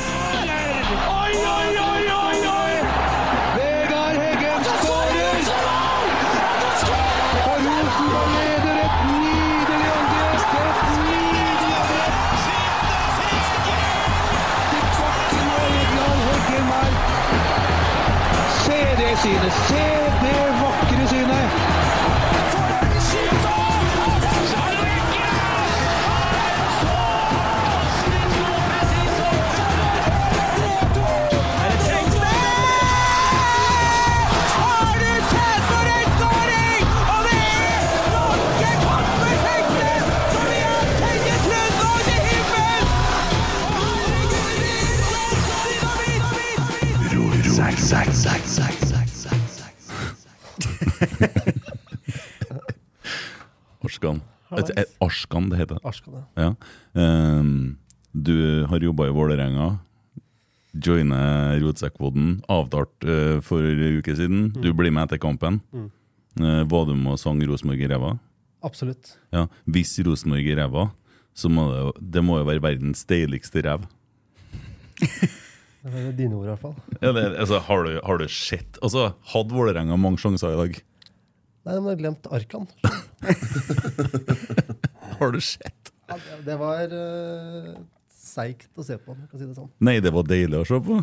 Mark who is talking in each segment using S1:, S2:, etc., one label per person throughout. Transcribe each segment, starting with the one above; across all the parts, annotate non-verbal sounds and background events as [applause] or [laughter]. S1: Oi, oi, oi, oi, oi!
S2: Vegard Heggen skårer! Og Rosenborg leder et nydelig angrep! Et nydelig angrep! Til bakken og Vegard Heggen her. Se det synet! Se det vakre synet!
S3: Arskan. Et, et, Arskan, det heter.
S4: Arskan, ja.
S3: Ja. Ehm, du har jobba i Vålerenga. Joine Rotsekkpodden. Avtalt eh, for en uke siden.
S4: Mm.
S3: Du blir med etter kampen. Eh, var du med og sang Rosenborg i ræva?
S4: Absolutt.
S3: Ja. Hvis Rosenborg i ræva, så må det, jo- det må jo være verdens deiligste ræv.
S4: Det er dine ord, i hvert fall.
S3: Ja, det, altså, har, du, har du sett Altså, Hadde Vålerenga mange sjanser i dag?
S4: Nei, men jeg har glemt
S5: [laughs]
S4: Arkan.
S3: Har du sett?
S4: Ja, det- Det var eh, seigt å se på, for å si det sånn.
S3: Nei, det var deilig å se på.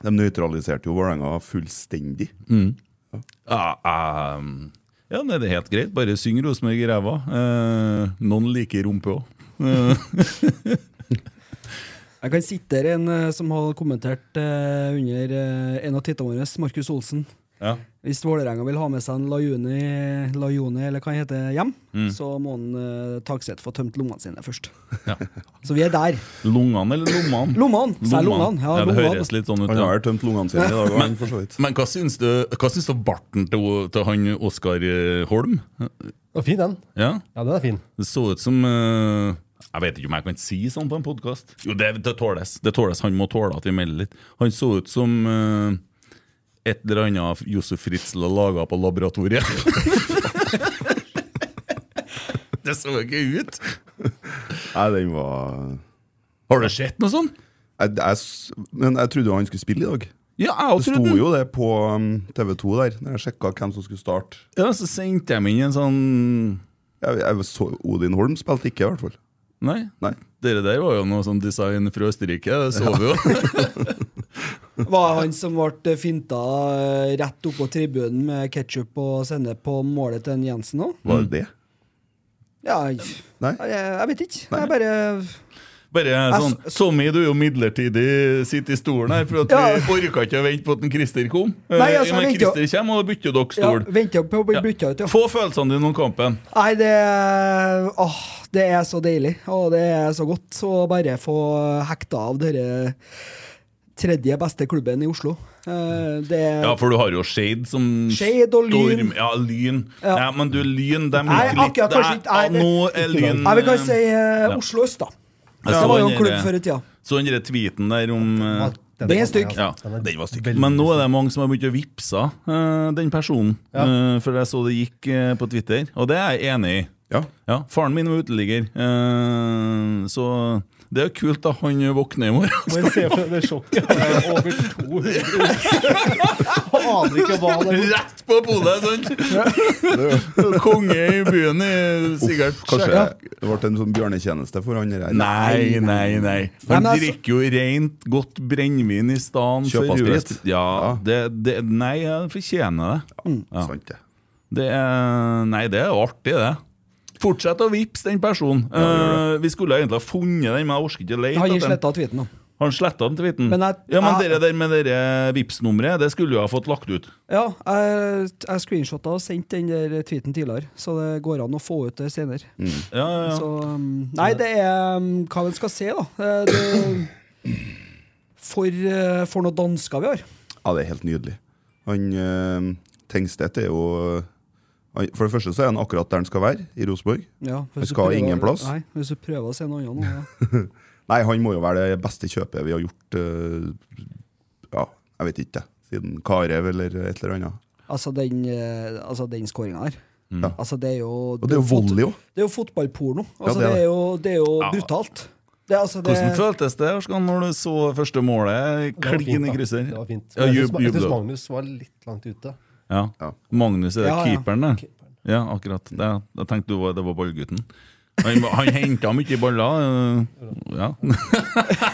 S6: De nøytraliserte jo Vålerenga fullstendig.
S3: Ja, ehm, ja nei, det er helt greit. Bare syng Rosenborg i ræva. Eh, noen liker rumpe òg.
S5: Jeg kan sitere en eh, som har kommentert eh, under eh, en av titlene våre, Markus Olsen.
S3: Ja.
S5: Hvis Vålerenga vil ha med seg en Lajuni, Lajuni eller hva han heter, hjem,
S3: Mm.
S5: så må han eh, Takseth få tømt lommene sine først. [laughs] Så vi er der.
S3: Lungene eller lommene?
S5: Lommene, sa jeg lungene. Ja,
S3: Ja, det
S5: lungene.
S3: høres litt sånn ut.
S6: Han
S3: Ja.
S6: har tømt lungene sine i dag, han, for så vidt.
S3: [laughs] Men hva syns du Hva syns du om barten til, til han Oskar eh, Holm?
S4: Det var fin, den.
S3: Ja,
S4: Ja, den er fin.
S3: Det så ut som eh, Jeg vet ikke om jeg kan si sånn på en podkast. Jo, det, det tåles. Det tåles. Han må tåle at vi melder litt. Han så ut som eh, et eller annet Josef Fritzl har laga på laboratoriet. [laughs] det så jo ikke ut!
S6: Nei, den var
S3: Har det sett noe sånt?
S6: jeg, jeg, s- Men jeg trodde jo han skulle spille i dag.
S3: Ja, jeg
S6: Det
S3: også trodde
S6: sto jo det på um, TV2 der, når jeg sjekka hvem som skulle starte.
S3: Ja, så sendte jeg meg inn en sånn
S6: Jeg, jeg så Odin Holm spilte ikke, i hvert fall.
S3: Nei.
S6: Nei.
S3: Dere der var jo noe sånn design fra Østerrike, det så vi [laughs] jo.
S5: Var han som ble finta eh, rett oppå tribunen med ketsjup og sennep på målet til en Jensen òg?
S6: Var
S3: Mm.
S6: det det?
S5: Ja, jeg,
S6: Nei.
S5: jeg, jeg vet ikke. Jeg bare
S3: Bare sånn Tommy, du er jo midlertidig sitt i stolen her, for at vi orka ikke å vente på at en Christer kom. Eh,
S5: Nei, altså,
S3: Men
S5: jeg venter jo-
S3: Christer kommer, og da bytter dere
S5: ja,
S3: stol.
S5: venter på å bli
S3: Ja.
S5: bytta ut, ja.
S3: Få følelsene dine om kampen.
S5: Nei, det Åh, det er så deilig. Og det er så godt å bare få hekta av denne tredje beste klubben i Oslo. Eh, Det
S3: Ja, for du har jo Shade som
S5: Shade og Lyn.
S3: storm- Ja, Lyn. Ja.
S5: Ja.
S3: men du, Lyn, dem
S5: Nei,
S3: gikk litt
S5: akkurat kanskje ikke. Nei,
S3: Ja,
S5: det-
S3: Nå er Lyn
S5: Nei, vi kan si
S3: eh,
S5: eh,
S3: Ja.
S5: Oslo øst, da.
S3: jeg
S5: Det
S3: så
S5: var jo
S3: den
S5: en klubb
S3: der-
S5: før i tida.
S3: Så den der tweeten der om eh,
S5: Den er stygg.
S3: Ja,
S4: den var stygg.
S3: Men nå er det mange som har begynt å vippse eh, den personen.
S4: Ja.
S3: Eh, for jeg så det gikk eh, på Twitter, og det er jeg enig i.
S6: Ja.
S3: Ja, Faren min var uteligger, eh, så det er jo kult da han våkner i morgen.
S4: Men se for det sjokket.
S5: [laughs]
S4: Over 200 Aner ikke hva det er.
S3: Rett på polet!
S5: [laughs]
S3: sant? Konge i byen i sikkert
S6: Kanskje det ble en sånn bjørnetjeneste for han der.
S3: Nei, nei, nei. Han
S5: Nei, men altså-
S3: drikker jo rent godt brennevin i stedet
S6: Kjøper sprit.
S3: Ja,
S6: Ja.
S3: det, det, nei, jeg fortjener det.
S6: Ja. Sant det.
S3: Det er, nei, det er jo artig, det. Fortsett å vippse den personen. Eh, vi skulle egentlig ha funnet den, men jeg orker ikke å lete
S5: Han gir
S3: etter den.
S5: sletta tweeten, da.
S3: Han sletta den tweeten.
S5: Men jeg-
S3: ja, men
S5: jeg-
S3: dere der med dere Vipps-nummeret, det skulle jo ha fått lagt ut.
S5: Ja, jeg, jeg screenshotta og sendte den der tweeten tidligere, så det går an å få ut det senere.
S3: Ja, ja, ja.
S5: Så, um, nei, det er um, hva vi skal se, da. Eh, Det, for, eh, for noen dansker vi har.
S6: Ja, det er helt nydelig. Han eh, Tengstedt er jo han, For det første så er han akkurat der han skal være, i Rosenborg.
S5: Ja, hvis du
S6: skal
S5: prøver-
S6: ingen plass.
S5: Nei, hvis du prøver å se noe annet nå. Ja.
S6: Nei, han må jo være det beste kjøpet vi har gjort eh, Ja, jeg vet ikke, siden Karev eller et eller annet.
S5: Altså den, eh, altså, den skåringa der.
S6: Ja.
S5: Altså, det er jo
S6: Og det er jo volley òg.
S5: Det er jo fotballporno.
S6: Ja,
S5: Altså,
S6: det
S5: det,
S6: er
S5: er jo, det er jo
S3: Ja.
S5: brutalt. Det, er altså, det,
S3: Hvordan føltes det Arskan, når du så første målet
S4: Det var fint,
S3: klin i
S4: da.
S3: krysser?
S4: Det var fint.
S3: Ja,
S4: Men jeg
S3: jub,
S4: syns- jeg syns
S3: jublet.
S4: Magnus var litt langt ute.
S3: ja.
S6: Ja.
S3: Magnus er det
S5: Ja, ja.
S3: keeperen, det. Ja, akkurat. Det, jeg tenkte du var, det var ballgutten. Han, han henta mye baller. øh, Ja. [laughs]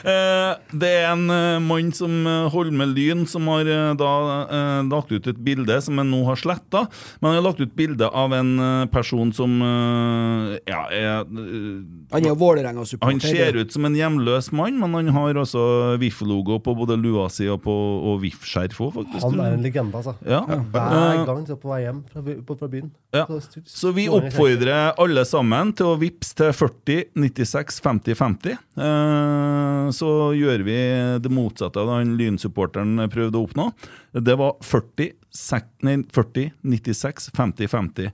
S3: Eh, Det er en eh, mann som eh, holder med lyn, som har eh, da eh, lagt ut et bilde som han nå har sletta. Men han har lagt ut bilde av en eh, person som eh, ja, er eh,
S5: han er jo
S3: han
S5: Vålerenga-supporter.
S3: ser ut som en hjemløs mann, men han har også VIF-logo på både lua si og, på- og VIF-skjerf òg, faktisk.
S4: Han er en legende, altså.
S3: Ja.
S4: Hver gang så på vei hjem fra, by- på- fra byen.
S3: Eh, Ja.
S4: Så-
S3: Så vi oppfordrer alle sammen til å vippse til 40 96 50 50. Eh, Så gjør vi det motsatte av det han lynsupporteren prøvde å oppnå. Det var 40, sek- nei, 40 96 50 50. Eh,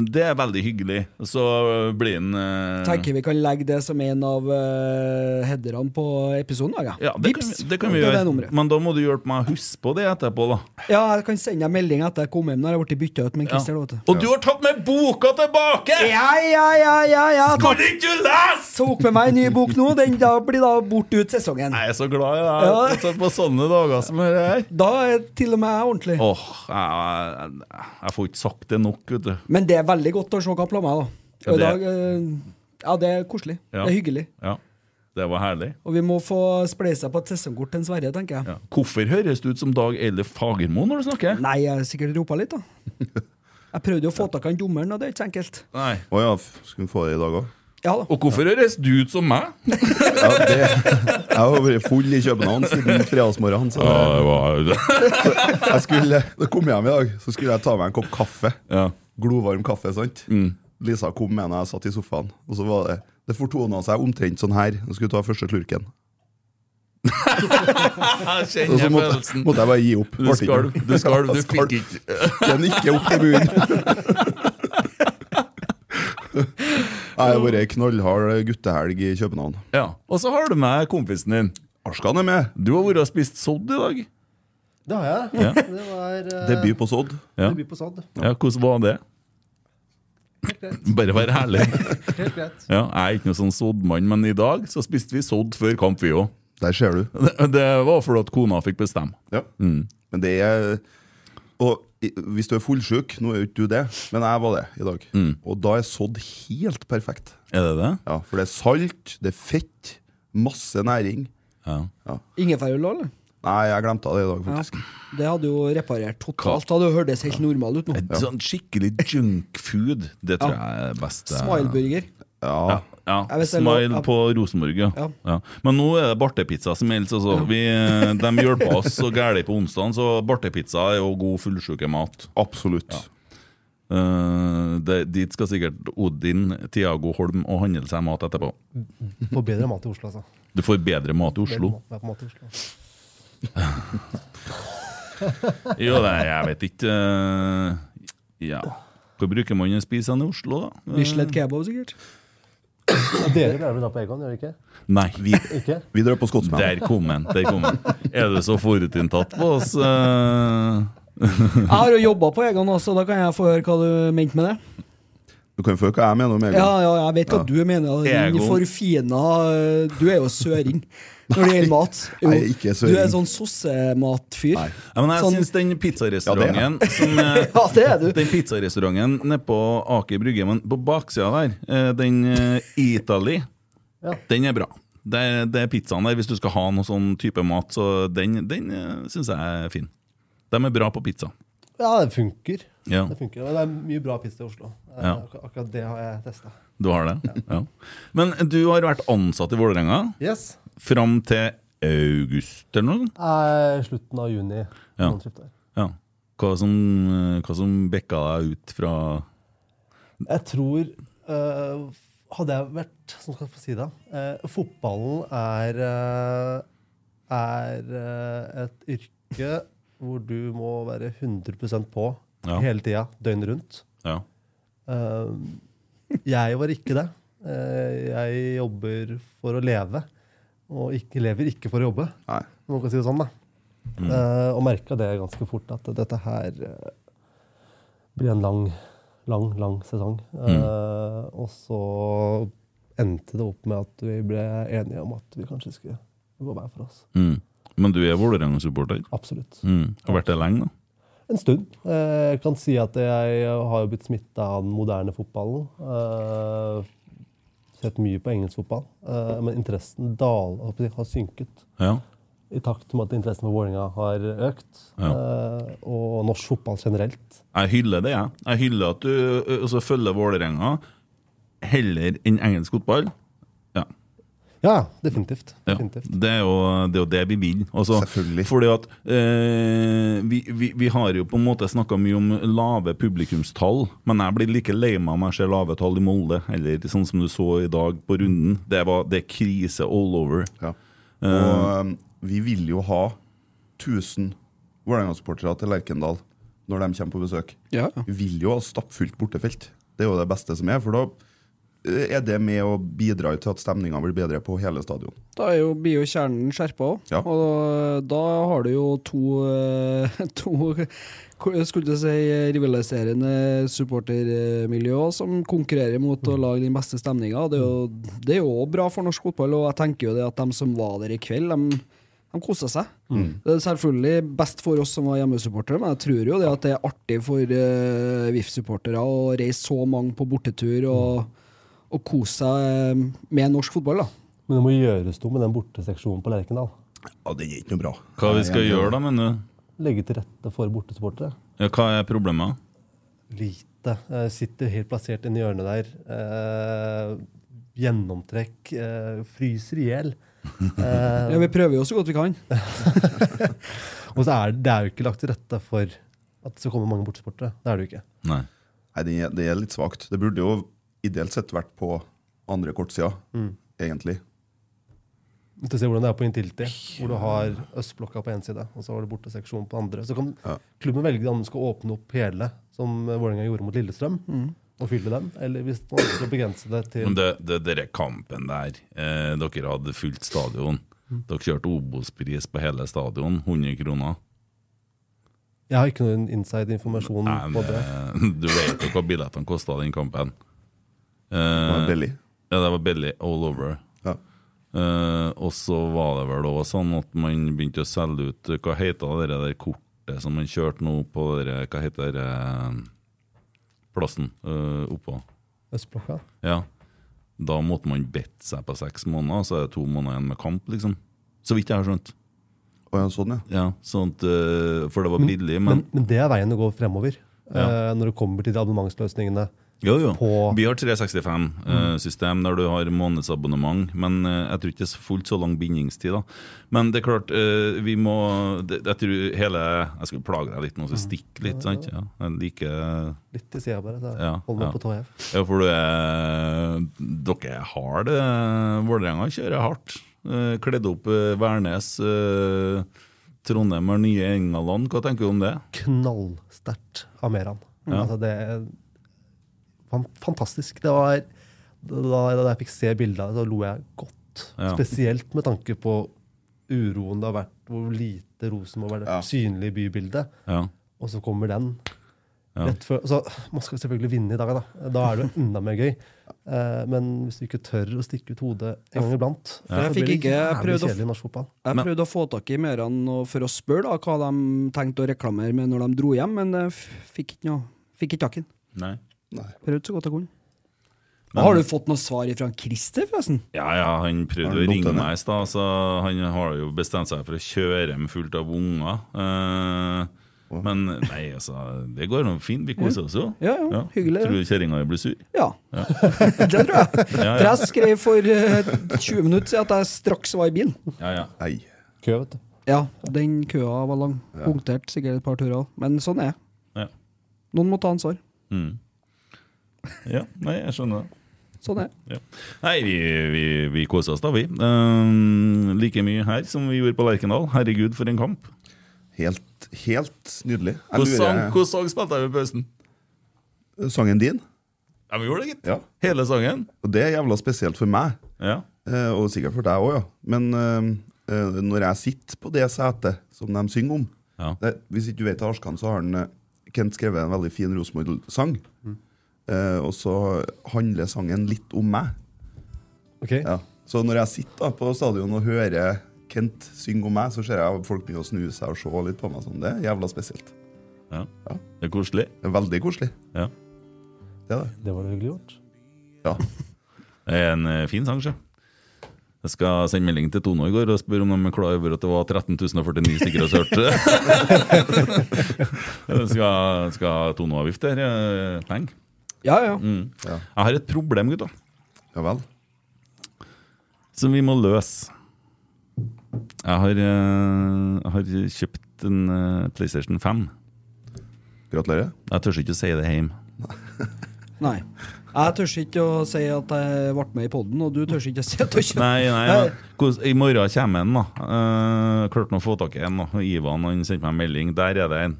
S3: Det er veldig hyggelig. Så blir han eh,
S5: Tenker vi kan legge det som en av uh, headerne på episoden. da,
S3: ja, det kan,
S5: Vips!
S3: vi- det kan vi
S5: Det er
S3: gjøre.
S5: det nummeret.
S3: Men da må du hjelpe meg å huske på det etterpå, da.
S5: Ja, jeg kan sende deg melding etter jeg kom hjem. Når jeg ble bytta ut med Christer. da, vet du.
S3: Og du har tatt med boka tilbake!
S5: Ja, ja, ja, ja, ja. Takk.
S3: Kan ikke du lese?!
S5: Tok med meg en ny bok nå. Den da blir da borte ut sesongen.
S3: Jeg er så glad i deg på sånne dager som dette her.
S5: Da er til og med jeg ordentlig.
S3: Åh, jeg, jeg, jeg får ikke sagt det nok, vet du.
S5: Men det er veldig godt å se hva planer jeg har.
S3: Ja,
S5: Og i
S3: det-
S5: dag, eh, ja, det er koselig.
S3: Ja.
S5: Det er hyggelig.
S3: Ja, det var herlig.
S5: Og vi må få spleisa på et sesongkort til en Sverre, tenker jeg.
S3: Ja. Hvorfor høres du ut som Dag Eile Fagermo når du snakker?
S5: Nei, jeg har sikkert ropa litt,
S3: [laughs]
S5: da. Jeg prøvde jo å få tak i han dommeren, og det er ikke så enkelt.
S3: Nei.
S6: Å ja, f- skulle vi få det i dag òg?
S5: Ja da.
S3: Og hvorfor høres du ut som meg?
S6: Ja, det- [laughs] jeg har vært full i København siden fredagsmorgen. Så
S3: det var
S6: jeg skulle, da kom jeg hjem i dag, så skulle jeg ta meg en kopp kaffe.
S3: [laughs] ja.
S6: Glovarm kaffe, sant?
S3: Mm.
S6: Lisa kom med når jeg satt i sofaen, og så var det Det fortona seg omtrent sånn her. Hun skulle ta første slurken.
S3: Jeg
S6: Og så
S3: kjenner
S6: måtte,
S3: følelsen.
S6: måtte jeg bare gi opp.
S3: Du skalv, du skalv,
S6: [laughs]
S3: du fikk ikke
S6: Den ikke opp til bunnen. Jeg har vært ei knallhard guttehelg i København.
S3: ja. Og så har du med kompisen din.
S6: Arskan er med.
S3: Du har vært og spist sodd i dag.
S4: Det har jeg.
S3: Ja.
S4: [laughs] Det var eh,
S6: Debut på Sodd.
S3: Ja.
S4: debut på Sodd.
S3: Ja, Hvordan var det? Bare vær [laughs] herlig.
S4: Helt greit.
S3: Ja, jeg er ikke noen sånn soddmann, men i dag så spiste vi sodd før kamp, vi òg.
S6: Der ser du.
S3: Det det var fordi at kona fikk bestemme.
S6: Ja.
S3: Mm.
S6: Men det er Og i- hvis du er fullsjuk, nå er jo ikke du det, men jeg var det i dag.
S3: Mm.
S6: Og da er sådd helt perfekt.
S3: Er det det?
S6: Ja, For det er salt, det er fett, masse næring.
S3: Ja.
S5: Ingefærøl òg, eller?
S6: Nei, jeg glemte det i dag, faktisk.
S5: Det hadde jo reparert totalt. Det hadde jo hørtes helt normal ut nå.
S3: Et Sånn skikkelig junkfood, det tror jeg er best. eh,
S5: Smileburger.
S6: Ja.
S3: Ja,
S5: Jeg vet det er lov-
S3: Smile
S5: ja.
S3: på Rosenborg, ja.
S5: Ja.
S3: ja. Men nå er det bartepizza som gjelder. Altså. Vi, eh, De hjelper oss så gærent på onsdagen, så bartepizza er jo god fullsjukemat.
S6: Absolutt.
S3: Eh, det- dit skal sikkert Odin, Tiago Holm og handle seg mat etterpå.
S4: Får bedre mat i Oslo, altså.
S3: Du får bedre mat i
S4: Bedre
S3: Oslo.
S4: mat- mat- mat i Oslo.
S3: Jo, nei, jeg vet ikke eh, Ja. Hva bruker man å spise den i Oslo, da? Eh,
S5: Bislett kebab, sikkert.
S4: Og Dere lærer vel da på Egon, gjør dere ikke?
S3: Nei.
S4: Ikke?
S6: Vi drar på Skotsmann.
S3: Der kom den. Der kom den. Er du så forutinntatt på oss? eh?
S5: Jeg har jo jobba på Egon også, da kan jeg få høre hva du mente med det.
S6: Du kan jo få høre hva jeg mener om Egon.
S5: Ja, ja, jeg vet hva du mener. Din
S3: Egon.
S5: forfina eh, Du er jo søring når det gjelder mat. Jo,
S6: Nei, ikke søring.
S5: Du er sånn sossematfyr.
S6: Nei.
S3: Ja, men jeg
S5: Sånn-
S3: syns den pizzarestauranten
S6: Ja,
S3: som eh,
S5: [laughs] Ja, det er du.
S3: Den pizzarestauranten nede på Aker Brygge, men på baksida der, eh, den eh, Italy,
S4: Ja.
S3: den er bra. Det er, det er pizzaen der, hvis du skal ha noe sånn type mat, så den, den eh, syns jeg er fin. De er bra på pizza.
S4: Ja, det funker.
S3: Ja,
S4: Det funker. Men det er mye bra pizza i Oslo. Eh,
S3: Ja.
S4: Ak akkurat det har jeg testa.
S3: du har det? Ja. Men du har vært ansatt i Vålerenga
S4: Yes.
S3: fram til august eller noe? sånt?
S4: Eh, slutten av juni.
S3: Ja.
S4: noen skifter.
S3: Ja. Hva som, eh, hva som bekka deg ut fra
S4: Jeg tror eh, Hadde jeg vært Som skal jeg få si det. eh, fotballen er eh, er eh, et yrke hvor du må være 100 på
S3: Ja.
S4: hele tida, døgnet rundt.
S3: Ja.
S4: Eh, jeg var ikke det. Eh, jeg jobber for å leve, og ikke, lever ikke for å jobbe.
S6: Nei.
S4: om man kan si det sånn, da. Eh, og merka det ganske fort, at dette her eh, blir en lang, lang, lang sesong. Eh, og så endte det opp med at vi ble enige om at vi kanskje skulle gå hver for oss.
S3: Mm. Men du er Vålerenga-supporter?
S4: Absolutt.
S3: Mm. Har vært det lenge, da?
S4: En stund. Eh, Jeg kan si at jeg har jo blitt smitta av den moderne fotballen. Eh, Sett mye på engelsk fotball. Eh, Men interessen dal, håper jeg, har synket
S3: Ja.
S4: i takt med at interessen for Vålerenga har økt. Eh, Og norsk fotball generelt.
S3: Jeg hyller det, jeg. Jeg hyller at du ø, altså, følger Vålerenga heller enn engelsk fotball. Ja.
S4: Ja, definitivt.
S3: Ja,
S4: definitivt.
S3: det er, jo, det er jo det vi vil. Altså,
S6: Selvfølgelig.
S3: Fordi at eh, vi, vi, vi har jo på en måte snakka mye om lave publikumstall, men jeg blir like lei meg om jeg ser lave tall i Molde, eller sånn som du så i dag på runden. Det, var, det er krise all over.
S6: Ja. Og um, vi vil jo ha 1000 Vålerenga-supportere til Lerkendal når de kommer på besøk.
S5: Ja.
S6: Vi vil jo ha stappfullt bortefelt. Det er jo det beste som er, for da eh, er det med å bidra til at stemninga blir bedre på hele stadion.
S5: Da er jo, blir jo kjernen skjerpa òg,
S6: Ja.
S5: og da har du jo to, eh, [laughs] to k- skulle jeg si, rivaliserende supportermiljø også, som konkurrerer mot å lage den beste stemninga. Det er jo- det er jo også bra for norsk fotball, og jeg tenker jo det at de som var der i kveld, de, de kosa seg. Det er selvfølgelig best for oss som var hjemmesupportere, men jeg tror jo det at det er artig for eh, VIF-supportere å reise så mange på bortetur og, og kose seg eh, med norsk fotball. da.
S4: Men det må gjøres noe med den borteseksjonen på Lerkendal.
S6: Ja, den er ikke noe bra.
S3: Hva vi skal gjøre da, mener du?
S4: Legge til rette for bortesupportere.
S3: Ja, hva er problemet?
S4: Lite. Eh, Sitter helt plassert inni hjørnet der. Eh, gjennomtrekk. Eh, fryser i hjel. Eh,
S5: Ja, Vi prøver jo så godt vi kan.
S4: og så er det, det er jo ikke lagt til rette for at det skal komme mange bortesportere. Det er det jo ikke.
S3: Nei.
S6: Nei, det er, det er litt svakt. Det burde jo ideelt sett vært på andre kortsida, egentlig.
S4: Hvis du ser hvordan det er på Intility, hvor du har østblokka på én side, og så har du borteseksjonen på andre. Så kan
S6: Ja.
S4: klubben velge om du skal åpne opp hele, som Vålerenga gjorde mot Lillestrøm, og fylle den, eller hvis man skal begrense det til
S3: Men det, det, dere kampen der, eh, dere hadde fullt stadion. Dere kjørte Obos-pris på hele stadion, 100 kroner.
S4: Jeg har ikke noen inside informasjon
S3: Nei,
S6: Mm,
S4: på det.
S3: men, eh, du vet jo hva billettene kosta den kampen.
S6: Det var
S3: Eh,
S6: billig.
S3: ja, det var billig all over.
S6: Ja.
S3: Eh, og så var det vel òg sånn at man begynte å selge ut eh, Hva heter det der kortet som man kjørte nå på dere, Hva heter det eh, plassen eh, oppå?
S4: Østblokka.
S3: Ja. Da måtte man bedt seg på seks måneder, så er det to måneder igjen med kamp, liksom. Så vidt jeg har skjønt.
S6: Og ja, sånn, ja.
S3: Ja, sånt, eh, For det var billig, men
S4: Men, men det er veien å gå fremover. eh, når det kommer til de abonnementsløsningene.
S3: Jo, jo.
S4: På-
S3: Vi har 365-system eh, der du har månedsabonnement, men eh, jeg tror ikke det er så fullt så lang bindingstid. da. Men det er klart, eh, vi må det, Jeg tror hele Jeg skulle plage deg litt nå, så stikk litt, sant? Ja, jeg liker
S4: Litt til sida bare. Så
S3: Ja,
S4: hold meg
S3: ja.
S4: på tå hev.
S3: Ja, for du er Dere er harde. Vålerenga kjører hardt. Eh, Kledd opp eh, Værnes. eh, Trondheim har nye England. Hva tenker du om det?
S4: Knallsterkt av Meran.
S3: Ja.
S4: Altså, det er fan- fantastisk. Det var da, da jeg fikk se bildet av det, så lo jeg godt.
S3: Ja.
S4: Spesielt med tanke på uroen det har vært, hvor lite Rosenborg har vært synlig i bybildet.
S3: Ja.
S4: og så kommer den. Rett før, altså, man skal selvfølgelig vinne i dag, da. Da er det jo enda
S3: [laughs]
S4: mer gøy. Eh, men hvis du ikke tør å stikke ut hodet en gang iblant,
S5: Jeg
S4: så blir
S5: fikk
S4: det
S5: ikke- jeg
S4: jævlig
S5: prøvde å-
S4: kjedelig i norsk fotball.
S5: Jeg prøvde å få tak i Meran og- for å spørre da, hva de tenkte å reklamere med når de dro hjem, men jeg f- fikk ikke noe. Fikk ikke tak i den.
S3: Nei.
S5: Prøvde så godt jeg kunne. har du fått noe svar fra Christer, forresten?
S3: Ja, ja, han
S6: Har
S3: prøvde
S6: han
S3: å
S6: dumt
S3: ringe
S6: henne?
S3: meg i stad, så han har jo bestemt seg for å kjøre hjem fullt av unger. Eh, men nei, altså, det går nå fint. Vi koser oss jo.
S5: Ja, ja, hyggelig,
S3: Tror du kjerringa blir
S5: [laughs]
S3: sur?
S5: Ja. det tror jeg.
S3: Ja,
S5: For
S3: ja.
S5: jeg skrev for eh, 20 minutter siden at jeg straks var i bilen.
S3: ja, ja.
S6: Nei.
S4: Kø, vet du.
S5: Ja, den køa var lang. Punktert sikkert et par turer òg. Men sånn er det.
S3: ja.
S5: Noen må ta ansvar.
S3: Mm. ja nei, jeg skjønner det.
S5: Sånn er det.
S3: Ja. Nei, vi, vi, vi koser oss da, vi. Eh, like mye her som vi gjorde på Lerkendal. Herregud, for en kamp.
S6: Helt, helt nydelig. Jeg
S3: Hvordan sang,
S6: lurer- eh,
S3: hvordan sang spilte jeg i pausen?
S6: Sangen din?
S3: Ja, vi gjorde det, gitt.
S6: Ja.
S3: Hele sangen.
S6: Og det er jævla spesielt for meg,
S3: Ja.
S6: eh, og sikkert for deg òg, ja. Men eh, eh, når jeg sitter på det setet som de synger om
S3: Ja.
S6: det, Hvis ikke du vet det, Arskan, så har han, eh, Kent skrevet en veldig fin Rosenborg-sang. Eh, og så handler sangen litt om meg.
S4: Ok?
S6: Ja. Så når jeg sitter da på stadion og hører Kent synge om meg, så ser jeg folk begynne å snu seg og se litt på meg. sånn. Det er jævla spesielt.
S3: Ja. Det er koselig.
S6: Det er veldig koselig.
S3: Ja.
S6: Det er det.
S4: Det var det hyggelig gjort.
S6: Ja.
S3: Det er en eh, fin sang, sjø. Jeg skal sende melding til Tone i går og spørre om de er klar over at det var 13.049 stykker
S6: [laughs]
S3: som hørte. [laughs] det. skal, skal ha Tone-avgift der. eh, Penger.
S5: Ja, ja.
S3: Jeg har et problem, gutta,
S6: ja vel.
S3: som vi må løse. Jeg har, eh, jeg har kjøpt en eh, PlayStation 5.
S6: Gratulerer.
S3: Jeg tør ikke å si det hjemme.
S5: Nei. Jeg tør ikke å si at jeg ble med i poden, og du tør ikke å si at du ikke
S3: Nei, nei, nei. Hvordan- I morgen kommer en, da. Eh, klarte nå å få tak i en. da Ivan han sendte meg en melding. Der er det en.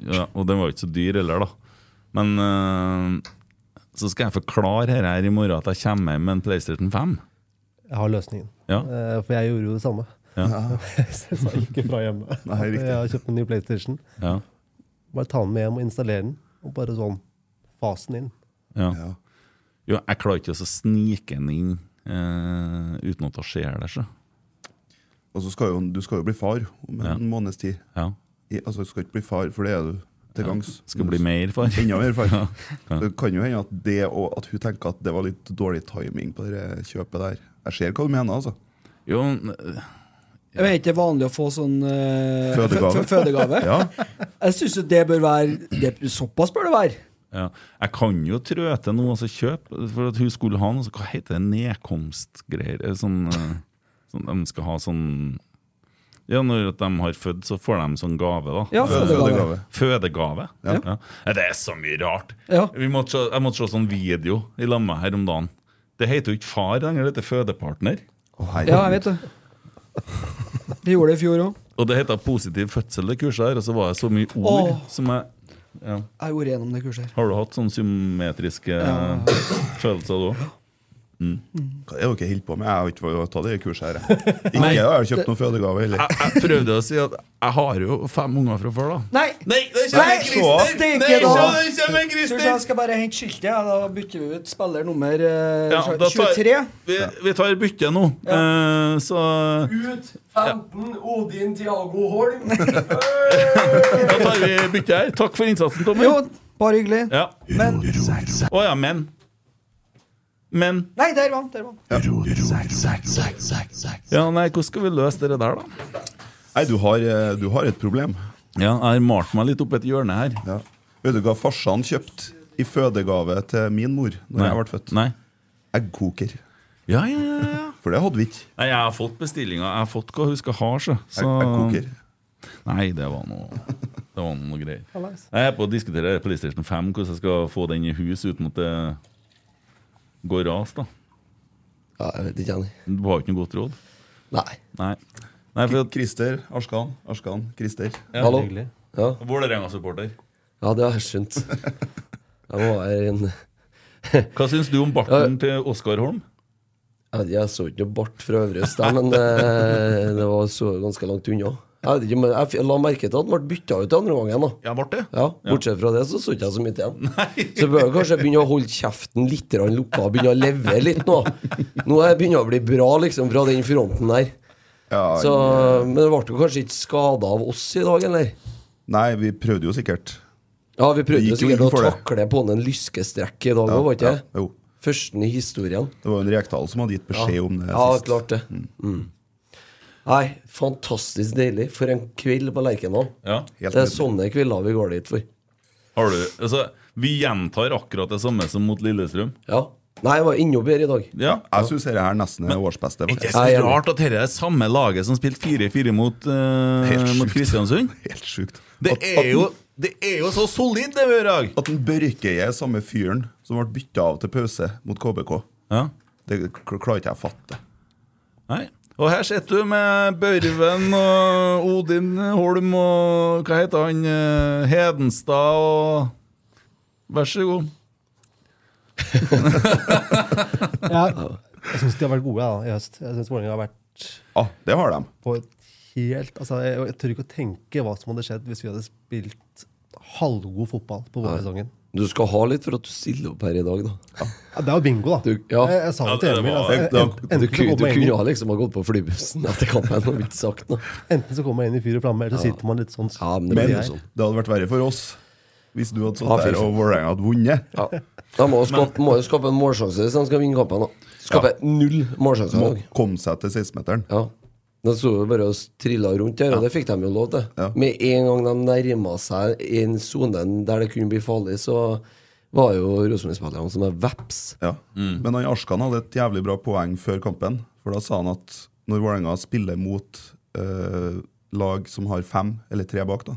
S3: Ja, og den var jo ikke så dyr heller, da. Men eh, så skal jeg forklare her, her i morgen at jeg kommer hjem med en PlayStation 5.
S4: Jeg har løsningen.
S3: Ja.
S4: Eh, For jeg gjorde jo det samme. [laughs] Så jeg sa ikke fra hjemme.
S6: Nei, riktig.
S4: Jeg har kjøpt en ny PlayStation.
S3: Ja,
S4: Bare ta den med hjem og installere den. Og bare sånn fasen inn.
S3: ja.
S6: Ja.
S3: Jo, jeg klarer ikke å så snike den inn eh, uten at det skjer der, så.
S6: Og så skal jo, du skal jo bli far om en
S3: Ja.
S6: måneds tid.
S3: Ja.
S6: I, altså, du skal ikke bli far, for det er du til gangs.
S3: Skal bli mer, far.
S6: Enda mer far.
S3: Ja.
S6: Så Det kan jo hende at, det, og at hun tenker at det var litt dårlig timing på det kjøpet der. Jeg ser hva du mener, altså.
S3: Jo,
S5: Jeg vet ikke, det er vanlig å få sånn eh,
S6: Fødegave.
S5: fø- fø- fødegave.
S6: Ja,
S5: Jeg syns jo det bør være det, Såpass bør det være.
S3: Ja. Jeg kan jo trø til noe, altså kjøpe For at hun skulle ha noe så Hva heter det? Nedkomstgreier? eh, Sånn, eh, sånn, de skal ha sånn Ja, når at de har født, så får de sånn gave, da.
S5: Ja,
S6: det er
S5: fødegave.
S6: fødegave.
S3: Fødegave. Ja. Ja, Det er så mye rart.
S5: Ja.
S3: Vi måtte se, jeg måtte se sånn video i lag med her om dagen. Det heter jo ikke far lenger, det heter fødepartner.
S6: Å,
S5: Ja,
S6: herregud.
S5: jeg vet det. Vi gjorde det i fjor òg.
S3: Og det heter positiv fødsel, det kurset her. Og så var det så mye ord
S5: Åh.
S3: som jeg ja.
S5: Jeg gjorde gjennom det kurset her.
S3: Har du hatt sånne symmetriske eh, følelser, du òg?
S6: Hva er det dere holder på med? Jeg har ikke vært tatt det kurset her. jeg.
S5: [laughs]
S6: Ikke jeg har kjøpt noen fødegave heller.
S3: jeg, jeg prøvde å si at jeg har jo fem unger fra før, da.
S5: Nei!
S3: Nei, det
S5: Nei, steike da.
S3: kommer
S5: Tror du jeg skal bare hente skiltet? Ja, da bytter vi ut spiller nummer eh,
S3: Ja, da tar-
S5: 23.
S3: Vi, vi tar bytte nå. Eh, så
S7: Ut 15 Odin Tiago Holm.
S3: [laughs] da tar vi bytte her. Takk for innsatsen, Tommy.
S5: Jo, bare hyggelig.
S3: Ja.
S5: Men
S3: Å ja, men. Men
S5: Nei, der var han. Der var han.
S3: Ja, nei, hvordan skal vi løse det der, da?
S6: Nei, du har, eh, du har et problem.
S3: Ja, jeg har malt meg litt opp et hjørne her.
S6: Ja. Vet du hva farsan kjøpte i fødegave til min mor når jeg ble født?
S3: Nei.
S6: Eggkoker.
S3: Ja, ja, ja, ja.
S6: For det hadde vi ikke.
S3: [laughs] Nei, jeg har fått bestillinga. Jeg har fått hva hun skal ha, så. så
S6: Egg- Eggkoker.
S3: Nei, det var noe Det var noe greier. Jeg er på å diskutere PlayStation 5, hvordan jeg skal få den i hus uten at det går ras. da
S7: Ja, jeg vet ikke, Annie.
S3: Du har jo ikke noe godt råd.
S7: Nei.
S3: Nei. Nei, for at
S6: Christer Arskan. Arskan Christer.
S7: Hallo?
S4: Hyggelig.
S7: Ja,
S3: Vålerenga-supporter.
S7: ja det har jeg skjønt. Jeg må være en Jeg,
S3: Hva syns du om barten til Oskar Holm?
S7: vet ikke, jeg så ikke noe bart fra Øvre Øst der, men det, det var så ganske langt unna. Jeg vet ikke, men jeg f- la merke til at den ble bytta ut andre gangen. da
S3: Ja, ble det?
S7: ja, Bortsett fra det så så ikke jeg så mye [laughs] til den. Så bør jeg kanskje begynne å holde kjeften litt grann lukka og begynne å leve litt nå. Nå er jeg begynner jeg å bli bra liksom fra den fronten der.
S6: Ja,
S7: Så, men det ble jo kanskje ikke skada av oss i dag, eller?
S6: Nei, vi prøvde jo sikkert.
S7: Ja, vi
S6: Vi
S7: prøvde
S6: gikk jo
S7: sikkert
S6: inn
S7: å
S6: for det.
S7: takle på en lyskestrekk i dag òg,
S6: Ja,
S7: var ikke det?
S6: ja, jo.
S7: Førsten i historien.
S6: Det var jo en Rekdal som hadde gitt beskjed om det
S7: Ja,
S6: sist.
S7: klart det. Mm. Nei, fantastisk deilig. For en kveld på Lerkendal.
S3: Ja.
S6: Helt
S7: Det er
S6: nydelig.
S7: sånne kvelder vi går dit for.
S3: Har du, altså, vi gjentar akkurat det samme som mot Lillestrøm.
S7: Ja. Nei, det var enda bedre i dag.
S3: Ja.
S6: Jeg syns dette her nesten er årsbeste.
S3: Ikke
S6: faktisk.
S3: så
S7: Jeg er enig.
S3: rart at dette er det samme laget som spilte 4-4 mot, eh,
S6: Helt
S3: mot
S6: sjukt.
S3: Kristiansund.
S6: Helt sjukt.
S3: Det
S6: At- at
S3: er jo, det er jo så solid, det vi gjør i dag!
S6: At en Børkeie er samme fyren som ble bytta av til pause mot KBK.
S3: Ja.
S6: Det k- klarer ikke jeg å fatte.
S3: Nei. Og her sitter du med Børven og Odin Holm og hva heter han eh, Hedenstad og Vær så god.
S4: Jeg, jeg syns de har vært gode da, i høst. Jeg synes Vålerenga har vært
S6: Ja, Ah, det har de.
S4: på et helt altså, jeg, jeg tør ikke å tenke hva som hadde skjedd hvis vi hadde spilt halvgod fotball på vårsesongen.
S7: Du skal ha litt for at du stiller opp her i dag, da.
S4: Ja, det er jo bingo, da.
S7: Du- ja.
S4: jeg, jeg sa det
S3: Ja,
S4: til
S3: det
S4: Emil.
S3: var-
S4: Altså,
S6: Jeg-
S4: en-
S6: da-
S4: enten,
S7: Du,
S4: så
S7: ku-
S4: kommer
S7: du
S4: man inn,
S7: kunne ha liksom ha gått på flybussen etter kampen og ikke sagt noe.
S4: i- enten så kommer man inn i fyr og flamme, eller så sitter man litt sånn
S7: Ja, men det
S6: Men
S7: blir
S6: det
S7: jo sånn.
S6: hadde vært verre for oss hvis du hadde satt
S7: Ja, fy
S6: der
S7: faen.
S6: og Vålerenga hadde vunnet.
S7: Ja. Da må jo skape, må jo skape en målsjanse hvis de skal vinne kampen. da Skape null målsjanser i
S6: Må
S7: dag.
S6: komme seg til 16-meteren.
S7: Ja. De sto jo bare og trilla rundt der, og det fikk de jo lov til.
S6: Ja.
S7: Med en gang de nærma seg en sone der det kunne bli farlig, så var jo Rosenborg-spillerne som er veps.
S6: Ja. Men han Arskan hadde et jævlig bra poeng før kampen. For da sa han at når Vålerenga spiller mot eh, lag som har fem eller tre bak, da,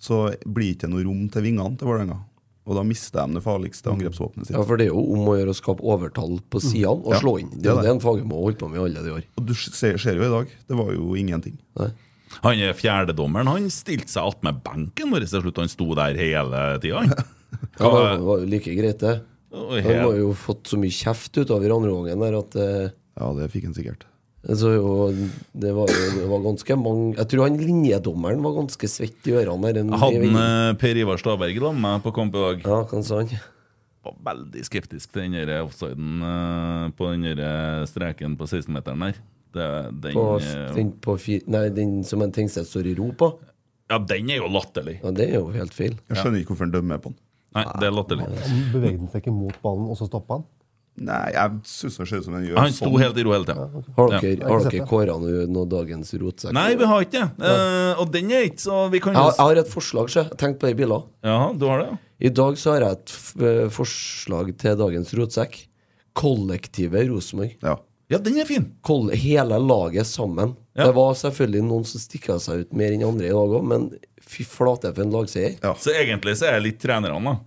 S6: så blir det ikke noe rom til vingene til Vålerenga. Og da mister de det farligste angrepsvåpenet sitt.
S7: Ja, for det er jo om å gjøre å skape overtall på sidene og
S6: Ja,
S7: slå inn. Det
S6: det
S7: er
S6: er
S7: jo
S6: det.
S7: det en Fagermo har holdt på med i alle de år.
S6: Og du ser, ser jo i dag, det var jo ingenting.
S3: Han er fjerdedommeren. Han stilte seg attmed benken vår til slutt. Han sto der hele tida, han.
S7: Ja, men det var jo like greit, det.
S3: Og
S7: Han
S3: helt-
S7: har jo fått så mye kjeft utover andre gangen der at eh,
S6: Ja, det fikk han sikkert.
S7: så jo, det, var jo, det var ganske mange Jeg tror han linjedommeren var ganske svett i ørene. der, en-
S3: Hadde
S7: i-
S3: en, eh, Per Ivar Staberg la meg på kamp i dag.
S7: Ja, hva sa han?
S3: Var veldig skeptisk til den der offsiden eh, på den der streken på 16-meteren der. Det, den,
S7: På,
S3: eh,
S7: den, på fi, nei, den som en Tengstedt står i ro på?
S3: ja, den er jo latterlig.
S7: Ja, det er jo helt feil.
S6: Jeg skjønner ikke hvorfor han dømmer på han.
S3: Nei, det er latterlig.
S4: Han Bevegde han seg ikke mot ballen, og så stoppa han?
S6: Nei, jeg syns det ser ut som han gjør
S3: Han sto
S6: sånn.
S3: helt i ro hele tida.
S7: Har dere,
S4: Ja.
S7: har dere kåra noe, noe dagens rotsekk?
S3: Nei, vi har ikke det. Eh, og den er ikke så Vi kan
S7: Jeg,
S3: jo
S7: har- jeg har et forslag, sjø. Tenk på de bilene.
S3: Ja, du har det? ja.
S7: I dag så har jeg et f eh, forslag til dagens rotsekk. Kollektivet Rosenborg.
S6: Ja.
S3: Ja, den er fin!
S7: Koll- Hele laget sammen.
S3: Ja.
S7: Det var selvfølgelig noen som stikka seg ut mer enn andre i dag òg, men fy flate for en lagseier.
S6: Ja.
S3: Så egentlig så er jeg litt trenerne, da. Mm.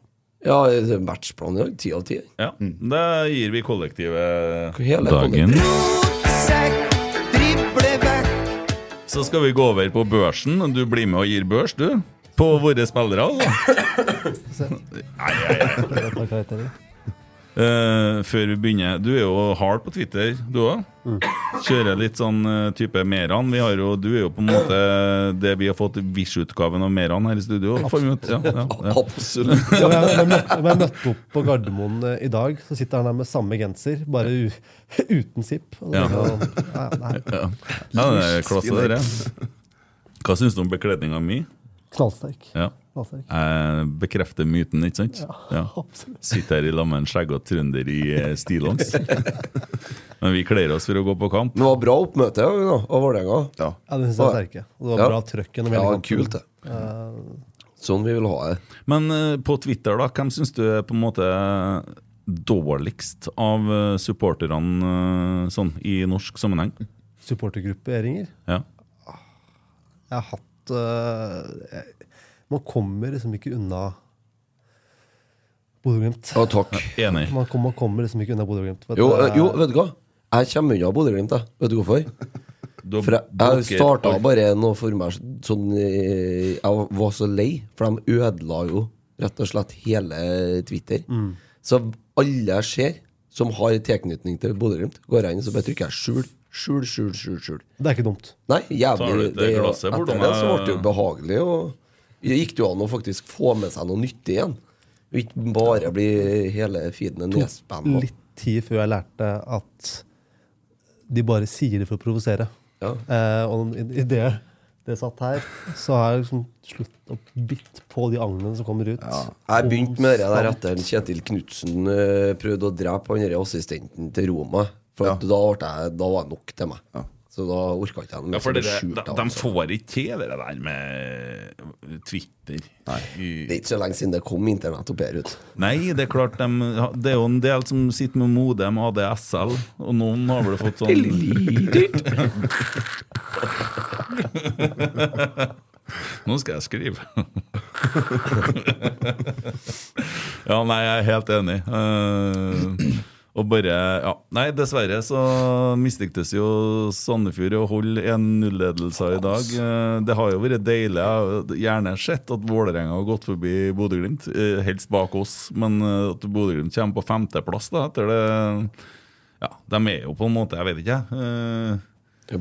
S7: Ja, det er matchplan i dag. Ti av ti.
S3: Ja, Da gir vi kollektivet
S7: Hele
S3: Dagen.
S7: kollektivet.
S3: Så skal vi gå over på børsen. Du blir med og gir børs, du. På våre spillere, altså.
S4: Det var karakterer.
S3: Eh, før vi begynner Du er jo hard på Twitter, du òg. Kjører litt sånn eh, type Meran. Vi har jo, du er jo på en måte det vi har fått Vish-utgaven av Meran her i studio. får vi ut. Ja, ja, ja.
S7: Absolutt.
S4: Ja, men jeg, jeg, møtte, jeg møtte opp på Gardermoen eh, i dag, så sitter han der med samme genser, bare u, [laughs] uten sipp. Og da
S3: Ja.
S4: tenkte jeg, ja, nei,
S3: [laughs] ja, det er klasse, det der. Hva syns du om bekledninga mi?
S4: knallsterk.
S3: Ja.
S4: knallsterk.
S3: Jeg bekrefter myten, ikke sant? Ja.
S4: Absolutt.
S3: Sitter her i lag med en skjeggete trønder i eh, stillongs. Men vi kler oss for å gå på kamp.
S7: Men det var bra oppmøte i dag, da, av Vålerenga.
S6: ja.
S4: Ja, det syns jeg er sterke. Og det var
S7: Ja.
S4: bra trøkk gjennom hele
S7: Ja,
S4: kampen.
S7: kult, det. Sånn vi vil ha det.
S3: Men eh, på Twitter, da, hvem syns du er på en måte dårligst av eh, supporterne eh, sånn i norsk sammenheng?
S4: Supportergrupperinger.
S3: Ja.
S4: Jeg har hatt eh, jeg, Man kommer liksom ikke unna Bodø-Glimt.
S7: Ja, takk.
S3: Enig.
S4: Man, kom, man kommer liksom ikke unna Bodø-Glimt. vet
S7: Jo,
S4: du.
S7: eh, jo, vet du hva? Jeg kommer unna Bodø-Glimt, jeg. Vet du hvorfor?
S3: Da
S7: For jeg, jeg
S3: blokker
S7: starta
S3: alt.
S7: bare noe for meg sånn eh, Jeg var så lei, for de ødela jo rett og slett hele Twitter. Så alle jeg ser som har tilknytning til Bodø-Glimt, går jeg inn og så bare trykker jeg skjul, skjul, skjul, skjul. skjul.
S4: Det er ikke dumt.
S7: Nei,
S3: Tar du
S7: jævlig
S3: ut det
S7: det, er jo-
S3: glasset
S7: Etter
S3: bortom
S7: det så ble
S3: deg?
S7: det jo behagelig, og det gikk det jo an å faktisk få med seg noe nyttig igjen. Og ikke bare bli hele feeden en nespenn.
S4: Litt tid før jeg lærte at de bare sier det for å provosere.
S7: Ja.
S4: Eh, og i, i det det satt her, så har jeg liksom slutt å bitt på de agnene som kommer ut.
S7: Jeg begynte med det der etter Kjetil Knutsen eh, prøvde å drepe han der assistenten til Roma. For at da, ble jeg, da var det nok til meg. Så da orka ikke jeg
S3: Ja, for
S7: mer.
S3: det,
S7: Det,
S3: de, de
S7: altså.
S3: får ikke til det der med Twitter.
S7: det er ikke så lenge siden det kom internett opp her ut.
S3: Nei, det er klart dem- Det er jo en del som sitter med Modem, ADSL, og noen har vel fått sånn [laughs] Nå skal jeg skrive. ja, nei, jeg er helt enig. Eh, og bare ja. Nei, dessverre så mislyktes jo Sandefjord i å holde 1-0-ledelser i dag. Eh, det har jo vært deilig. Jeg har gjerne sett at Vålerenga har gått forbi Bodø-Glimt, eh, helst bak oss, men eh, at Bodø-Glimt kommer på femteplass da, etter det Ja, de er jo på en måte Jeg vet ikke, jeg. Eh,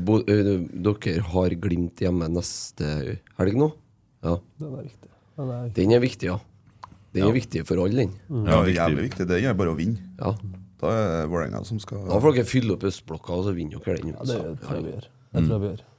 S7: Bo, ø, dere har Glimt hjemme neste helg nå? Ja.
S4: Den er viktig. Den er,
S7: Den er viktig, ja. Den er viktig for alle, den.
S4: Mm.
S6: Ja, det er jævlig viktig. Det er bare å vinne.
S7: Ja.
S6: Da er det Vålerenga som skal
S7: Da får dere fylle opp østblokka, og så vinner dere den.
S4: Det
S7: altså.
S4: tror jeg vi gjør. Jeg tror jeg vi gjør.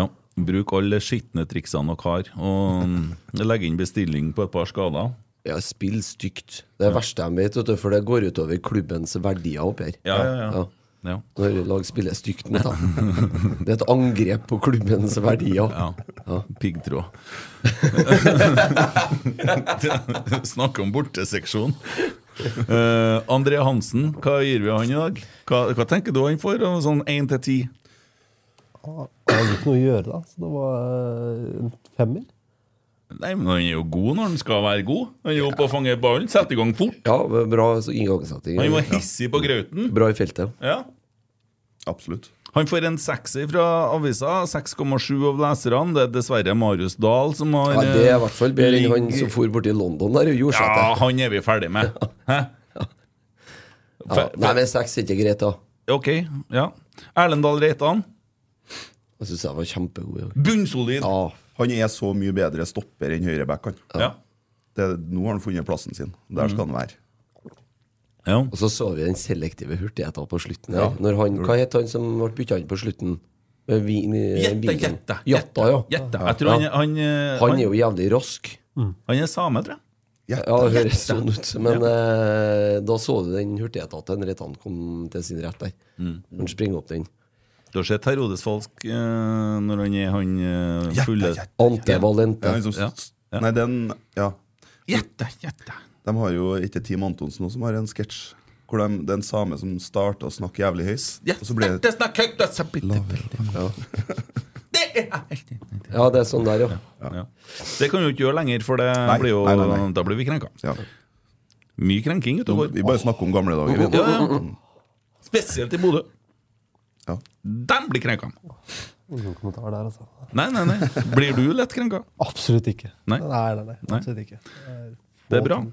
S3: Ja. Bruk alle skitne triksene dere har, og mm, legg inn bestilling på et par skader.
S7: Ja, spill stygt. Det er det verste jeg vet, vet du, for det går utover klubbens verdier oppi her.
S3: Ja, ja, ja. Ja.
S7: Når lag spiller stygt mot dem. [laughs] Det er et angrep på klubbens verdier.
S3: Ja.
S7: Ja.
S3: Piggtråd. [laughs] Snakk om borteseksjon. Eh, André Hansen, hva gir vi han i dag? Hva, hva tenker du han får? av Sånn 1 til 10?
S4: Jeg hadde ikke noe å gjøre da, så det var eh, en femmer.
S3: Nei, men Han er jo god når han skal være god. Han er jo oppe og fanger ballen, setter i gang fort.
S7: Ja, bra så inngangssetting.
S3: Han var hissig på grauten.
S7: Bra i feltet.
S3: Ja.
S6: Absolutt.
S3: Han får en sekser fra avisa. 6,7 av leserne. Det er dessverre Marius Dahl som har
S7: Ja, det er i hvert fall bedre enn han
S3: ligger-
S7: som for borti London der og gjorde seg
S3: Ja,
S7: til.
S3: han er vi ferdig med. Hæ?
S7: Ja.
S3: Fe-
S7: Nei, men seks er ikke greit, da.
S3: Ok, ja. Erlend Dahl Reitan.
S7: Jeg syns jeg var kjempegod. i dag.
S3: Bunnsolid.
S7: Ja,
S6: Han er så mye bedre stopper enn høyreback, han.
S3: Ja.
S6: Det- Nå har han funnet plassen sin. Der skal han være.
S3: Ja.
S7: og så så vi den selektive hurtigheten på slutten. her. Når han, hva het han som ble bytta inn på slutten? Eh, Vi- eh,
S3: Jette,
S7: Vigen.
S3: jette.
S7: Jatta, ja.
S3: Jette. Jeg tror han, han, eh,
S7: Han er
S3: han,
S7: jo jævlig rask.
S3: han er same, tror jeg.
S7: Ja, det høres sånn ut. Men eh, da så du den hurtigheten til Reitan kom til sin rett der.
S3: Mm.
S7: Han springer opp den.
S3: Du har sett Herodes Falsk eh, når han er han eh, fulle
S6: jette.
S7: Ante Valente.
S6: Det er liksom han som,
S3: Ja. Ja.
S6: Nei, den Ja.
S3: Jette, jette.
S6: De har jo ikke Team Antonsen også, som har en sketsj hvor de, det er en same som starter å snakke jævlig høyt, og så blir det
S3: Jette snakker høyt, og så blir det-
S7: Ja.
S3: Det er helt enig.
S7: ja, det er sånn der, ja.
S3: Ja. Det kan vi jo ikke gjøre lenger, for det
S6: Nei,
S3: blir jo,
S6: nei, nei, nei.
S3: da blir vi krenka.
S6: ja.
S3: Mye krenking ute og går.
S6: Vi bare snakker om gamle dager. vi.
S3: Ja, ja. Spesielt i Bodø.
S6: Mm, Ja.
S3: De blir krenka.
S4: Ingen kommentar der, altså.
S3: Nei, nei, nei. Blir du lett krenka?
S4: Absolutt ikke.
S3: Nei.
S4: nei, nei. nei.
S3: Nei.
S4: Absolutt ikke.
S3: Det er bra.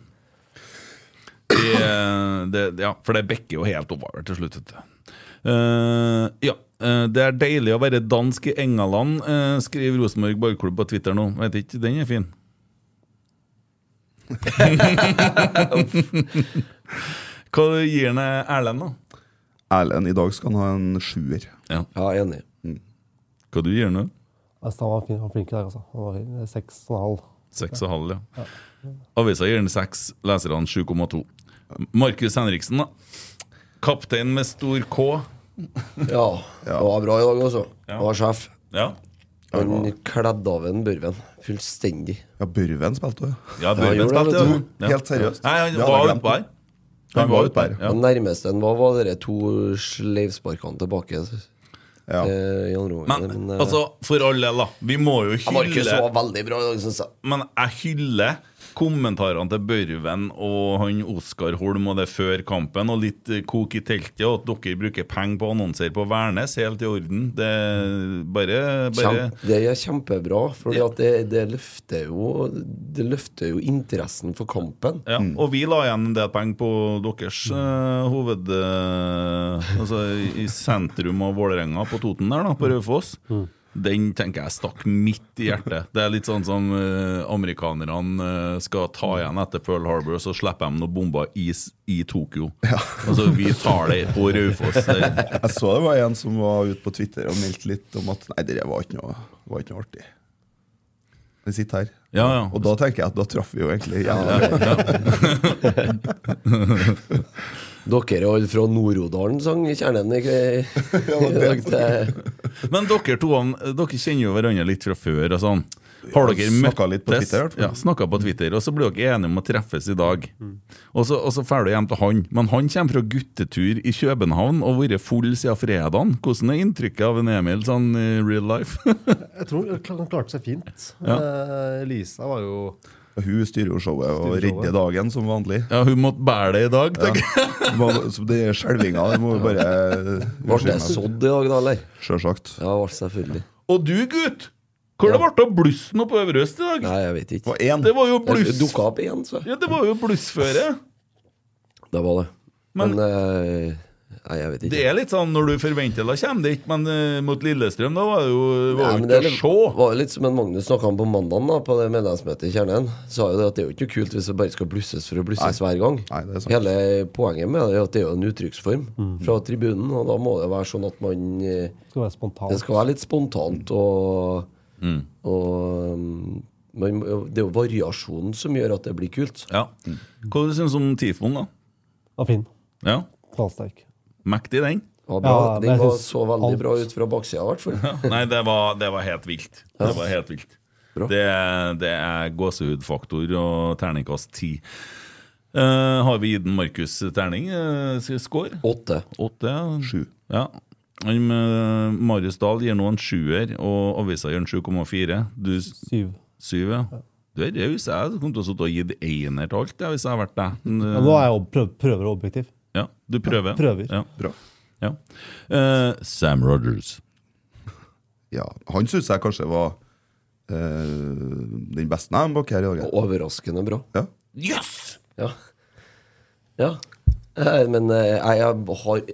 S3: Det, det, ja, for det bekker jo helt oppover til slutt. vet du. Eh, ja. eh, det er deilig å være dansk i Engaland, eh, skriver Rosenborg Borgklubb på Twitter nå. Vet ikke, Den er fin. Hva gir han Erlend, da?
S6: Erlend, i dag skal han ha en sjuer.
S7: Ja, enig.
S3: Hva du gir han? da?
S4: Altså, han var fin- han var flink i dag, altså. Han var fin. Seks og en halv.
S3: Seks og halv, ja. Avisa gir den seks, leserne 7,2. Markus Henriksen, da. Kaptein med stor K.
S7: Ja, det var bra i dag også. Det var sjef.
S3: Ja,
S7: Han kledde av en Børven fullstendig.
S6: Ja, Børven spilte òg.
S3: ja Børven
S7: gjorde det,
S3: spilte,
S7: vet
S3: ja.
S6: Helt seriøst.
S3: Nei, han
S6: Det hadde
S3: var
S6: jeg glemt.
S3: utpå her.
S6: Han var utpå her.
S3: Ja.
S7: Det nærmeste han var, var de to sleivsparkene tilbake.
S6: Ja.
S7: eh, I andre omgang.
S3: Men
S7: Men, eh,
S3: altså, for all del, da. Vi må jo
S7: Markus
S3: hylle
S7: var veldig bra i dag, syns jeg.
S3: Men jeg hyller kommentarene til Børven og han Oskar Holm og det før kampen, og litt eh, kok i teltet, og at dere bruker penger på å annonsere på Værnes, helt i orden. Det er bare, bare
S7: Kjempe, det er kjempebra, for det, det, løfter jo, det løfter jo interessen for kampen.
S3: Ja,
S6: Mm.
S3: og vi la igjen en del penger på deres eh, hoved... eh, altså i- i sentrum av Vålerenga, på Toten der, da,
S6: Mm.
S3: på Raufoss. Den tenker jeg stakk midt i hjertet. Det er litt sånn som eh, amerikanerne eh, skal ta
S6: Mm.
S3: igjen etter Pearl Harbor, så slipper de noen bomber i, s- i Tokyo. Altså, vi tar det på Raufoss. Det-
S6: [laughs] Jeg så det var en som var ute på Twitter og meldte litt om at Nei, det var ikke noe, det var ikke noe artig. Vi sitter her.
S3: Ja, ja.
S6: Og da tenker jeg at da traff vi jo egentlig jævlig.
S7: Dere er alle fra Nord-Odalen, sang kjernen i [laughs] i dag. til-
S3: Men dere to dere kjenner jo hverandre litt fra før. og sånn. Har
S6: Ja,
S3: dere møttes?
S6: snakket litt på Twitter, i hvert fall.
S3: Ja, snakket på Twitter, og så blir dere enige om å treffes i dag. Og så, og så drar du hjem til han. Men han kommer fra guttetur i København og har vært full siden fredagen. Hvordan er inntrykket av en Emil sånn i real life?
S4: Jeg tror han klarte seg fint. Eh, Lisa var jo
S6: Hun styrer jo showet og redder dagen som vanlig.
S3: [laughs] ja, hun måtte bære det i dag, tenker jeg.
S6: Må- Så det er skjelvinga. Det må vi bare eh,
S7: Ble det sådd i dag, da, eller?
S6: Sjølsagt.
S7: Ja, ble selvfølgelig.
S3: Og du, gutt! Hvor det ble det av blussen oppe på Øvre Øst i dag?
S7: Nei, jeg vet
S6: Det
S7: ikke.
S6: var én.
S3: Det var jo
S7: Det
S3: bluss.
S7: dukka opp igjen, så.
S3: Ja, det var jo blussføre.
S7: Det var det. Men, eh, Nei, jeg vet ikke.
S3: Det er litt sånn når du forventer det kommer det ikke, men eh, mot Lillestrøm da var det jo var
S7: Nei,
S3: jo
S7: men
S3: ikke
S7: det er
S3: å
S7: litt-
S3: se.
S7: var jo litt som en Magnus snakka om på mandagen da, på det medlemsmøtet i Kjernen. Sa jo det at det er jo ikke noe kult hvis det bare skal blusses for å blusses hver gang.
S6: Nei, det er sant.
S7: Hele poenget med det er jo at det er jo en uttrykksform fra tribunen, og da må det være sånn at man eh,
S4: Skal være
S7: Det
S4: spontan.
S7: skal være litt spontant og, og um, man, må- Det er jo variasjonen som gjør at det blir kult.
S3: Ja. Hva du synes du om Tifoen, da?
S4: Og fin.
S3: Ja,
S4: Knallsterk.
S3: Mektig, den.
S7: Det var bra.
S4: Ja, men
S7: Den
S4: jeg
S7: var
S4: synes
S7: så veldig
S4: alt-
S7: bra ut fra baksida, i hvert fall.
S3: Nei, det var, det var helt vilt. Det var helt vilt.
S7: Bra.
S3: Det, det er gåsehudfaktor og terningkast ti. Eh, har vi gitt en Markus terning? eh, score?
S7: Åtte.
S3: Åtte? Sju. Ja. Han med Marius Dahl gir nå en sjuer, og avisa gir en 7,4. Du s-
S4: Syv.
S3: syv, ja. Du er raus. Jeg kom til å sitte og gitt einer til alt jeg, hvis jeg hadde vært deg.
S4: Ja, nå er jeg ob- prøv, prøver å være objektiv.
S3: Ja, du prøver.
S4: Prøver.
S3: Ja.
S6: Bra.
S3: Ja. Eh, Sam Rogers.
S6: Ja, han syns jeg kanskje var eh, den beste jeg bak her i dag. jeg.
S7: Overraskende bra.
S6: Ja.
S7: Ja. ja. Eh, Men eh, jeg har vært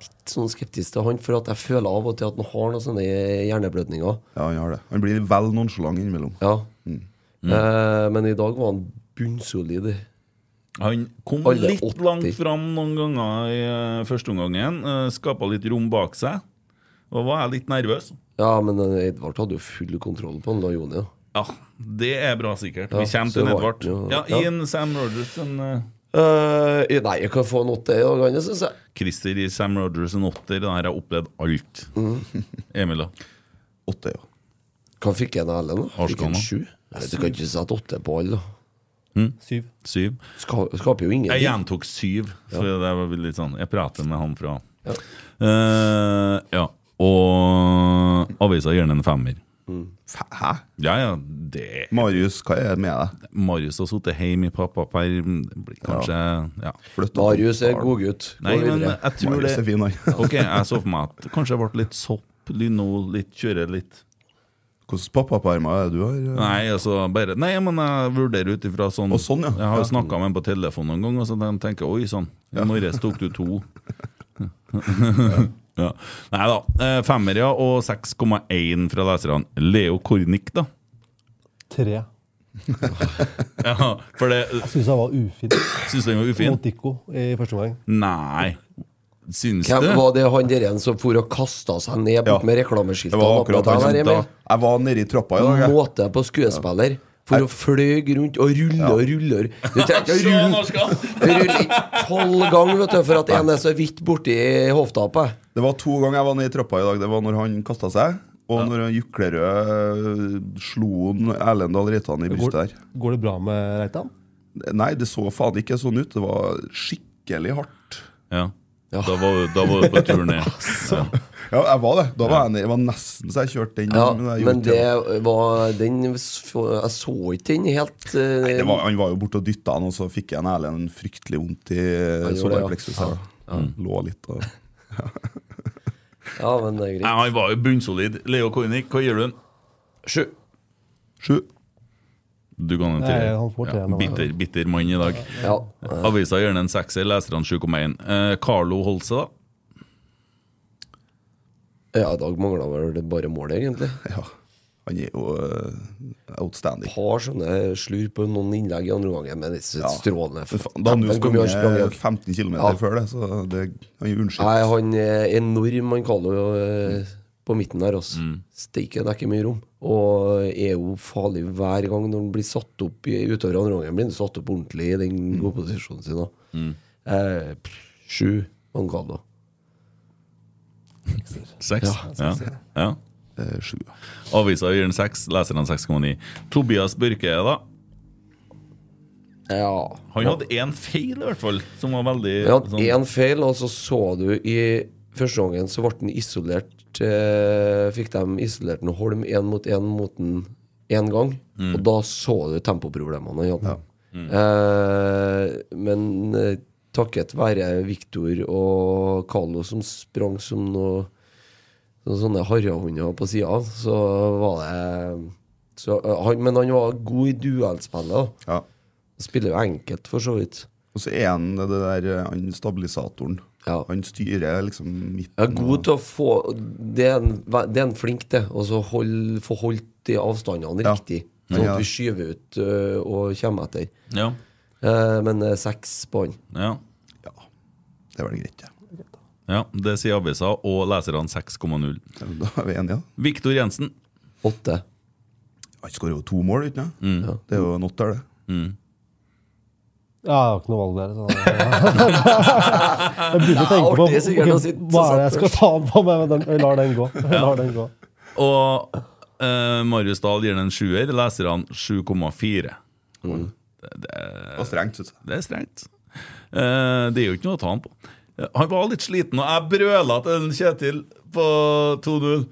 S7: litt sånn skeptisk til han, for at jeg føler av og til at han har noen sånne hjerneblødninger.
S6: ja, han har det. Han blir vel nonchalant innimellom.
S7: Ja.
S3: Mm.
S7: Eh, Men i dag var han bunnsolid.
S3: Han kom
S7: Alle
S3: litt
S7: 80.
S3: langt fram noen ganger i eh, første omgangen. Uh, Skapa litt rom bak seg. Og var jeg litt nervøs.
S7: Ja, men eh, Edvard hadde jo full kontroll på han, la Joni. da.
S3: Ja, det er bra, sikkert.
S7: Ja,
S3: Vi kommer
S7: så
S3: til
S7: det var
S3: Edvard.
S7: den jo-
S3: Ja,
S7: ja.
S3: I en Sam Rogers en eh,
S7: Eh, nei, jeg kan få en åtte i dag, han, syns jeg.
S3: Christer i Sam Rogers en åtter. Den her har jeg opplevd alt.
S7: Mm.
S3: Emil, da?
S6: Åtte, ja.
S7: Hva fikk jeg av Erlend? da? Fikk
S3: Arsenal,
S7: en
S3: da.
S7: sju? Nei, Du kan ikke sette åtte på alle, da.
S4: Syv.
S3: Syv.
S7: Ska- Skaper jo
S3: Jeg
S7: ingenting.
S3: gjentok syv. For det var litt sånn Jeg prater med han fra
S7: Ja.
S3: Eh, ja. Og avisa gir den en femmer.
S6: F- Hæ?
S3: Ja, ja, det
S6: Marius, hva er det med deg?
S3: Marius har sittet hjemme i pappaperm, det blir kanskje ja.
S6: Flytt opp.
S7: Marius er godgutt.
S3: Nei, men jeg tror det
S6: Marius er fin, han.
S3: Ok, jeg så for meg at kanskje det ble litt sopp, lino, litt kjøre litt
S6: Hvordan pappapermer er det du har? eh?
S3: Nei, altså bare Nei, men jeg vurderer ut ifra sånn
S6: Og sånn, ja.
S3: Jeg har jo snakka med ham på telefon noen gang, og så de tenker oi sånn, i morges tok du to. ja. [laughs] Nei da. eh, Femmer, ja, og 6,1 fra leserne. Leo Kornic, da.
S4: Tre.
S3: [laughs] Ja, for det
S4: Jeg syns han var ufin
S3: Syns du den var ufin?
S4: mot Dico i første omgang.
S3: Nei. Syns
S7: Hvem
S3: du?
S7: var det han der igjen som for og kasta seg ned bort
S6: Ja.
S7: med
S6: Det
S7: reklameskiltene?
S6: var
S7: oppe
S6: akkurat han
S7: der,
S6: som da
S7: Emil?
S6: Jeg var nede i trappa i dag. jeg.
S7: Måte på skuespiller. For å fløy rundt og rulle og rulle og Du trenger ikke å rulle rulle i tolv ganger vet du, for at en er så vidt borti hoftapet.
S6: Det var to ganger jeg var nede i trappa i dag. Det var når han kasta seg, og når Juklerød eh, slo han Erlendal Reitan i brystet der.
S4: Går det bra med Reitan?
S6: Nei, det så faen ikke sånn ut. Det var skikkelig hardt.
S3: Ja.
S7: Ja.
S3: Da var da var du på tur ned. Ja.
S6: Ja, jeg var det. Da var jeg nede. Jeg var nesten så jeg kjørte den.
S7: Ja,
S6: jeg gjorde
S7: men
S6: ikke det,
S7: det var den Jeg så ikke den helt eh,
S6: det var, Han var jo borte og dytta han, og så fikk jeg en Erlend fryktelig vondt i
S7: gjorde det, ja.
S6: solarpleksus. her, da. Lå litt og
S7: Ja, men det er
S3: Nei,
S7: greit.
S3: han var jo bunnsolid. Leo Kornic, hva gir du? Sju.
S6: Sju.
S3: Du ga han en
S4: Nei, han får
S3: treer.
S4: treeren,
S3: Ja,
S4: han.
S3: bitter, bitter mann i dag.
S7: Ja.
S3: Avisa gjør den en sekser, leserne 7,1. Eh, Carlo Holse, da?
S7: ja, i dag mangla vel det bare målet, egentlig.
S6: Ja. Han er jo eh, outstanding.
S7: Par sånne slurp på noen innlegg i andre omgang, men det er
S6: Ja.
S7: strålende.
S6: For faen, Da hadde han jo
S7: Kampen kom jo og sprang i dag.
S6: sprunget 15 km
S7: Ja.
S6: før det, så det, han er unnskyld.
S7: Nei, han er enorm, han Carlo, eh, på midten der. Altså. Steike, det er ikke mye rom. Og er jo farlig hver gang når han blir satt opp i utover andre gangen. Blir han satt opp ordentlig i den gode posisjonen sin. da. Eh, pff, sju, han Carlo.
S3: Seks? Ja. ja.
S6: Eh, Sju. ja.
S3: Avisa gir den seks, leserne 6,9. Tobias Børke, da?
S7: Ja.
S3: Han hadde én feil, i hvert fall, som var veldig
S7: Han hadde
S3: sånn-
S7: én feil, og så så du i første gangen så ble han isolert. Eh, fikk de isolert en Holm én mot én mot en én gang, og da så du tempoproblemene han hadde. Eh, men eh, takket være Viktor og Carlo som sprang som noe noen sånne harrehunder på sida, så var det så, eh, han, Men han var god i duellspillet. da.
S6: Ja.
S7: Spiller jo enkelt, for så vidt.
S6: Og så er han det der eh, han stabilisatoren.
S7: Ja.
S6: Han styrer liksom midten.
S7: Jeg er god
S6: og-
S7: til å få Det er en, det er en flink til. Og så hold, få holdt de avstandene
S6: Ja.
S7: riktig. Sånn
S6: Ja.
S7: at vi skyver ut øh, og kommer etter.
S3: Ja.
S7: Eh, men eh, seks på han.
S3: ja.
S6: Ja, det er vel greit, ja.
S3: Ja, Det sier avisa og leserne 6,0.
S6: Da er vi enige, da.
S3: Viktor Jensen.
S7: Åtte.
S6: Han skårer jo to mål, ikke sant?
S7: Mm.
S6: Det er jo en åtter, det.
S4: Ja, jeg har ikke noe valg der. Så jeg begynner å tenke på
S7: artig sikkert å
S4: ok,
S7: sitte
S4: hva er det jeg
S7: sånn
S4: skal ta på meg, men den, jeg lar den gå. Jeg lar den gå.
S3: Og eh, Marius Dahl gir den en sjuer. Leserne 7,4.
S6: Mm. Det var strengt, syns jeg.
S3: Det er strengt. Eh, det er jo ikke noe å ta han på. Eh, Han var litt sliten, og jeg brøla til en Kjetil på 2-0.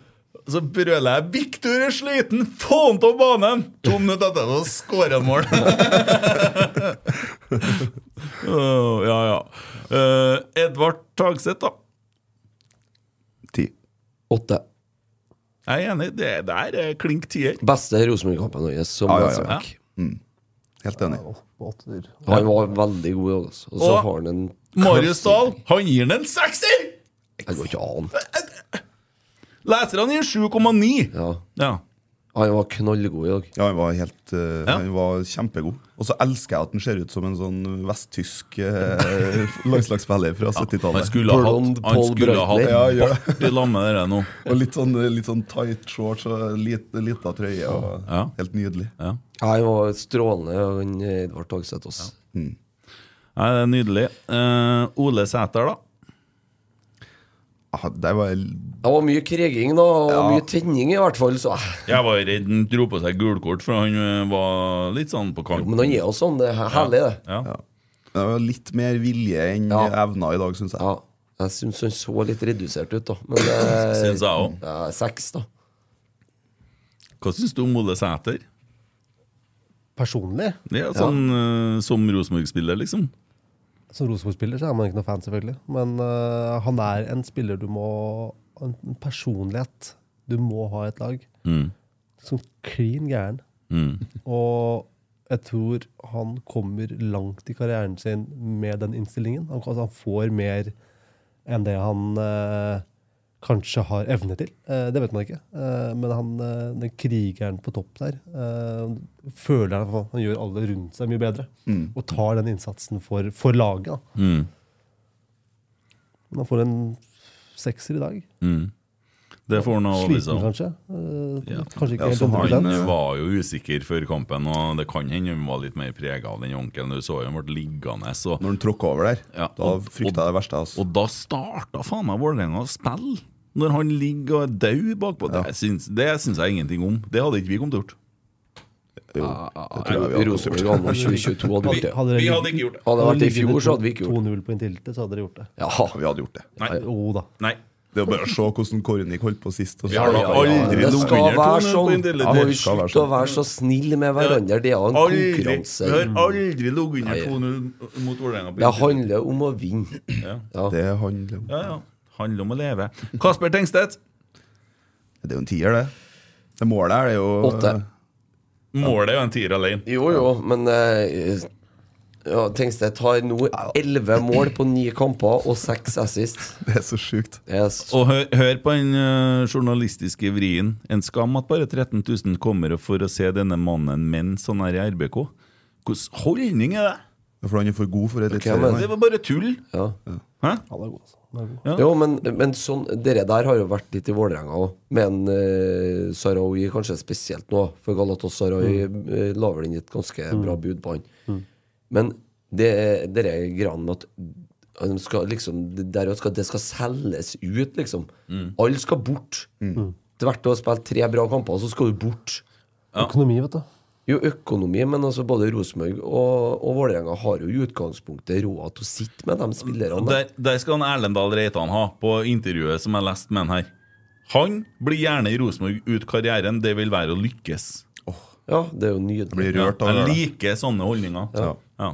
S3: Så brøler jeg 'Viktor er sliten! Få han på banen!' To minutter etterpå skårer han mål. [laughs] Åh, ja, ja. Eh, Edvard Tagseth, da.
S6: Ti.
S7: Åtte.
S3: Jeg er enig. Det der er klink tier.
S7: Beste Rosenborg-kampen vår som
S6: Ja, ja, ja.
S7: venstreback.
S6: Helt enig.
S4: På åtte dyr.
S7: Han var veldig god. i dag, Altså. Og så
S3: Og-
S7: har han en
S3: Marius Dahl, han gir den en sekser!
S7: Jeg går ikke an.
S3: Leserne gir 7,9.
S7: Ja.
S3: Ja.
S7: Han var knallgod i dag.
S6: Ja, han var helt eh,
S3: Ja.
S6: Han var kjempegod. Og så elsker jeg at han ser ut som en sånn vesttysk eh, [laughs] landslagsspiller fra
S3: Han
S6: 70-tallet.
S3: skulle ha hatt
S7: Blond
S3: Han
S7: Paul
S3: skulle ha
S7: Breitner.
S6: Ja,
S3: hatt
S6: gjør
S3: bart i lag med dere nå.
S6: Og litt sånn, litt sånn tight shorts og lit, lita trøye. Og
S3: Ja.
S6: Helt nydelig.
S3: Ja.
S7: Ja, Han var strålende, han eh, Edvard Tagseth også.
S3: Nei, det er nydelig. Eh, Ole Sæter, da.
S6: Ah, det var
S7: Det var mye kriging da, og
S6: Ja.
S7: mye tenning i hvert fall. Så.
S3: Jeg var redd han dro på seg gulkort, for han eh, var litt sånn på
S7: Jo,
S3: kant.
S7: Men han er jo sånn. Det er herlig, det.
S3: Ja.
S6: det var litt mer vilje enn
S7: Ja.
S6: evner i dag, syns jeg.
S7: Ja, jeg syns han så litt redusert ut, da.
S6: [clears throat]
S7: Men eh,
S3: Syns jeg òg.
S7: ja, seks, da.
S3: Hva syns du om Ole Sæter?
S4: Personlig,
S3: Det er sånn eh, som Rosenborg-spiller, liksom.
S4: som Rosenborg-spiller, så er man ikke noe fan, selvfølgelig. Men øh, han er en spiller du må En en personlighet du må ha i et lag.
S3: Mm.
S4: Som klin gæren.
S3: Mm.
S4: Og jeg tror han kommer langt i karrieren sin med den innstillingen. Han, altså, han får mer enn det han eh, kanskje har evne til. Eh, det vet man ikke. Eh, men han, eh, den krigeren på topp der eh, føler jeg at han gjør alle rundt seg mye bedre. Og tar den innsatsen for, for laget. Da.
S3: Mm.
S4: Men han får en sekser i dag.
S3: Mm. Det får han av
S4: Sliten,
S3: Olisa.
S4: kanskje. Eh,
S3: sånn. Ja.
S4: Kanskje
S6: Ja,
S4: ikke
S6: så har
S4: helt 100
S3: Han
S6: Men, eh,
S3: var jo usikker før kampen, og det kan hende han var litt mer prega av den onkelen. Du så jo han ble liggende. Så.
S6: Når han tråkka over der,
S3: Ja,
S6: da
S3: og-
S6: frykta jeg det verste. Altså.
S3: Og da starta faen meg Vålerenga å spille! Når han ligger og er død bakpå. Det syns, det syns jeg ingenting om. Det hadde ikke vi kommet til å gjort.
S6: jo, det tror jeg vi hadde fått
S7: Rosenborg
S6: gjort.
S7: anno 2022 hadde gjort det.
S4: Hadde dere
S3: Vi
S4: ligget-
S3: hadde ikke gjort det.
S7: Hadde det vært i fjor, så hadde vi ikke gjort det.
S4: 2-0 på Intility, så hadde dere gjort det.
S7: Ja,
S6: Ja, vi hadde gjort det.
S3: Nei.
S4: Jo da.
S3: Nei.
S6: Det er bare å se hvordan Kornik holdt på sist. Og så-
S3: Vi har da
S7: ja, ja,
S3: aldri
S7: det
S3: ligget
S7: skal
S3: under
S7: være
S3: 2-0 på
S7: sånn.
S3: Intility.
S7: Da må vi
S6: Det skal være
S7: slutte å
S6: sånn.
S7: være så snille med hverandre. Det er jo en
S3: Aldri, vi
S7: konkurranse.
S3: har aldri ligget under
S7: Nei.
S3: 2-0 mot Vålerenga. på
S7: Det
S3: Intility.
S7: handler om å vinne. Ja.
S6: Det handler om
S3: Ja, ja. Handler om å leve. Kasper Tengstedt,
S6: Det er jo en tier, det. Det målet her er jo
S7: Åtte.
S3: målet er jo en tier alene.
S7: Jo, jo, men eh, ja, Tengstedt har nå elleve mål på ni kamper og seks assist.
S6: [laughs] Det er så sjukt.
S7: Det er s-
S3: Og hør, hør på den eh, journalistiske vrien. En skam at bare 13 000 kommer for å se denne mannen mens han er i RBK. Hvilken holdning er det?
S6: For han er for god for
S7: men-
S6: Eliteserien.
S3: Det var bare tull.
S7: ja.
S3: Hæ?
S4: Han er god, altså. Han er god.
S3: Ja.
S7: Jo, men, men sånn, dere der har jo vært litt i Vålerenga òg, med en eh, Sarawi kanskje spesielt nå. For Galatasaray eh, la vel inn et ganske bra bud på han. Men det er- dere greiene med at de skal liksom, det, der skal, det skal selges ut, liksom. Alle skal bort. Tvert å ha spilt tre bra kamper, så skal du bort.
S4: Økonomi, vet du.
S7: Jo, økonomi, men altså både Rosenborg og, og Vålerenga har jo i utgangspunktet råd til å sitte med de spillerne.
S3: Og Der, der skal han Erlendal Reitan ha, på intervjuet som jeg leste med han her. Han blir gjerne i Rosenborg ut karrieren. Det vil være å lykkes.
S7: Ja, det er jo nydelig.
S6: Blir rørt av
S3: Jeg
S6: det.
S3: liker sånne holdninger.
S6: Ja.
S3: Ja.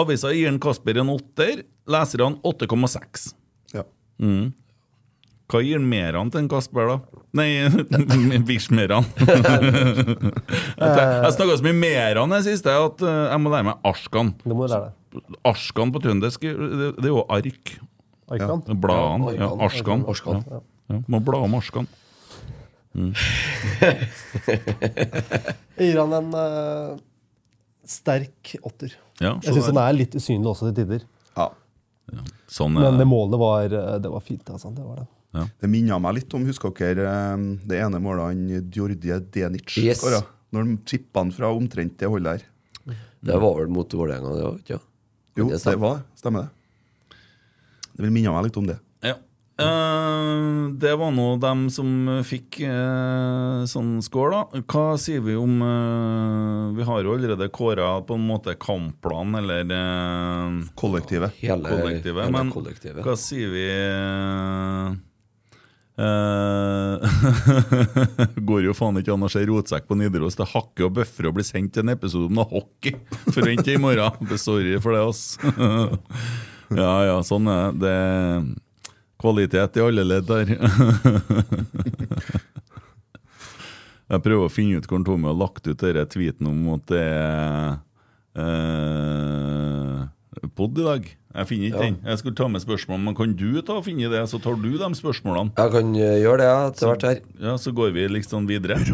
S3: Avisa gir en Kasper en åtter, leserne 8,6.
S6: Ja.
S3: Hva gir mer han til en Kasper, da? Nei, [laughs] Vishmeran. [laughs] jeg tenk- jeg snakka så mye mer han det siste at eh, jeg må lære meg Ashkan.
S4: Det må du lære deg.
S3: Ashkan på trøndersk, det det er jo ark.
S4: Arkan.
S3: Bladene. Ja,
S7: Orkan.
S3: Arskan.
S7: Orkan.
S3: Ja. Ja, må bla om Arskan.
S4: Jeg gir han en eh, sterk åtter.
S3: Ja,
S4: Jeg syns han er litt usynlig også til tider.
S6: Ja.
S3: sånn er
S4: Men det
S3: det.
S4: målet var, eh, det var fint. Altså. Det var det.
S6: Det minner meg litt om husker dere, eh, det ene målet han Djordje Denic
S7: Yes.
S6: skåra. Når han chippa han fra omtrent det holdet her.
S7: Det var vel mot Vålerenga, det var ikke det?
S6: Jo,
S7: Det
S6: det,
S7: stemmer.
S6: var det. Stemmer det. Det vil minne meg litt om det.
S3: Ja. Eh, det var nå dem som fikk eh, sånn score, da. Hva sier vi om eh, Vi har jo allerede kåra på en måte kampplan, eller eh,
S6: Kollektivet.
S7: Hele
S3: kollektivet.
S7: hele
S3: men
S7: kollektivet.
S3: hva sier vi eh, [laughs] Går jo faen ikke an å se rotsekk på Nidaros. Det hakker og bøffer og blir sendt til en episode om noe hockey. Forvent det i morgen. [laughs] Det- Sorry for det, ass. [laughs] ja ja, sånn er det. det. Kvalitet i alle ledd der. [laughs] Jeg prøver å finne ut hvor Tommy har lagt ut denne tweeten om at det er eh, pod i dag. Jeg finner ikke den. Jeg skulle ta med spørsmål, men kan du ta og finne det? Så tar du de spørsmålene.
S7: Jeg kan eh, gjøre det jeg, etter hvert her.
S3: Ja, Så går vi liksom videre. Jeg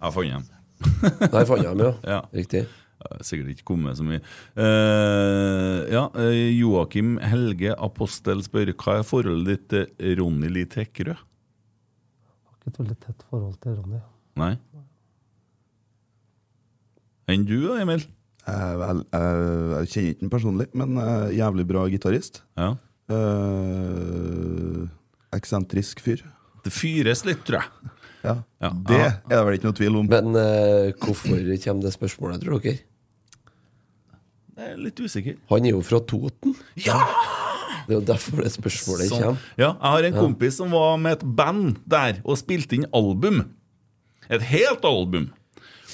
S3: fant dem.
S7: Der fant jeg dem, ja.
S3: [laughs] Ja.
S7: Riktig.
S3: Jeg har Sikkert ikke kommet så mye. Eh, ja, eh, Joakim Helge Apostel spør hva er forholdet ditt til Ronny Li Tekrø?
S4: Har ikke et veldig tett forhold til Ronny.
S3: Nei? Enn du da, Emil?
S6: Eh, vel, eh, jeg kjenner ikke den personlig, men eh, jævlig bra gitarist.
S3: Ja.
S6: Eh, eksentrisk fyr.
S3: Det fyres litt, tror jeg.
S6: Ja.
S3: Ja.
S6: Det er det vel ikke noe tvil om.
S7: Men eh, hvorfor kommer det spørsmålet, tror dere?
S3: Jeg er litt usikker.
S7: Han er jo fra Toten. Det er jo derfor det spørsmålet
S3: Sånn.
S7: kommer.
S3: Ja, jeg har en kompis som var med et band der og spilte inn album. Et helt album.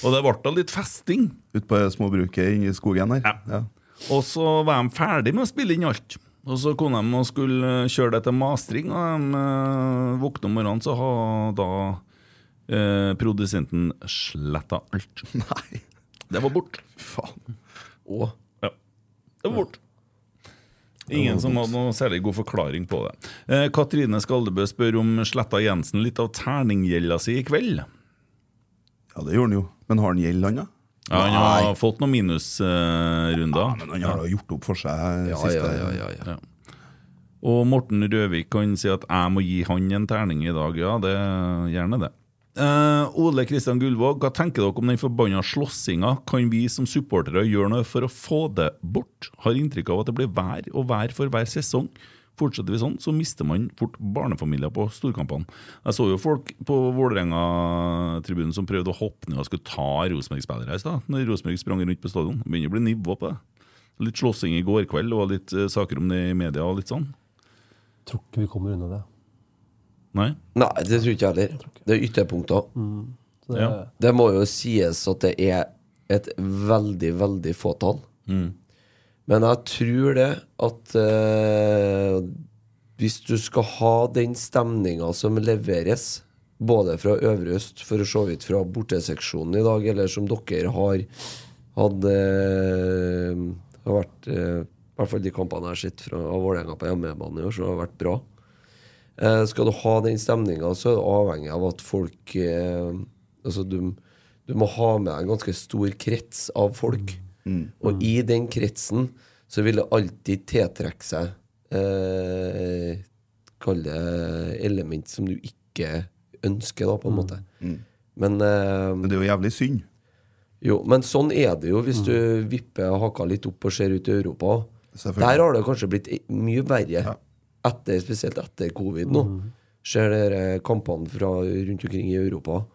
S3: Og det ble da litt festing.
S6: Ute på småbruket inne i skogen her.
S3: Ja.
S6: Ja.
S3: Og så var de ferdig med å spille inn alt. Og så kom de og skulle eh, kjøre det til mastring, og de eh, våkna om morgenen, så har da eh, produsenten sletta alt.
S6: [laughs] Nei,
S3: Det var borte.
S6: faen.
S7: Å,
S3: Ja. Det var bort. Ingen som hadde noe særlig god forklaring på det. Eh, Katrine Skaldebø spør om Sletta Jensen litt av terninggjelda si i kveld.
S6: Ja, det gjorde han jo. Men har han gjeld, han, da?
S3: Ja, Han har fått noen minusrunder.
S6: Men han har da gjort opp for seg
S7: Ja,
S6: siste
S7: ja, ja, ja, ja.
S3: og Morten Røvik kan si at 'jeg må gi han en terning i dag'. Ja, det gjerne det. Eh, Ole Kristian Gullvåg, hva tenker dere om den forbanna slåssinga? Kan vi som supportere gjøre noe for å få det bort? Har inntrykk av at det blir vær og vær for hver sesong. Fortsetter vi sånn, så mister man fort barnefamilier på storkampene. Jeg så jo folk på Vålerenga-tribunen som prøvde å hoppe ned og skulle ta Rosenborg-spillere i stad, når Rosenborg sprang rundt på stadion. Det begynner å bli nivå på det. Litt slåssing i går kveld og litt eh, saker om det i media og litt sånn.
S4: Tror ikke vi kommer unna det.
S3: Nei?
S7: Nei, det tror ikke jeg heller. Det er ytterpunkter.
S4: Så det
S3: Ja.
S7: Det må jo sies at det er et veldig, veldig fåtall. Men jeg tror det at eh, hvis du skal ha den stemninga som leveres, både fra Øvre Øst, for å se vidt fra borteseksjonen i dag, eller som dere har hatt eh, har vært, eh, I hvert fall de kampene jeg har sett fra av Vålerenga på hjemmebane i år, så har det vært bra. Eh, skal du ha den stemninga, så er du avhengig av at folk eh, Altså, du, du må ha med deg en ganske stor krets av folk. Og i den kretsen så vil det alltid tiltrekke seg eh, Kall det element som du ikke ønsker, da, på en måte. Men eh,
S6: Men det er jo jævlig synd.
S7: jo, men sånn er det jo hvis du vipper haka litt opp og ser ut i Europa.
S6: Selvfølgelig.
S7: Der har det kanskje blitt i- mye verre, etter, spesielt etter covid nå. Ser dere kampene fra rundt omkring i Europa.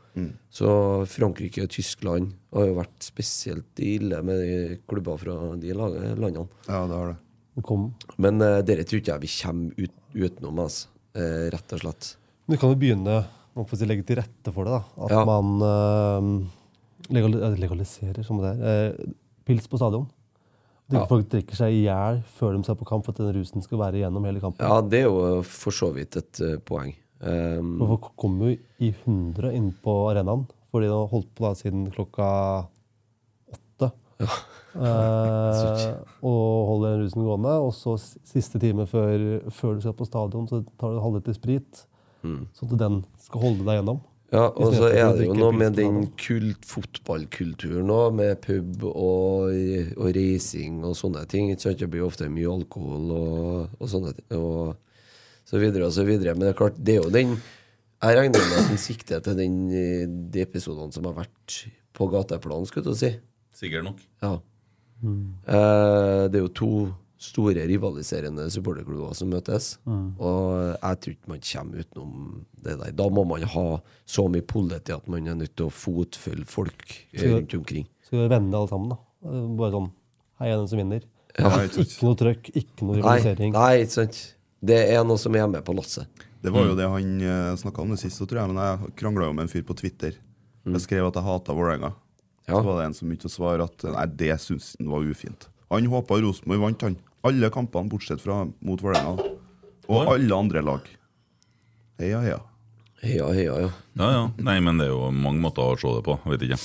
S7: Så Frankrike og Tyskland har jo vært spesielt ille med de klubber fra de lag- landene.
S6: Ja, det har det.
S4: Du kom-
S7: Men uh, dere tror ikke jeg vi kommer ut, utenom, altså. Eh, rett og slett.
S4: Men du kan jo begynne å få si, legge til rette for det. da. At
S7: Ja.
S4: man eh, legal eh, legaliserer som det er, eh, pils på stadion. At ikke
S7: Ja.
S4: folk drikker seg i hjel før de ser på kamp for at den rusen skal være igjennom hele kampen.
S7: Ja, det er jo for så vidt et eh, poeng. Um,
S4: For folk kommer jo i hundre inn på arenaen fordi de har holdt på da siden klokka åtte.
S7: [laughs]
S4: eh, og holder den rusen gående. Og så s- siste time før, før du skal på stadion, så tar du en halvliter sprit.
S7: Mm.
S4: Sånn at den skal holde deg gjennom.
S7: Ja, og
S4: stedet
S7: så
S4: for å
S7: er det jo
S4: drikke
S7: noe
S4: pils
S7: med
S4: på
S7: den
S4: natta.
S7: kult fotballkulturen òg, med pub og, og reising og sånne ting. Ikke sant? Det blir jo ofte mye alkohol og, og sånne ting. Og så videre og så videre. Men det er klart, det er jo den Jeg regner med at den sikter til den, eh, de episodene som har vært på gateplan, skulle jeg til å si.
S3: Sikkert nok.
S7: Ja. Eh, det er jo to store rivaliserende supporterklubber som møtes. Og jeg tror ikke man kommer utenom det der. Da må man ha så mye politi at man er nødt til å fotfølge folk eh,
S4: Så-
S7: rundt omkring.
S4: Skal vi være venner alle sammen, da. Eh, Bare sånn Hei, er den som vinner.
S6: Nei, ikke sant.
S4: Ikke noe trøkk, ikke noe
S7: Nei,
S4: rivalisering.
S7: nei, ikke sant. Det er noe som er med på lasset.
S6: Det var jo det han snakka om det sist, så tror jeg, men jeg krangla jo med en fyr på Twitter. Jeg skrev at jeg hata Vålerenga.
S7: Ja.
S6: Så var det en som begynte å svare at nei, det syns han var ufint. Han håpa Rosenborg vant, han. Alle kampene bortsett fra mot Vålerenga. Og alle andre lag. Heia, heia.
S7: Ja, ja, ja.
S3: Ja, ja. Nei, men det er jo mange måter å se det på. Jeg vet ikke.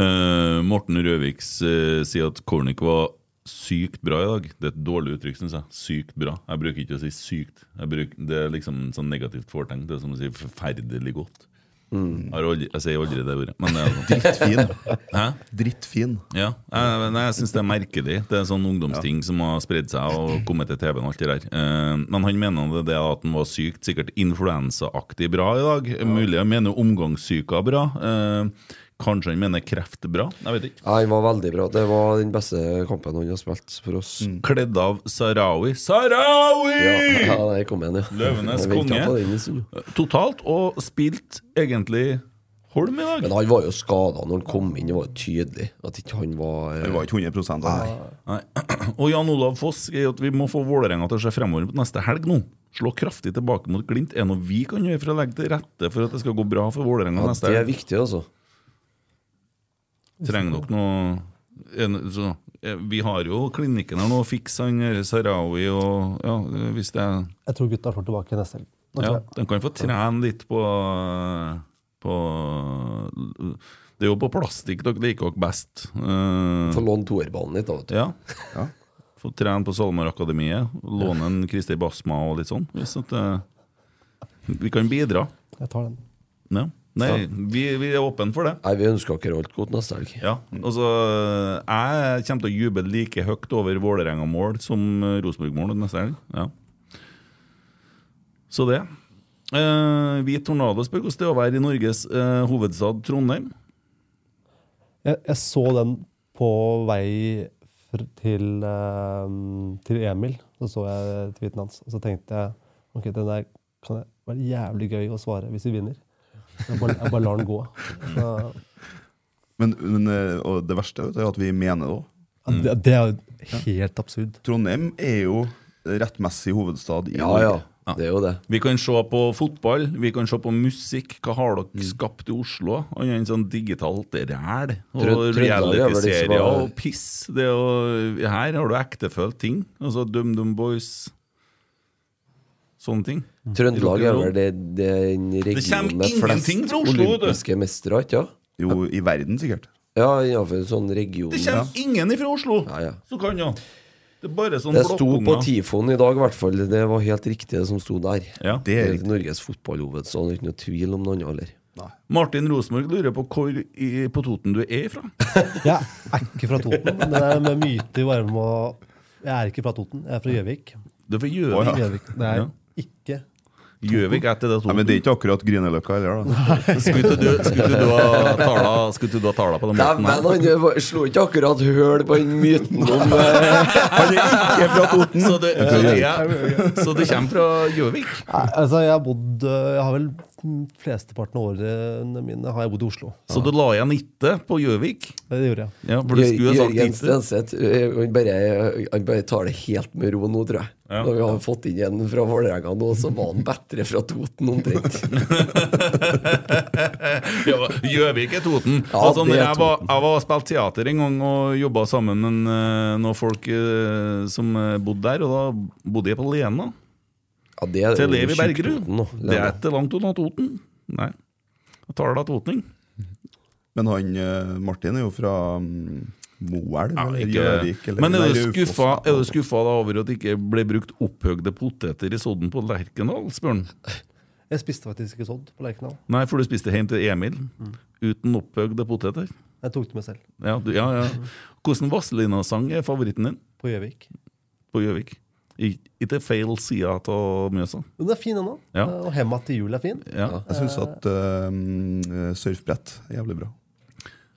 S3: Eh, Morten Røviks eh, sier at Kornik var sykt bra i dag. Det er et dårlig uttrykk, syns jeg. Sykt bra. Jeg bruker ikke å si sykt. Jeg bruker, det er liksom sånn negativt fortegn. Det er som å si forferdelig godt. Jeg, har aldri, jeg sier aldri det ordet. Men det er sånn.
S6: Drittfin.
S3: Hæ?
S6: Drittfin.
S3: Ja, jeg, nei, jeg syns det er merkelig. Det er sånn ungdomsting som har spredd seg og kommet til TV-en. og alt det der. Eh, men han mener det, det at han var sykt sikkert influensaaktig bra i dag. Mulig han mener omgangssyka bra. Eh, kanskje han mener kreft bra. Jeg vet ikke.
S7: Ja, Han var veldig bra. Det var den beste kampen han har spilt for oss.
S3: Kledd av Sarawi. Sarawi!
S7: Ja, ja, [laughs] der kom han, ja.
S3: Løvenes
S7: Jeg ventet
S3: konge.
S7: på den en stund, jo.
S3: Totalt, og spilt egentlig Holm i dag.
S7: Men han var jo skada når han kom inn. Det var jo tydelig at ikke han var eh,
S6: Det var ikke 100 av det.
S3: Nei. [clears throat] Og Jan Olav Foss sier at vi må få Vålerenga til å se fremover på neste helg nå. Slå kraftig tilbake mot Glimt. Er det noe vi kan gjøre for å legge til rette for at det skal gå bra for Vålerenga
S7: Ja,
S3: neste
S7: det er
S3: helg?
S7: viktig, altså.
S3: Trenger dere noe en- så, eh, Vi har jo klinikken her nå. Fiks han eh, Sarawi og Ja, eh, hvis det er
S4: Jeg tror gutta slår tilbake neste helg. Nå tror
S3: Ja,
S4: jeg.
S3: de kan få trene litt på eh, På Det er jo på plastikk dere liker dere best. Eh,
S7: Få låne toerbanen litt, da. Vet du.
S3: Ja. Få trene på SalMar-akademiet. Låne en Christer Basma og litt sånn. Hvis at, eh, vi kan bidra.
S4: Jeg tar den.
S3: Ja. Nei, vi, vi er åpne for det.
S7: Nei, vi ønsker dere alt godt neste helg.
S3: Ja, altså Jeg kommer til å juble like høyt over Vålerenga-mål som eh, Rosenborg-mål neste helg. Ja. Så det. Eh, Hvit tornado spør hvordan det er å være i Norges eh, hovedstad Trondheim.
S4: Jeg, jeg så den på vei fr- til, eh, til Emil. Så så jeg tweeten hans, og så tenkte jeg ok, den der kan det være jævlig gøy å svare hvis vi vinner. Jeg bare, jeg bare lar den gå. Så,
S6: Men, men eh, og det verste vet du, er at vi mener det òg.
S4: ja, det, det er jo helt absurd.
S6: Trondheim er jo rettmessig hovedstad i
S7: Ja,
S6: Norge.
S7: ja. Det er jo det.
S3: Vi kan se på fotball, vi kan se på musikk. Hva har dere skapt i Oslo? Annet enn sånn digitalt ræl og
S7: Trø- Trøndelag er vel liksom
S3: reality-serier
S7: bare-
S3: og piss. Det er jo, her har du ektefølt ting. Altså DumDum Boys. Sånne ting.
S7: Trøndelag er vel det, det er en
S3: Det kommer
S7: region med flest
S3: ingenting fra Oslo, vet du.
S7: olympiske mestere, ikke sant?
S6: Jo, i verden sikkert.
S7: Ja, innenfor en sånn region.
S3: Det kommer ingen ifra Oslo
S7: Ja, ja.
S3: som kan jo Det er bare sånn
S7: Det sto på
S3: blokkunger.
S7: Tifoen i dag, i hvert fall. Det var helt riktig, det som sto der.
S3: Ja.
S6: Det er riktig.
S7: Norges fotballhovedstad. Det er Ikke noe tvil om noe annet, eller?
S3: Martin Rosenborg lurer på hvor i, på Toten du er ifra.
S4: Jeg er ikke fra Toten. men Det er med myte i varme og Jeg er ikke fra Toten, jeg er fra Gjøvik.
S3: Du er fra
S6: Å, ja.
S3: Gjøvik.
S4: Gjøvik. Det er
S3: Ja.
S4: ikke
S3: Gjøvik er til det
S6: Nei,
S3: Toten.
S6: men det er ikke akkurat Grünerløkka heller, da.
S3: Skulle ikke du, skulle ikke du ha tala- skulle ikke du ha tala på den måten?
S7: Dæven,
S3: her?
S7: han var- slo ikke akkurat høl på den myten
S3: [laughs]
S7: om eh,
S3: Han er ikke [laughs] fra Toten! Så det, så det, så det kommer fra Gjøvik?
S4: Nei, altså, jeg har bodd øh, Jeg har vel mm, flesteparten av årene mine har jeg bodd i Oslo.
S3: Så du la igjen itte på Gjøvik?
S4: Det gjorde jeg.
S3: Ja, for du skulle ha sagt
S7: Jørgen
S3: itte.
S7: Stenseth. eh, Han bare, han bare tar det helt med ro nå, tror jeg.
S3: Ja.
S7: Når vi har fått inn en fra Vålerenga nå, så var han bedre fra Toten omtrent.
S3: Ja, Gjøvik er Toten.
S7: Ja,
S3: altså, når
S7: det er
S3: jeg, var, jeg var og spilte teater en gang og jobba sammen med eh, noen folk eh, som eh, bodde der, og da bodde jeg på Lena.
S7: Ja, det er
S3: Til
S7: jo
S3: Levi
S7: sjukt
S3: Bergerud.
S7: Toten nå,
S3: Det er
S7: Lena.
S3: ikke langt unna Toten. Nei. Jeg tar det av totning.
S6: Men han eh, Martin er jo fra mm, Moelv
S3: Ja,
S6: eller Gjøvik
S3: ikke.
S6: eller
S3: Men er
S6: nei,
S3: du
S6: Raufoss.
S3: skuffa, er du skuffa da over at det ikke ble brukt opphøgde poteter i sodden på Lerkendal, spør han?
S4: Jeg spiste faktisk ikke sodd på Lerkendal.
S3: Nei, for du spiste hjem til Emil uten opphøgde poteter.
S4: Jeg tok det med selv.
S3: Ja, du, ja, ja. Hvordan Vazelina-sang er favoritten din
S4: På Gjøvik.
S3: på Gjøvik? I- Ikke feil side av Mjøsa.
S4: Men den er fin ennå.
S3: Ja.
S4: Eh, Og hemma til jul er fin.
S3: Ja.
S6: Jeg syns at eh, surfbrett er jævlig bra.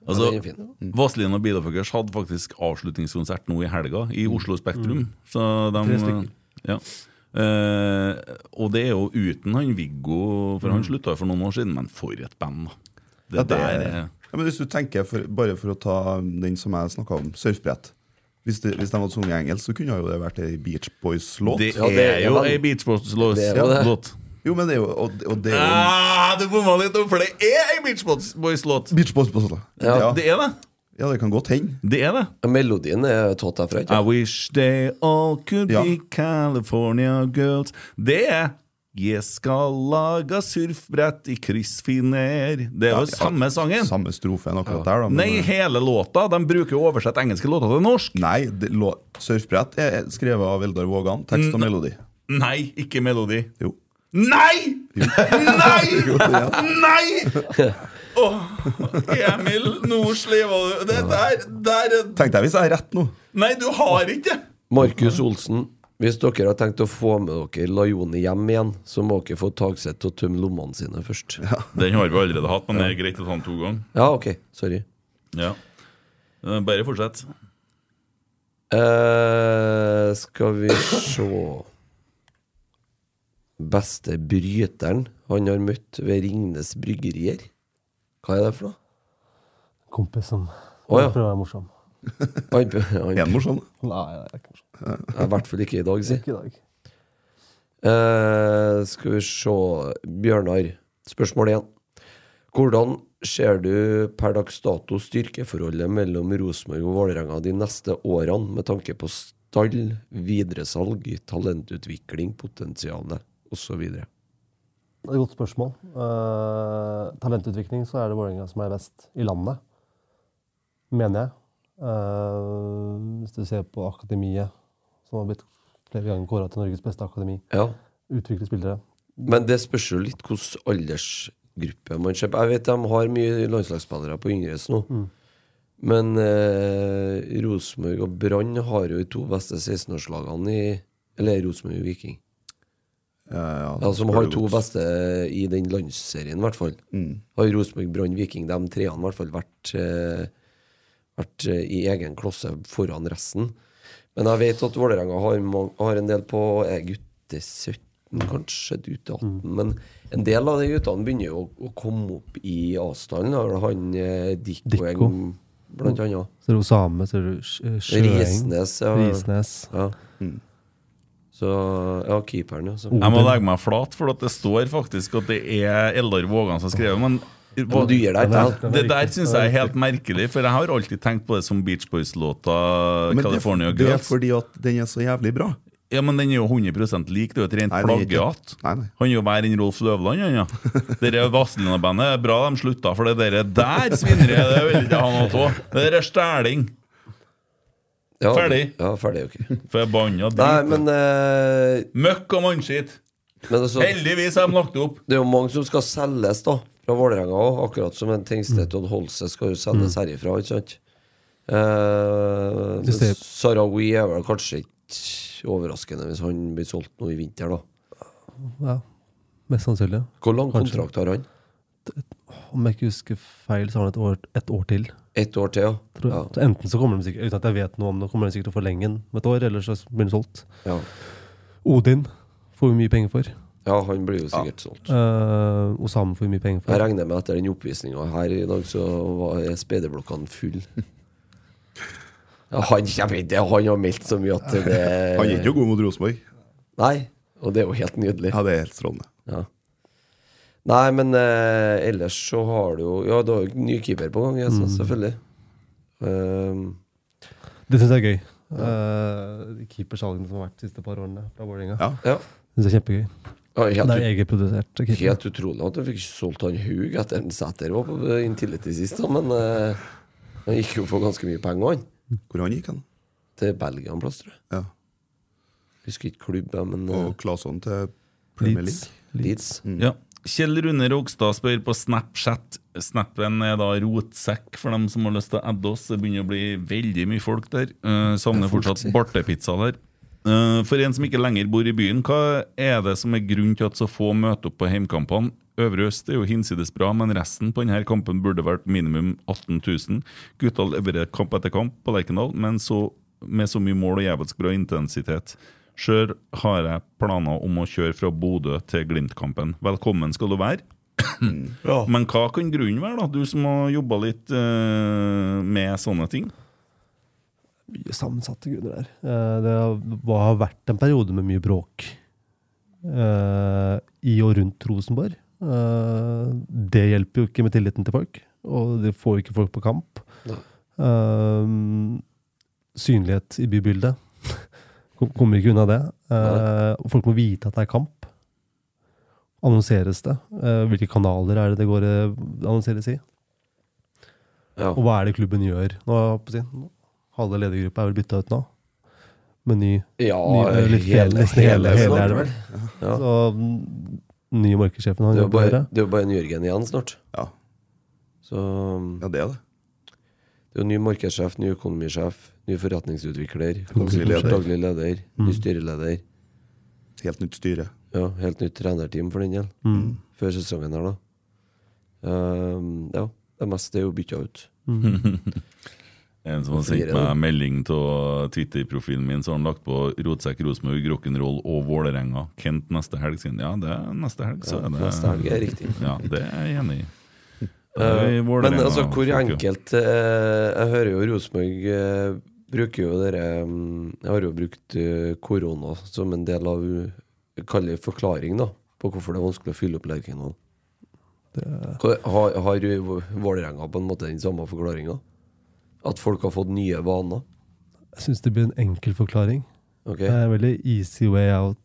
S3: Altså,
S7: den er fin.
S3: Vazelina og Bilofuckers hadde faktisk avslutningskonsert nå i helga, i
S7: Mm.
S3: Oslo Spektrum. Så de,
S4: Tre stykker.
S3: Ja. Eh, og det er jo uten han Viggo, for han slutta jo for noen år siden. Men for et band, da. Det
S6: Ja, det
S3: der
S6: er-
S3: er
S6: Ja, men hvis du tenker, for, Bare for å ta den som jeg snakka om, surfbrett. Hvis, det, hvis de hadde sunget engelsk, så kunne jo det vært ei Beach Boys-låt.
S3: Det
S7: Ja, det
S3: er
S7: er
S3: jo
S7: vel-
S3: ei Beach Boys-låt.
S7: Det er jo det.
S6: Jo, men det er jo, og, og det er jo
S3: Ah, du bomma litt om, for det er ei Beach Boys-låt!
S6: Beach Boys Boys, da. Ja,
S3: Det er det.
S6: ja, det kan godt hende.
S3: Det er det.
S7: Melodien er tatt herfra, ikke
S3: I wish they all could
S6: Ja.
S3: be California girls. Det er Jeg skal laga surfbrett i kryssfiner. Det er
S6: Ja,
S3: jo
S6: ja.
S3: samme sangen.
S6: Samme strofen akkurat der, da. men- eh,
S3: Nei, hele låta. De bruker jo å oversette engelske låter til norsk.
S6: Nei, det, lå, surfbrett er er skrevet av Eldar Vågan. Tekst
S3: Mm.
S6: og melodi.
S3: Nei, ikke melodi.
S6: Jo.
S3: Nei! [laughs] Nei!
S6: Ja.
S3: Nei! [laughs] Åh, Emil, nå sleiva du. Det der, der er
S6: Tenk deg hvis jeg har rett nå.
S3: Nei, du har ikke det!
S7: Markus Olsen, hvis dere har tenkt å få med dere Lajoni hjem igjen, så må dere få Tagseth til å tømme lommene sine først. Ja,
S3: Den har vi allerede hatt, men det er greit å ta den to ganger.
S7: ok. Sorry.
S3: Ja. Eh, Bare fortsett.
S7: Eh, skal vi se Beste bryteren han har møtt ved Ringnes Bryggerier? Hva er det for noe?
S4: Kompis som
S7: Å, ja.
S4: prøver å være morsom.
S7: [laughs] Han, han,
S6: En morsom.
S4: Nei, det er ikke morsom.
S7: ja, I hvert fall ikke i dag, si.
S4: Ikke i dag.
S7: Eh, skal vi se Bjørnar, spørsmål igjen. Hvordan ser du per dags dato styrkeforholdet mellom Rosenborg og Vålerenga de neste årene, med tanke på stall, videresalg, talentutvikling, potensialet osv.?
S4: Det er et godt spørsmål. Eh, talentutvikling så er det Vålerenga som er best i landet, mener jeg. Eh, hvis du ser på akademiet, som har blitt flere ganger kåra til Norges beste akademi.
S7: Ja.
S4: Utvikle spillere.
S7: Men det spørs jo litt hvilken aldersgruppe man ser på. Jeg vet de har mye landslagsspillere på yngres nå. Men eh, Rosenborg og Brann har jo de to beste 16-årslagene i Eller Rosenborg og Viking.
S6: Ja, ja,
S7: Ja, som
S6: spør
S7: har
S6: du
S7: to
S6: godt.
S7: beste eh, i den landsserien, i hvert fall. Har Rosenborg, Brann, Viking, de treene i hvert fall vært, eh, vært eh, i egen klosse foran resten. Men jeg vet at Vålerenga har, mang- har en del på eh, gutte 17, kanskje gutte 18. Men en del av de guttene begynner jo å, å komme opp i avstanden. Da. Han eh, Dikko,
S4: Dikko.
S7: er en- blant annet.
S4: Ser du Osame, ser du Sj- eh, Sjøeng,
S7: Risnes. Ja.
S4: Risnes.
S7: Ja. Så, ja, keeperen, ja. Så.
S3: Jeg må legge meg flat, for at det står faktisk at det er Eldar Vågan som har skrevet. Men
S7: Men du gir deg ikke, da.
S3: det der syns jeg er helt merkelig, for jeg har alltid tenkt på det som Beach Boys-låta
S6: Men det,
S3: California
S6: det er
S3: Girls.
S6: fordi at den er så jævlig bra.
S3: Ja, Men den er jo 100 lik. Det er jo et rent
S6: Nei, den er ikke-
S3: plagiat.
S6: Nei, nei.
S3: Han er jo verre enn Rolf Løvland, han, ja. Det der Vazelina-bandet er bra de slutta, for det der der svinneriet, det vil ikke jeg ha noe av. Det der er stæling.
S7: Ja,
S3: Ferdig.
S7: Ja, ferdig, ok.
S3: Forbanna
S7: Nei,
S3: dritt.
S7: men, eh,
S3: Møkk og mannskitt.
S7: men altså, det
S3: Heldigvis har de lagt det opp.
S7: er jo mange som skal selges da fra Vålerenga òg, akkurat som en Tengstedt
S4: Mm.
S7: og en Holse skal jo selges herifra. ikke sant? Eh, men
S4: ser-
S7: Sarawi er vel kanskje ikke overraskende hvis han blir solgt nå i vinter, da.
S4: Ja, mest sannsynlig.
S7: Hvor lang
S4: Kanskje.
S7: kontrakt har han?
S4: Om jeg ikke husker feil, så har han et år, et år til.
S7: Ett år til,
S4: Tror
S7: ja.
S4: jeg. Så enten så kommer de sikkert, uten at jeg vet noe om det, kommer de sikkert til å forlenge den med et år, eller så blir den solgt.
S7: ja. ja.
S4: Odin får vi mye penger for.
S7: Ja, han blir jo sikkert solgt.
S4: Uh, Osame får vi mye penger
S7: Jeg
S4: for.
S7: regner med etter den oppvisninga her i dag, så var er speiderblokkene full. Ja, han kommer ikke, han har meldt så mye at det
S6: Han er ikke god mot Rosenborg.
S7: Nei, og det er jo helt nydelig.
S6: Ja, det er helt strålende.
S7: Ja. Nei, men eh, ellers så har du jo Ja, du har jo ny keeper på gang, jeg, så, selvfølgelig. Ehm,
S4: Det syns jeg er gøy. Uh, de Keepersalgene som har vært de siste par årene fra Vålerenga.
S6: Ja.
S7: ja.
S4: Synes jeg er kjempegøy.
S7: Ja,
S4: Det
S7: helt,
S4: er egenprodusert
S7: ut-
S4: keeper.
S7: helt utrolig at du fikk ikke solgt han Haug etter en Sæter var på Intility sist, da, men eh, Han gikk jo for ganske mye penger, han.
S6: Hvor han gikk han?
S7: Til Belgia en plass, tror jeg.
S6: Ja.
S7: Husker ikke klubb, jeg, men
S6: Og
S7: eh,
S6: Claesson til Premier
S4: Leeds.
S6: League.
S7: Leeds.
S3: Ja. Kjell Rune Rogstad spør på Snapchat. Snappen er da rotsekk for dem som har lyst til å adde oss. Det begynner å bli veldig mye folk der. Eh, savner fortsatt bartepizza der. Eh, for en som ikke lenger bor i byen, hva er det som er grunnen til at så få møter opp på heimkampene? Øvre Øst er jo hinsides bra, men resten på denne kampen burde vært minimum 18 000. Gutta leverer kamp etter kamp på Lerkendal, men så med så mye mål og jævelsk bra intensitet. Sjøl har jeg planer om å kjøre fra Bodø til Glimt-kampen. Velkommen skal du være.
S7: Mm.
S3: Men hva kan grunnen være, da? Du som har jobba litt eh, med sånne ting.
S4: Mye sammensatte grunner der. Eh, Det har- har vært en periode med mye bråk eh, i og rundt Rosenborg. Eh, Det hjelper jo ikke med tilliten til folk, og det får jo ikke folk på kamp. Eh, Synlighet i bybildet. [laughs] Kom- Kommer ikke unna det. Eh, og Folk må vite at det er kamp. Annonseres det? Eh, Hvilke kanaler er det det går eh, annonseres i?
S7: Ja.
S4: Og hva er det klubben gjør? Nå, holdt på å si, halve ledergruppa er vel bytta ut nå, med ny
S7: ja
S4: Ny- eh, litt
S7: hele-
S4: fjell- nesten hele- hele
S7: snart,
S4: er det vel?
S7: Ja.
S4: Så mm, nye markedssjefen han
S7: Det er jo
S4: jobber
S7: bare,
S4: der.
S7: det er jo bare en Jørgen igjen snart.
S6: Ja.
S7: Så um,
S6: ja, det er det.
S7: det er jo ny markedssjef, ny økonomisjef, ny forretningsutvikler,
S6: Daglig leder.
S7: daglig leder,
S4: Mm.
S7: ny styreleder.
S6: Helt nytt styre.
S7: Ja, helt nytt trenerteam for den del.
S4: Mm.
S7: Før sesongen her, da. Um, ja, det meste er jo bytta ut.
S3: En som har sendt
S7: Flere,
S3: meg
S7: da.
S3: melding av Twitter-profilen min, så har han lagt på Rotsekk, Rosenborg, Rock'n'Roll og Vålerenga. Kent neste helg, sier han. Ja, det er neste helg, så
S7: Ja,
S3: er det
S7: neste helg er riktig.
S3: Ja, det er jeg enig i.
S7: Eh,
S3: Det er Vålerenga,
S7: Men altså, hvor
S3: folk, jo.
S7: enkelt eh, Jeg hører jo Rosenborg eh, bruker jo dere mm, Jeg har jo brukt eh, korona som en del av eh, Kaller det forklaring, da, på hvorfor det er vanskelig å fylle opp Lerkendal. Hva- Har, har jo Vålerenga på en måte den samme forklaringa? At folk har fått nye vaner?
S4: Jeg syns det blir en enkel forklaring.
S7: Ok?
S4: Det er veldig easy way out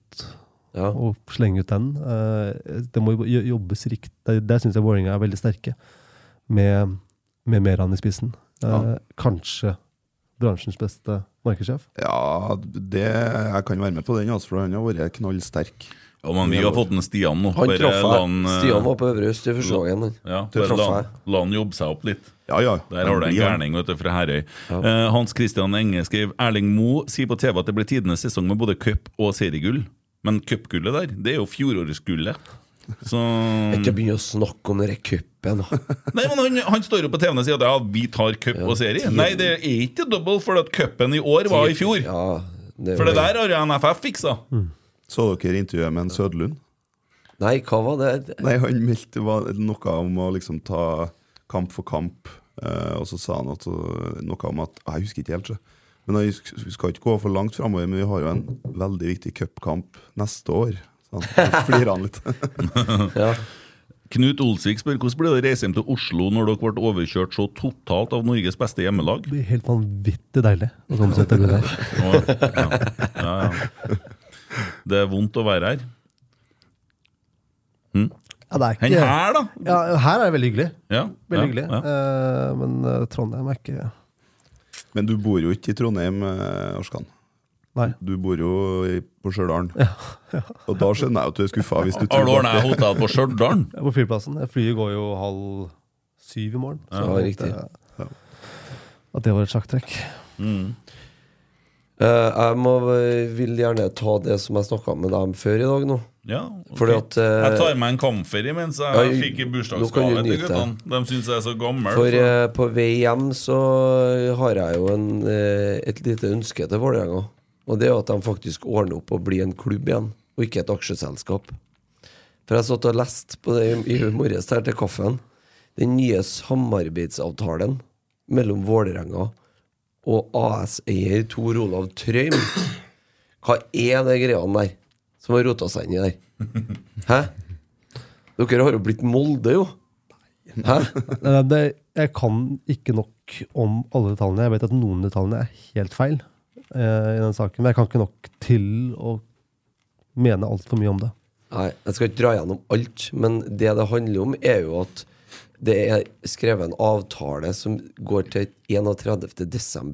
S7: Ja.
S4: å slenge ut den. Eh, Det må jo jo- jobbes riktig. Der- Der syns jeg Vålerenga er veldig sterke, med, med Meran i spissen. Eh,
S6: Ja.
S4: Kanskje bransjens beste markedssjef.
S6: Ja, det, jeg kan være med på den, altså, for han har vært knallsterk.
S3: Ja, men vi har fått en Stian nå.
S7: Han
S3: Bare
S7: traff
S3: la
S7: jeg.
S3: han, eh,
S7: Stian var på Øvre Øst i første gangen. han.
S3: Ja,
S7: Det
S3: bare la,
S7: traff jeg.
S3: la han jobbe seg opp litt.
S6: Ja, ja.
S3: Der har du en
S6: Ja.
S3: gærning vet du, fra Herøy. Eh, Hans Christian Enge skrev Erling Moe sier på TV at det blir tidenes sesong med både cup og seriegull. Men cupgullet der, det er jo fjorårsgullet. Så
S7: Ikke begynn å snakke om den der cupen. da.
S3: Nei, men han, han står jo på TV-en og sier at ja, vi tar cup og serie. Nei, det er ikke double, for at cupen i år var i fjor.
S7: Ja, det
S3: For det
S7: var-
S3: der har jo NFF fiksa.
S6: Så dere intervjuet med en Sødlund?
S7: Nei, hva var det?
S6: Nei, han meldte var noe om å liksom ta kamp for kamp. eh, og så sa han at, eh, noe om at Jeg husker ikke helt. Så. Men jeg husker- vi skal ikke gå for langt framover, men vi har jo en veldig viktig cupkamp neste år. Så han så flirer han litt. [laughs]
S7: Ja.
S3: Knut Olsvik spør hvordan ble det å reise hjem til Oslo når dere ble overkjørt så totalt av Norges beste hjemmelag?
S4: Det blir helt vanvittig deilig å komme seg til det der.
S3: Å, ja. Ja, ja. Det er vondt å være her.
S4: Ja, det er
S3: Den
S4: ikke,
S3: her, da!
S4: ja, her er det veldig hyggelig.
S3: Ja,
S4: Veldig
S3: ja,
S4: hyggelig.
S3: ja.
S4: Eh, men eh, Trondheim er ikke
S6: Men du bor jo ikke i Trondheim, eh, Arskan.
S4: Nei.
S6: Du bor jo i- på Stjørdal. Og da skjønner jeg at du er skuffa. Hvis du
S3: Har du
S6: tror
S3: ordna hotell på Stjørdal?
S4: Jeg er på flyplassen. Flyet går jo halv syv i morgen.
S7: Ja,
S4: at,
S7: riktig.
S4: eh, At det var et sjakktrekk.
S7: Eh, jeg må, vil gjerne ta det som jeg snakka med dem før i dag nå.
S3: [laughs] Ja, ok.
S7: Fordi at, eh,
S3: Jeg tar med en kamferie mens jeg
S7: Ja,
S3: fikk i
S7: nå
S3: bursdagsgave
S7: kan du
S3: til
S7: nyte.
S3: guttene. De syns jeg er så gammel.
S7: For
S3: så-
S7: eh, på vei hjem så har jeg jo en, eh, et lite ønske til Vålerenga. Og det er jo at de faktisk ordner opp og blir en klubb igjen, og ikke et aksjeselskap. For jeg satt og leste på det i i morges her til kaffen. Den nye samarbeidsavtalen mellom Vålerenga og E AS-eier Tor Olav Trøim. Hva er det greiene der som har rota seg inn i der? Hæ? Dere har jo blitt Molde, jo. Hæ?
S4: Nei, nei, eh, Det, jeg kan ikke nok om alle detaljene. Jeg vet at noen detaljene er helt feil eh, i den saken, men jeg kan ikke nok til å mene altfor mye om det.
S7: Nei, jeg skal ikke dra gjennom alt, men det det handler om, er jo at Det er skrevet en avtale som går til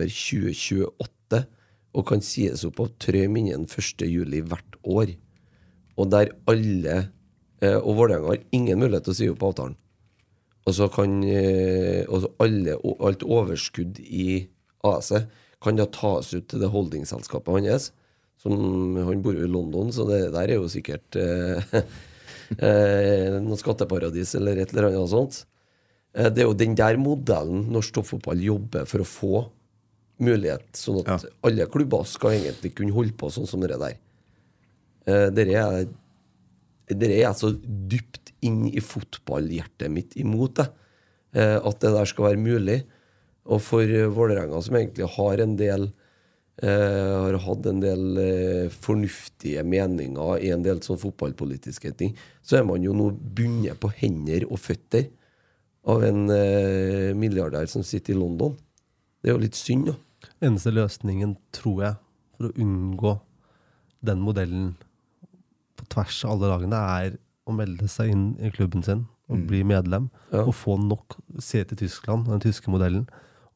S7: 31.12.2028 og kan sies opp av Trøim innen 1.7 hvert år. Og der alle eh, Og Vålerenga har ingen mulighet til å si opp avtalen. Og så kan eh, og så alle, og alt overskudd i AS-et kan da tas ut til det holdingselskapet hans. Som, han bor jo i London, så det der er jo sikkert eh, [laughs] eh, noe skatteparadis eller et eller annet sånt. Eh, det er jo den der modellen norsk toppfotball jobber for å få mulighet, sånn at
S6: Ja.
S7: alle klubber skal egentlig kunne holde på sånn som det der. Eh, dere er dere er så dypt inn i fotballhjertet mitt imot det. eh, At det der skal være mulig. Og for eh, Vålerenga, som egentlig har en del eh, Har hatt en del eh, fornuftige meninger i en del sånn fotballpolitiske ting, så er man jo nå bundet på hender og føtter av en eh, milliardær som sitter i London. Det er jo litt synd, da.
S4: Eneste løsningen, tror jeg, for å unngå den modellen på tvers av alle lagene, er å melde seg inn i klubben sin
S3: Mm.
S4: og bli medlem.
S7: Ja.
S4: Og få nok Se til Tyskland, den tyske modellen.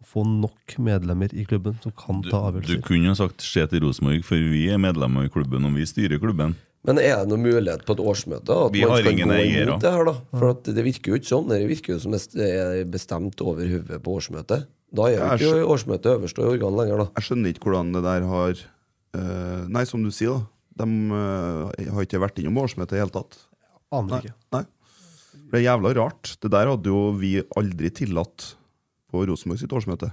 S4: Og få nok medlemmer i klubben som kan ta
S3: Du
S4: avgjørelser.
S3: kunne jo sagt 'se til Rosenborg', for vi er medlemmer i klubben, og vi styrer klubben.
S7: Men er det noen mulighet på et årsmøte at
S3: Vi
S7: man
S3: har
S7: skal gå
S3: ingen eiere.
S7: imot det her, da? For at det virker jo ikke sånn. Det virker jo som det er bestemt over hodet på årsmøtet. Da er jo
S6: Jeg
S7: ikke årsmøtet øverste organ lenger, da.
S6: Jeg skjønner ikke hvordan det der har eh, Nei, som du sier, da. De eh, har ikke vært innom årsmøtet i det hele tatt.
S4: Aner
S6: Nei.
S4: ikke.
S6: nei. Det er jævla rart. Det der hadde jo vi aldri tillatt på Rosenborg sitt årsmøte.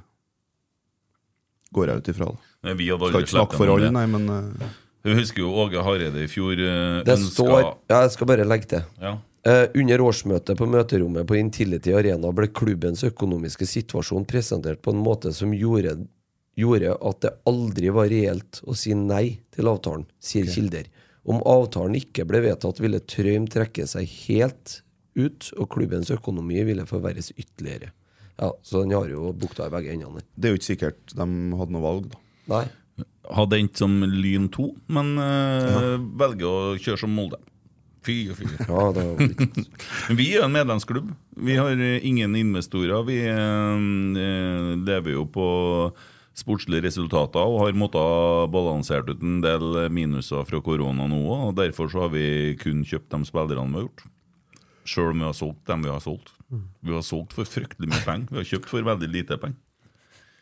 S6: Går jeg ut ifra. da.
S3: Nei, Vi hadde
S6: Skal
S3: aldri
S6: ikke snakke for alle, nei, men eh,
S3: Jeg husker jo Åge Hareide i fjor eh,
S7: Det
S3: ønska
S7: står Ja, jeg skal bare legge til.
S3: ja.
S7: Eh, under årsmøtet på møterommet på Intility Arena ble klubbens økonomiske situasjon presentert på en måte som gjorde, gjorde at det aldri var reelt å si nei til avtalen, sier kilder. Om avtalen ikke ble vedtatt, ville Trøim trekke seg helt ut, og klubbens økonomi ville forverres ytterligere. Ja, Så den har jo bukta i begge endene.
S6: det er jo ikke sikkert de hadde noe valg, da.
S7: Nei.
S3: Hadde endt som Lyn 2, men eh, velger å kjøre som Molde. Fy og fy.
S7: Ja, det var litt.
S3: Vi er jo en medlemsklubb. Vi har eh, ingen investorer. Vi eh, lever jo på sportslige resultater og har måttet ha balansert ut en del minuser fra korona nå òg. og Derfor så har vi kun kjøpt de spillerne vi har gjort. Sjøl om vi har solgt dem vi har solgt. Vi har solgt for fryktelig mye penger. Vi har kjøpt for veldig lite penger.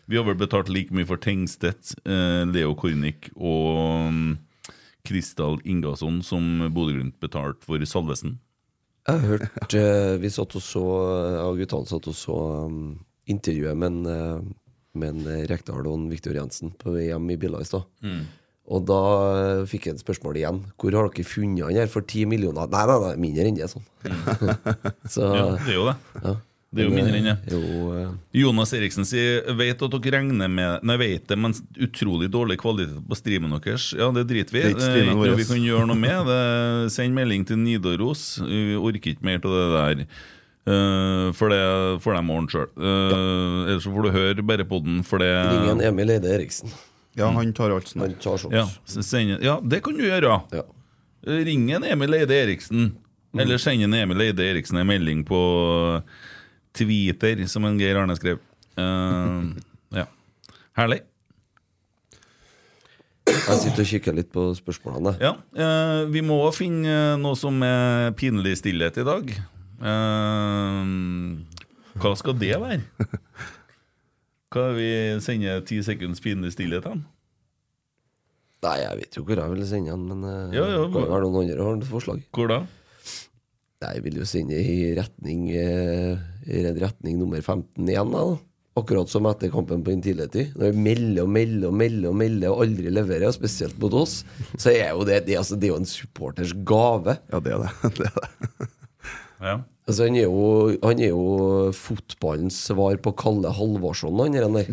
S3: Vi har vel betalt like mye for Tengstedt, eh, Leo Kornic og mm, Kristal Ingasson som Bodø-Glimt betalte for Salvesen.
S7: Jeg har hørt eh, Vi satt og så Jeg og guttene satt og så um, intervjuet med en, eh, med en eh, Rekdal og en Viktor Jensen på VM i Billa i stad.
S3: Mm.
S7: Og da eh, fikk jeg et spørsmål igjen. Hvor har dere funnet han her for 10 millioner? Nei, nei, nei, mindre enn det, sånn. [laughs] Så
S3: Mm. Ja, det er jo det.
S7: ja.
S3: Det er jo mindre enn det.
S7: Jo, eh,
S3: Jonas Eriksen sier Vet at dere regner med Nei, vet det, men utrolig dårlig kvalitet på streamen deres. Ja, det driter vi i.
S6: Det er ikke
S3: Det er
S6: streamen
S3: ikke noe
S6: vår.
S3: vi kan gjøre noe med. Det, send melding til Nidaros. Vi orker ikke mer av det der. Eh, for det får de ordne sjøl. Ellers så får du høre bare på den, for det
S7: ring en Emil Eide Eriksen.
S6: Ja, han tar alt sånn.
S7: Han tar sånt.
S3: Eh, ja, så send, ja, det kan du gjøre.
S7: Ja.
S3: Eh, Ring en Emil Eide Eriksen. Eller send en Emil Eide Eriksen en melding på Twitter, som en Geir Arne skrev. Eh, ja. Herlig.
S7: Jeg sitter og kikker litt på spørsmålene.
S3: Ja, eh, vi må finne eh, noe som er pinlig stillhet i dag. Eh, hva skal det være? Hva er vi sender ti sekunds pinlig stillhet hen?
S7: Nei, jeg vet jo hvor jeg vil sende han, men eh,
S3: Ja, ja,
S7: kan jo være noen andre har forslag.
S3: Hvor da?
S7: Nei, jeg vil jo sende i retning eh, i den retning nummer 15 igjen, da. Akkurat som etter kampen på Intility. Når vi melder og melder og melder og melder og aldri leverer, spesielt mot oss, så er jo det det, altså, det er jo en supporters gave.
S6: Ja, det er det. [laughs] det, er det.
S3: Ja.
S7: Altså, han, er jo, han er jo fotballens svar på Kalle Halvorsson, han der.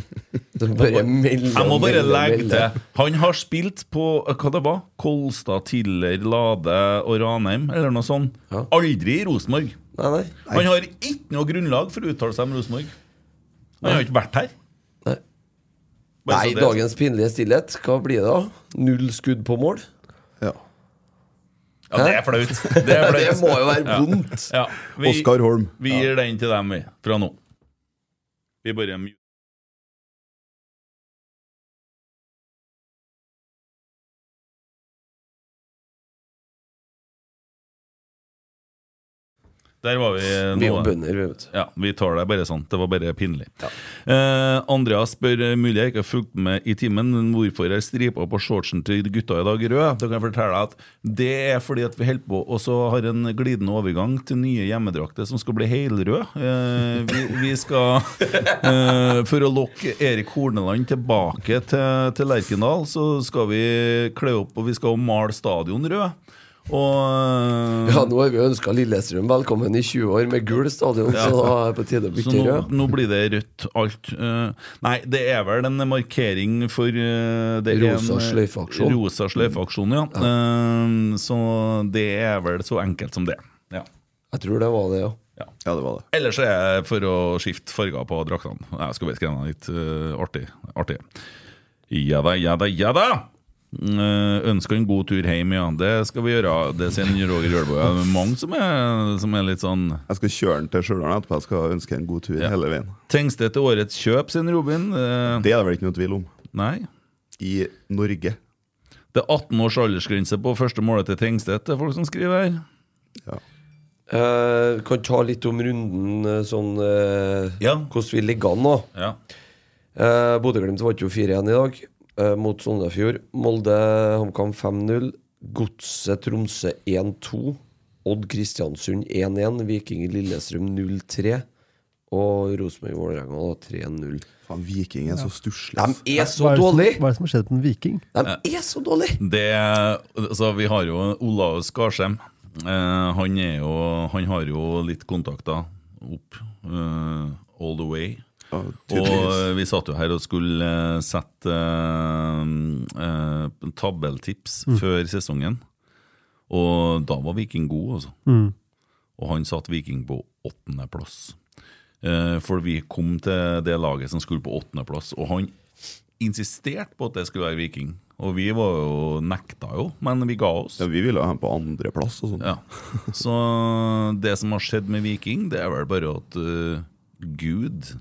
S7: Som bare melder
S3: Jeg må
S7: og
S3: bare
S7: melder og
S3: legge
S7: melder.
S3: til Han har spilt på eh, hva det var? Kolstad, Tiller, Lade og Ranheim, eller noe sånt.
S7: Ja.
S3: Aldri i Rosenborg.
S7: Nei, nei.
S3: Han har ikke noe grunnlag for å uttale seg om Rosenborg. Han har ikke vært her.
S7: nei.
S3: Bare så det
S7: Nei,
S3: er sagt.
S7: dagens pinlige stillhet. Hva blir det da? Null skudd på mål?
S6: Ja.
S3: Ja, det er flaut. Det er
S7: [laughs] Det
S3: flaut.
S7: må jo være vondt.
S3: Ja, vi,
S6: Oskar Holm.
S3: vi gir den til dem, vi. Fra nå. Vi bare mute. Der var vi nå.
S7: Vi er jo bønder, vi, vet du.
S3: Ja, vi tar det bare sånn. Det var bare pinlig. Eh, Andreas spør eh, mulig jeg ikke har fulgt med i timen, men hvorfor er stripa på shortsen til gutta i dag rød? Da kan jeg fortelle deg at det er fordi at vi holder på og så har en glidende overgang til nye hjemmedrakter som skal bli helrød. Eh, vi, vi skal eh, For å lokke Erik Horneland tilbake til, til Lerkendal, så skal vi kle opp og vi skal male stadion rød. Og eh,
S7: Ja, nå har vi ønska Lillestrøm velkommen i 20 år med gul stadion, så da er det på tide
S3: Så
S7: å bytte
S3: nå,
S7: rød.
S3: nå blir det rødt alt. Eh, nei, det er vel en markering for eh, det er en,
S7: Rosa
S3: eh,
S7: sløyfeaksjon. Mm.
S3: Rosa sløyfeaksjon, ja. Eh, så det er vel så enkelt som det. Ja.
S7: Jeg tror det var det, ja.
S6: Ja, det var det.
S3: Ellers er det for å skifte farger på draktene. Jeg skal bare skrive noe litt eh, artig. artig. Ja da, ja da, ja da! Uh, ønsker en god tur hjem, ja. Det skal vi gjøre. Det sier Roger Ølbo. Det er mange som er, som er litt sånn
S6: Jeg skal kjøre den til Stjørdal etterpå. Jeg skal ønske en god tur
S3: Ja.
S6: hele veien.
S3: Trengs det til årets kjøp, sier Robin. Eh,
S6: Det er det vel ikke noe tvil om.
S3: nei.
S6: I Norge.
S3: Det er 18 års aldersgrense på første målet til Tengstedt, det er folk som skriver her.
S6: Ja.
S7: Eh, kan ta litt om runden, eh, sånn eh,
S3: Ja.
S7: hvordan vi ligger an nå.
S3: Ja.
S7: Eh, Bodø-Glimt vant jo 4-1 i dag eh, mot Sognefjord. Molde-HamKam 5-0. Godset-Tromsø 1-2. Odd-Kristiansund 1-1. Viking-Lillestrøm 0-3. Og Rosenborg-Vålerenga da 3-0.
S6: Faen, Viking er så stusslig. ass.
S7: De er så
S4: Hva er det som-
S7: dårlige!
S4: Hva er det som har skjedd med en viking?
S7: De er så dårlige!
S3: Det, altså, vi har jo Olav Skarsheim. Eh, han, er jo, han har jo litt kontakter opp eh, all the way.
S6: Ja,
S3: Og eh,
S6: tydeligvis.
S3: vi satt jo her og skulle eh, sette eh, eh, tabelltips før sesongen. Og da var Viking god, altså. Og han satt Viking på åttendeplass. Eh, for vi kom til det laget som skulle på åttendeplass, og han insisterte på at det skulle være Viking. Og vi var jo nekta jo, men vi ga oss.
S6: Ja, vi ville ha ham på andreplass og sånn.
S3: Ja. Så det som har skjedd med Viking, det er vel bare at eh, Gud,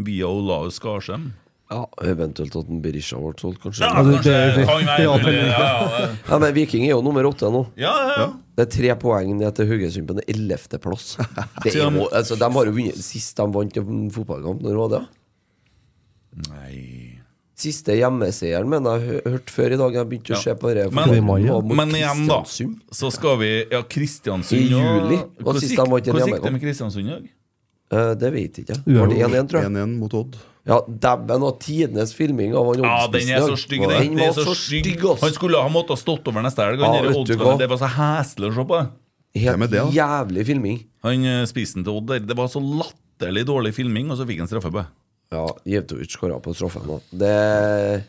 S3: via Olaus Skarsheim
S7: Ja, eventuelt at en Berisha ble solgt, kanskje.
S3: Ja,
S7: Ja.
S3: kanskje
S4: Altså, det- det-
S3: han er-
S4: det er alt
S3: ja, ja,
S7: Men Viking er jo nummer åtte nå.
S3: ja, ja, ja.
S7: Det er tre poeng ned til Haugesund på en
S3: [laughs]
S7: ellevteplass. Altså, de har jo vunnet sist de vant en fotballkamp. Når var det?
S3: Nei
S7: Siste hjemmeseieren, men jeg har hø- hørt før i dag. Jeg begynte
S3: Ja.
S7: å se på det.
S3: Men-
S7: Det var mot
S3: Men igjen, da,
S7: Kristiansund.
S3: så skal vi Ja, Kristiansund
S7: I juli.
S3: og-
S7: Og
S3: Hvordan
S7: sist
S3: gikk
S7: de vant en
S3: hvordan
S7: hjemmekamp.
S3: gikk det med Kristiansund i dag?
S7: Eh, det vet ikke jeg. Var det 1-1, tror jeg?
S6: 1-1 mot Odd.
S7: Ja, Dæven og tidenes filming av han
S3: Ja, den
S7: Oddspissen
S3: er
S7: i
S3: så
S7: dag.
S3: stygg, den.
S7: Den
S3: den er
S7: var
S3: så stygg. Han
S7: ass.
S3: skulle ha måttet ha stått over neste helg.
S7: Ja,
S3: han der
S7: vet du
S3: Oddsen,
S7: hva?
S3: Det var så heslig å se på.
S6: Hvem er
S7: Helt
S6: det, da?
S7: jævlig filming.
S3: Han eh, spissen til Odd der, det var så latterlig dårlig filming, og så fikk han straffe på.
S7: Ja, Jevtovic skåra på straffen. da. Det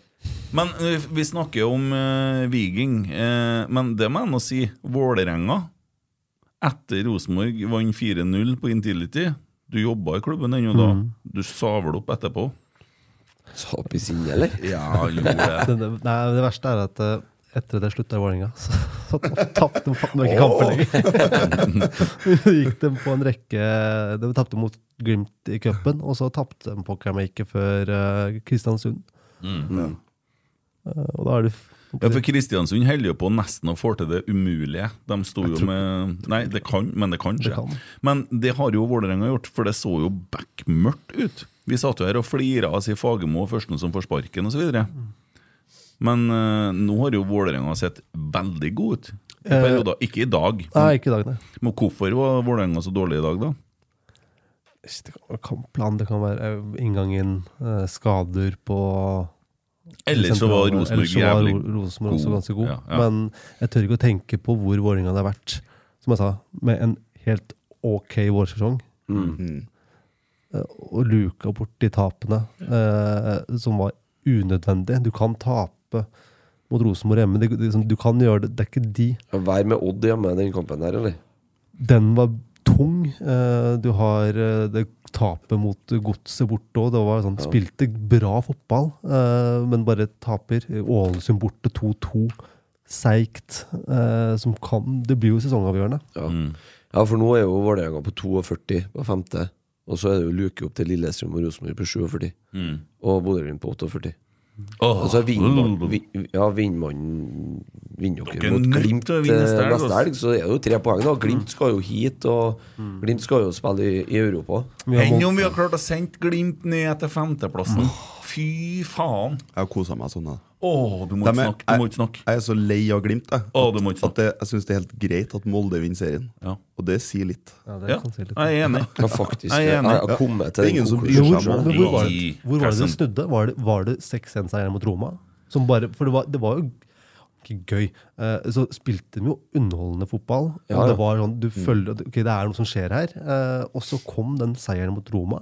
S3: Men eh, vi snakker om eh, Viking. eh, men det må jeg nå si. Vålerenga, etter Rosenborg vant 4-0 på Intility Du jobba i klubben ennå da. Du sa vel opp etterpå?
S7: Tap i sinne, eller?
S3: Ja, gjorde det.
S4: Det, det, nei, det verste er at eh, etter at jeg slutta i Vålerenga, så, så tapte de faen meg ikke kampen lenger. [laughs] Så gikk de på en rekke De tapte mot Glimt i cupen, og så tapte de på Kramaiket før eh, Kristiansund. Eh, og da er det f-
S3: Ja, for Kristiansund holder jo på nesten å få til det umulige. De sto jo med Nei, det kan, men det kan skje.
S4: kan.
S3: Men det har jo Vålerenga gjort, for det så jo bekmørkt ut. Vi satt jo her og flira av si Fagermo og førsten som får sparken, osv. Men eh, nå har jo Vålerenga sett veldig god ut. I
S4: Eh,
S3: perioder. Ikke i dag.
S4: Nei, ikke i dag, nei.
S3: Men hvorfor var Vålerenga så dårlig i dag, da?
S4: Det kan være kampplan, det kan være eh, inngangen, eh, skader på
S3: Ellers så var
S4: sentrale-
S3: Rosenborg
S4: ellers så var
S3: jævlig
S4: Ro- Rosenborg også
S3: god.
S4: ganske god.
S3: Ja, ja.
S4: Men jeg tør ikke å tenke på hvor Vålerenga hadde vært, som jeg sa, med en helt ok vårsesong.
S3: Mm.
S6: Mm.
S4: Eh, Og luka bort de tapene eh, som var unødvendige. Du kan tape mot Rosenborg hjemme. Det, det, liksom, du kan gjøre det. Det er ikke de.
S7: Vær med Odd hjemme i den kampen her, eller?
S4: Den var tung. Eh, Du har eh, det tapet mot godset borte òg. Det var sånn, spilte bra fotball, eh, men bare taper. Ålesund borte 2-2. seigt eh, som kan Det blir jo sesongavgjørende.
S7: Ja.
S3: Mm.
S7: ja, for nå er jo Vålerenga på 42 på femte. Og så er det jo luke opp til Lillestrøm og Rosenborg på 47. Og Bodø-Glimt på 48.
S3: Mm. Åh,
S7: Og så vinner man- vi- ja, vinner man Vinner
S3: Dere
S7: dere
S3: er
S7: mot
S3: nødt
S7: Glimt
S3: til å vinne neste
S7: eh,
S3: helg, altså. Mm.
S7: neste
S3: ass.
S7: helg, så er det jo tre poeng. da Glimt skal jo hit, og
S6: Mm.
S7: Glimt skal jo spille i, i Europa.
S4: Vi har
S3: Enn
S4: mål-
S3: om vi har klart å sende Glimt ned til femteplassen. Fy faen!
S6: Jeg har kosa meg sånn. Jeg.
S3: Åh, du
S6: Dem
S3: må ikke
S6: er-
S3: snakke. Du må ikke snakke.
S6: Jeg er så lei av Glimt. Jeg,
S3: Å, du må ikke
S6: at det, jeg syns det er helt greit at Molde vinner serien.
S3: Ja.
S6: Og det sier litt.
S4: Ja, det
S3: Ja,
S4: kan si litt.
S3: jeg er enig.
S7: Ja, faktisk.
S3: Jeg er
S7: Jeg
S3: enig.
S7: har kommet til
S6: Det er
S7: den
S6: ingen som
S7: konklusjonen.
S6: bryr
S4: Jo,
S6: seg om
S4: men
S6: det.
S4: hvor var det,
S3: I
S4: hvor var det det
S3: pressen.
S4: snudde? Var det, var det 6-1-seieren mot Roma? Som bare, for det var, det var jo ikke gøy. Eh, så spilte de jo underholdende fotball. Og
S7: Ja, ja.
S4: det var sånn, du følger at ok, det er noe som skjer her. Eh, og så kom den seieren mot Roma.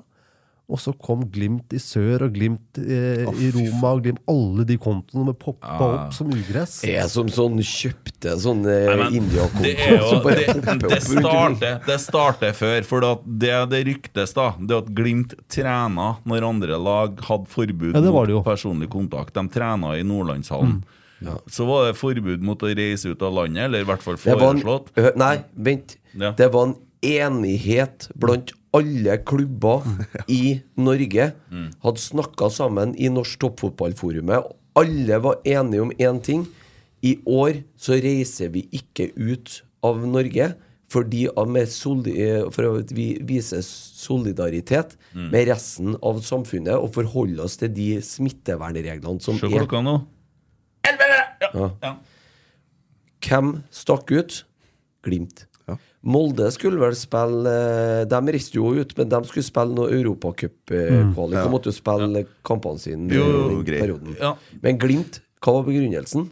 S4: Og så kom Glimt i sør og Glimt eh, i Roma. og Glimt, Alle de kontoene poppa opp som ugress.
S7: Jeg er som sånn kjøpte sånn eh,
S3: Nei, men Det er
S7: India-konto
S3: jo,
S7: som [laughs] bare
S3: det,
S7: popper
S3: det,
S7: opp rundt omkring.
S3: starter, det starter før, for at det det ryktes, da, det at Glimt trena når andre lag hadde forbud
S4: Ja, det var det jo.
S3: mot
S4: Mm.
S3: personlig kontakt. De trena i Nordlandshallen. Så var det forbud mot å reise ut av landet, eller i hvert fall
S7: Det var en-
S3: foreslått.
S7: Ø, Nei, vent.
S3: Ja.
S7: Det var en enighet blant alle
S3: [laughs]
S7: klubber i Norge.
S3: Mm.
S7: Hadde snakka sammen i Norsk Toppfotballforumet. og Alle var enige om én ting. I år så reiser vi ikke ut av Norge fordi av med soli- eh, for at vi viser solidaritet
S3: Mm.
S7: med resten av samfunnet og forholder oss til de smittevernreglene som
S3: Se
S7: er.
S3: klokka nå.
S7: Hvem stakk ut? Glimt. Molde skulle vel spille eh, De reiste jo ut, men de skulle spille noe europacupkvalik. Mm, De måtte jo spille kampene sine i den
S6: greit.
S7: perioden.
S3: Ja.
S7: Men Glimt, hva var begrunnelsen?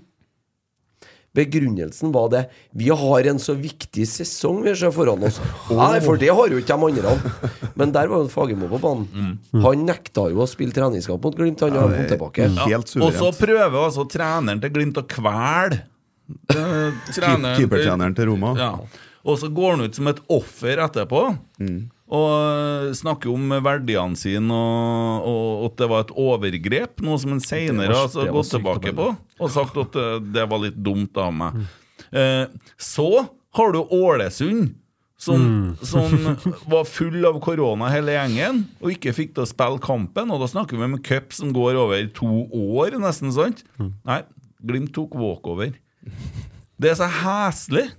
S7: Begrunnelsen var det Vi har en så viktig sesong vi ser foran
S3: [laughs]
S7: oss. Nei, for det har jo ikke de andre. Men der var jo Fagermo på banen.
S3: Mm.
S7: Mm. Han nekta jo å spille treningskamp mot Glimt. Han har kommet tilbake.
S3: Mm.
S6: Helt
S3: Og så
S6: suverent.
S3: prøver altså treneren til Glimt å kvele eh, treneren-
S6: Keepertreneren til Roma.
S3: Ja. Og så går han ut som et offer etterpå. Og øh, snakker om verdiene sine, og, og at det var et overgrep. Noe som han
S7: Det
S3: seinere har
S7: var-
S3: altså,
S7: det var
S3: gått
S7: sykt å
S3: tilbake på
S7: melde.
S3: og sagt at øh, det var litt dumt av meg. Eh, så har du Ålesund, som,
S7: Mm.
S3: som var full av korona hele gjengen, og ikke fikk til å spille kampen. Og da snakker vi om en cup som går over to år, nesten, sant?
S7: Mm.
S3: Nei, Glimt tok walkover. Det er så heslig!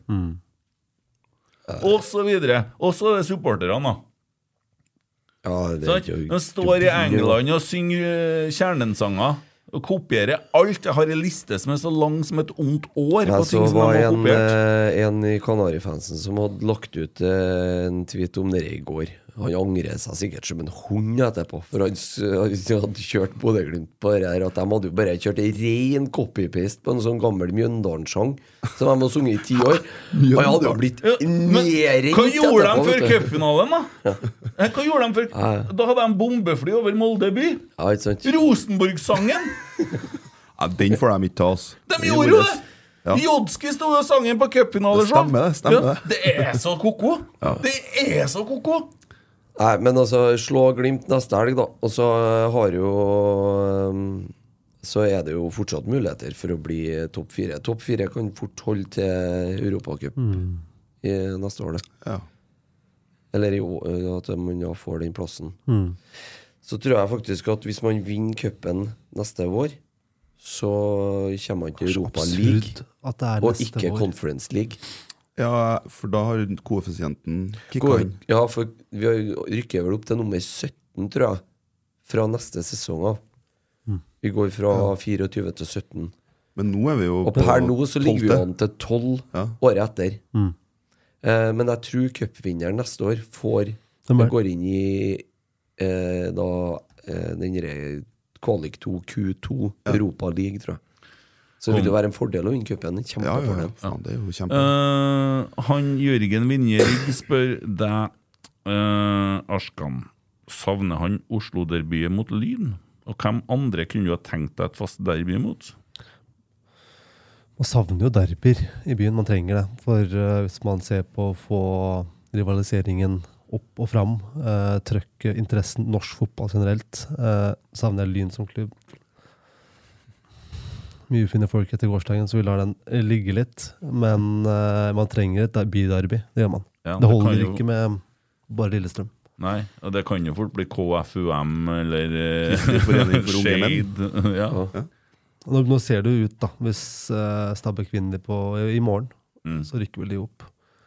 S3: Og så videre. Og så er det supporterne, da.
S7: Ja, det er
S3: Sant?
S7: ikke-
S3: De står i England og synger eh, kjernensanger. Og kopierer alt. Jeg har ei liste som er så lang som et ondt år på
S7: Jeg så
S3: ting som
S7: var
S3: de har
S7: en,
S3: kopiert.
S7: eh, en i Kanarifansen som hadde lagt ut eh, en tweet om det i går. Han angrer seg sikkert som en hund etterpå, for han, s- han hadde kjørt Bodø-Glimt på det her. At de hadde jo bare kjørt en ren copy-paste på en sånn gammel Mjøndalen-sang som de har sunget i
S3: [laughs]
S7: ti år. Og jeg hadde jo blitt
S3: Ja, men
S7: nedringt
S3: hva gjorde de før
S7: vet du.
S3: cupfinalen, da? Eh, Hva gjorde de før?
S7: Ja.
S3: Da hadde de bombefly over Molde by.
S7: Ja, ikke sant?
S3: Rosenborg-sangen!
S6: Ja, den får de ikke ta, oss.
S3: De gjorde jo det!
S6: Ja.
S3: Jodski sto jo og sang den på
S6: Det
S3: cupfinaleshow.
S6: stemmer det, stemmer
S3: Ja,
S6: det.
S3: det er så ko-ko! Det er så ko-ko!
S7: Nei, men altså, slå Glimt neste helg, da. Og så har jo ehm, Så er det jo fortsatt muligheter for å bli topp fire. Topp fire kan fort holde til Europacup
S4: Mm.
S7: i neste år, det.
S6: Ja.
S7: Eller i år, eh, at man da får den plassen.
S4: Mm.
S7: Så tror jeg faktisk at hvis man vinner cupen neste vår, så kommer man til Europa League.
S4: Absurd at det er
S7: Og
S4: neste
S7: ikke
S4: vår.
S7: Conference League.
S6: Ja, for da har koeffisienten kicka
S7: Går,
S6: inn.
S7: ja, for vi har rykker vel opp til nummer 17, tror jeg, fra neste sesong av. Vi går fra 24 til 17.
S6: Men nå er vi jo
S7: Og per nå så ligger vi jo
S6: tolvte.
S7: an til 12
S6: Ja.
S7: året etter. Eh, men jeg tror cupvinneren neste år får
S4: Den er-
S7: går inn i eh, da eh, den derre kvalik 2 Q2 Europa League, tror jeg. Så det vil jo være en fordel å vinne cupen. en
S6: Ja, ja, ja.
S7: Kjempefordel.
S6: Faen, det er jo kjempe...
S3: Eh, han Jørgen Vinje Rygg spør deg, eh, Askan, savner han Oslo-derbyet mot Lyn? Og hvem andre kunne du ha tenkt deg et fast derby mot?
S4: Man savner jo derbyer i byen. Man trenger det. For eh, hvis man ser på å få rivaliseringen opp og fram, uh, trøkke interessen norsk fotball generelt, eh, savner jeg Lyn som klubb. mye fine folk etter gårsdagen, så vi lar den eh, ligge litt. Men eh, man trenger et byderby. Det gjør man.
S3: Ja,
S4: det
S3: det
S4: holder
S3: kan jo-
S4: ikke med bare Lillestrøm.
S3: Nei, og det kan jo fort bli KFUM eller eh,
S6: Forening
S3: [laughs]
S6: for unge menn.
S3: Shade. Ja.
S4: Nå, nå ser det jo ut, da, hvis eh, Stabæk vinner på, i morgen,
S3: Mm.
S4: så rykker vel de opp.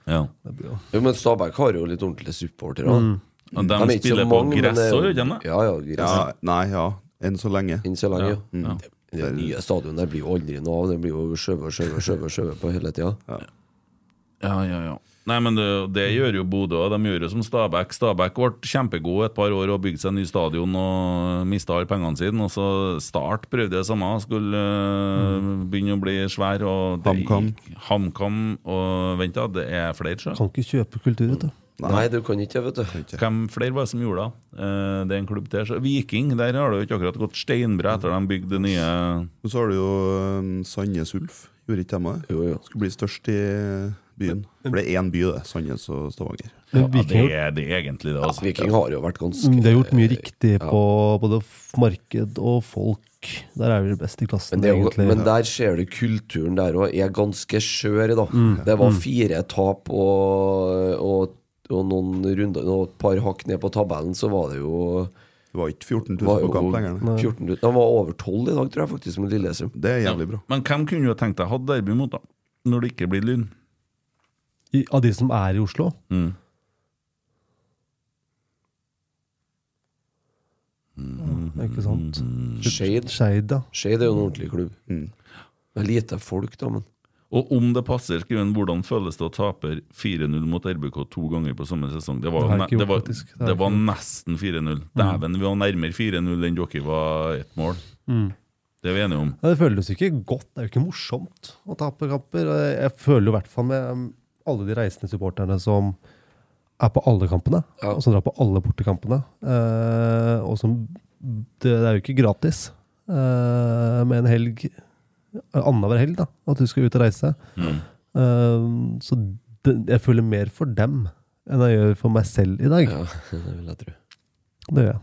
S3: ja.
S4: Det blir jo
S7: Jo, men Stabæk har jo litt ordentlige supportere. også.
S3: Og
S7: De er
S3: de
S7: ikke så
S3: spiller på
S7: mange, men
S3: gress
S7: det er jo-
S3: òg, gjør de ikke det?
S7: Ja, ja, gress.
S6: Ja, nei, ja. Enn så lenge.
S7: Enn så lenge.
S3: Ja, ja.
S7: Det, det nye stadionet der blir jo aldri noe av. Det blir jo skjøvet, skjøvet, skjøvet, skjøvet på hele tida.
S3: Ja, ja, ja. Nei, men det, det gjør jo Bodø òg. De gjør jo som Stabæk. Stabæk ble kjempegod et par år og bygde seg ny stadion og mista alle pengene sine. Og så Start prøvde det samme. Skulle eh, begynne å bli svær. Og det
S6: HamKam.
S3: gikk- HamKam og Vent, da. Det er flere, sjø.
S4: Kan ikke kjøpe kultur, vet du.
S7: Nei. du kan ikke det, vet du.
S3: Hvem flere var det som gjorde det? Eh, det er en klubb til. Så Viking, der har det jo ikke akkurat gått steinbra etter de bygde det nye
S6: Og så har du jo øhm, Sandnes Ulf. Gjorde ikke de det?
S7: Jo, jo.
S6: Skulle bli størst i byen. For det er én by, det. Sandnes og Stavanger.
S4: Men
S3: ja,
S4: Viking
S3: det,
S4: har gjort-
S3: er, det er egentlig det, altså.
S7: Viking har jo vært ganske
S4: Mm, de har gjort mye riktig på både f- marked og folk. Der er vi best i klassen,
S7: Men, det er jo,
S4: egentlig.
S7: men der ser du kulturen der òg er ganske skjør, da.
S4: Mm.
S7: Det var fire tap og, og, og noen runder og et par hakk ned på tabellen, så var det jo
S6: Det var ikke 14 000
S7: var
S6: på kamp lenger. nei.
S7: 14, De var over 12 i dag, tror jeg, faktisk, med Lillestrøm.
S6: Det er jævlig bra.
S3: Men hvem kunne jo tenkt deg hadde derby mot, da? Når det ikke blir lyn? Mm.
S4: I, av de som er i Oslo. Ja, ikke sant?
S7: Mm-hmm. Skeid
S4: Skeid, ja.
S7: Skeid er jo en ordentlig klubb.
S6: Mm.
S7: Det er lite folk, da, men
S3: Og om det passer, skriver han, hvordan føles det å tape 4-0 mot RBK to ganger på samme sesong? Det var,
S4: Det har jeg
S3: ne-
S4: ikke gjort,
S3: det var,
S4: faktisk. Det har
S3: det
S4: jeg
S3: var
S4: ikke Mm.
S3: nesten 4-0. Dæven, vi var nærmere 4-0 enn dere var ett mål.
S4: Mm.
S3: Det er vi enige om.
S4: Ja, Det føles jo ikke godt. Det er jo ikke morsomt å tape kamper. Og Jeg føler jo i hvert fall med um, alle de reisende supporterne som er på alle kampene,
S7: Ja.
S4: og som drar på alle bortekampene. eh, og som det, det er jo ikke gratis eh, med en helg eh, annenhver helg, da, at du skal ut og reise.
S7: Mm.
S4: Eh, så det, jeg føler mer for dem enn jeg gjør for meg selv i dag.
S7: ja, [laughs] det vil jeg tro.
S4: Det gjør jeg.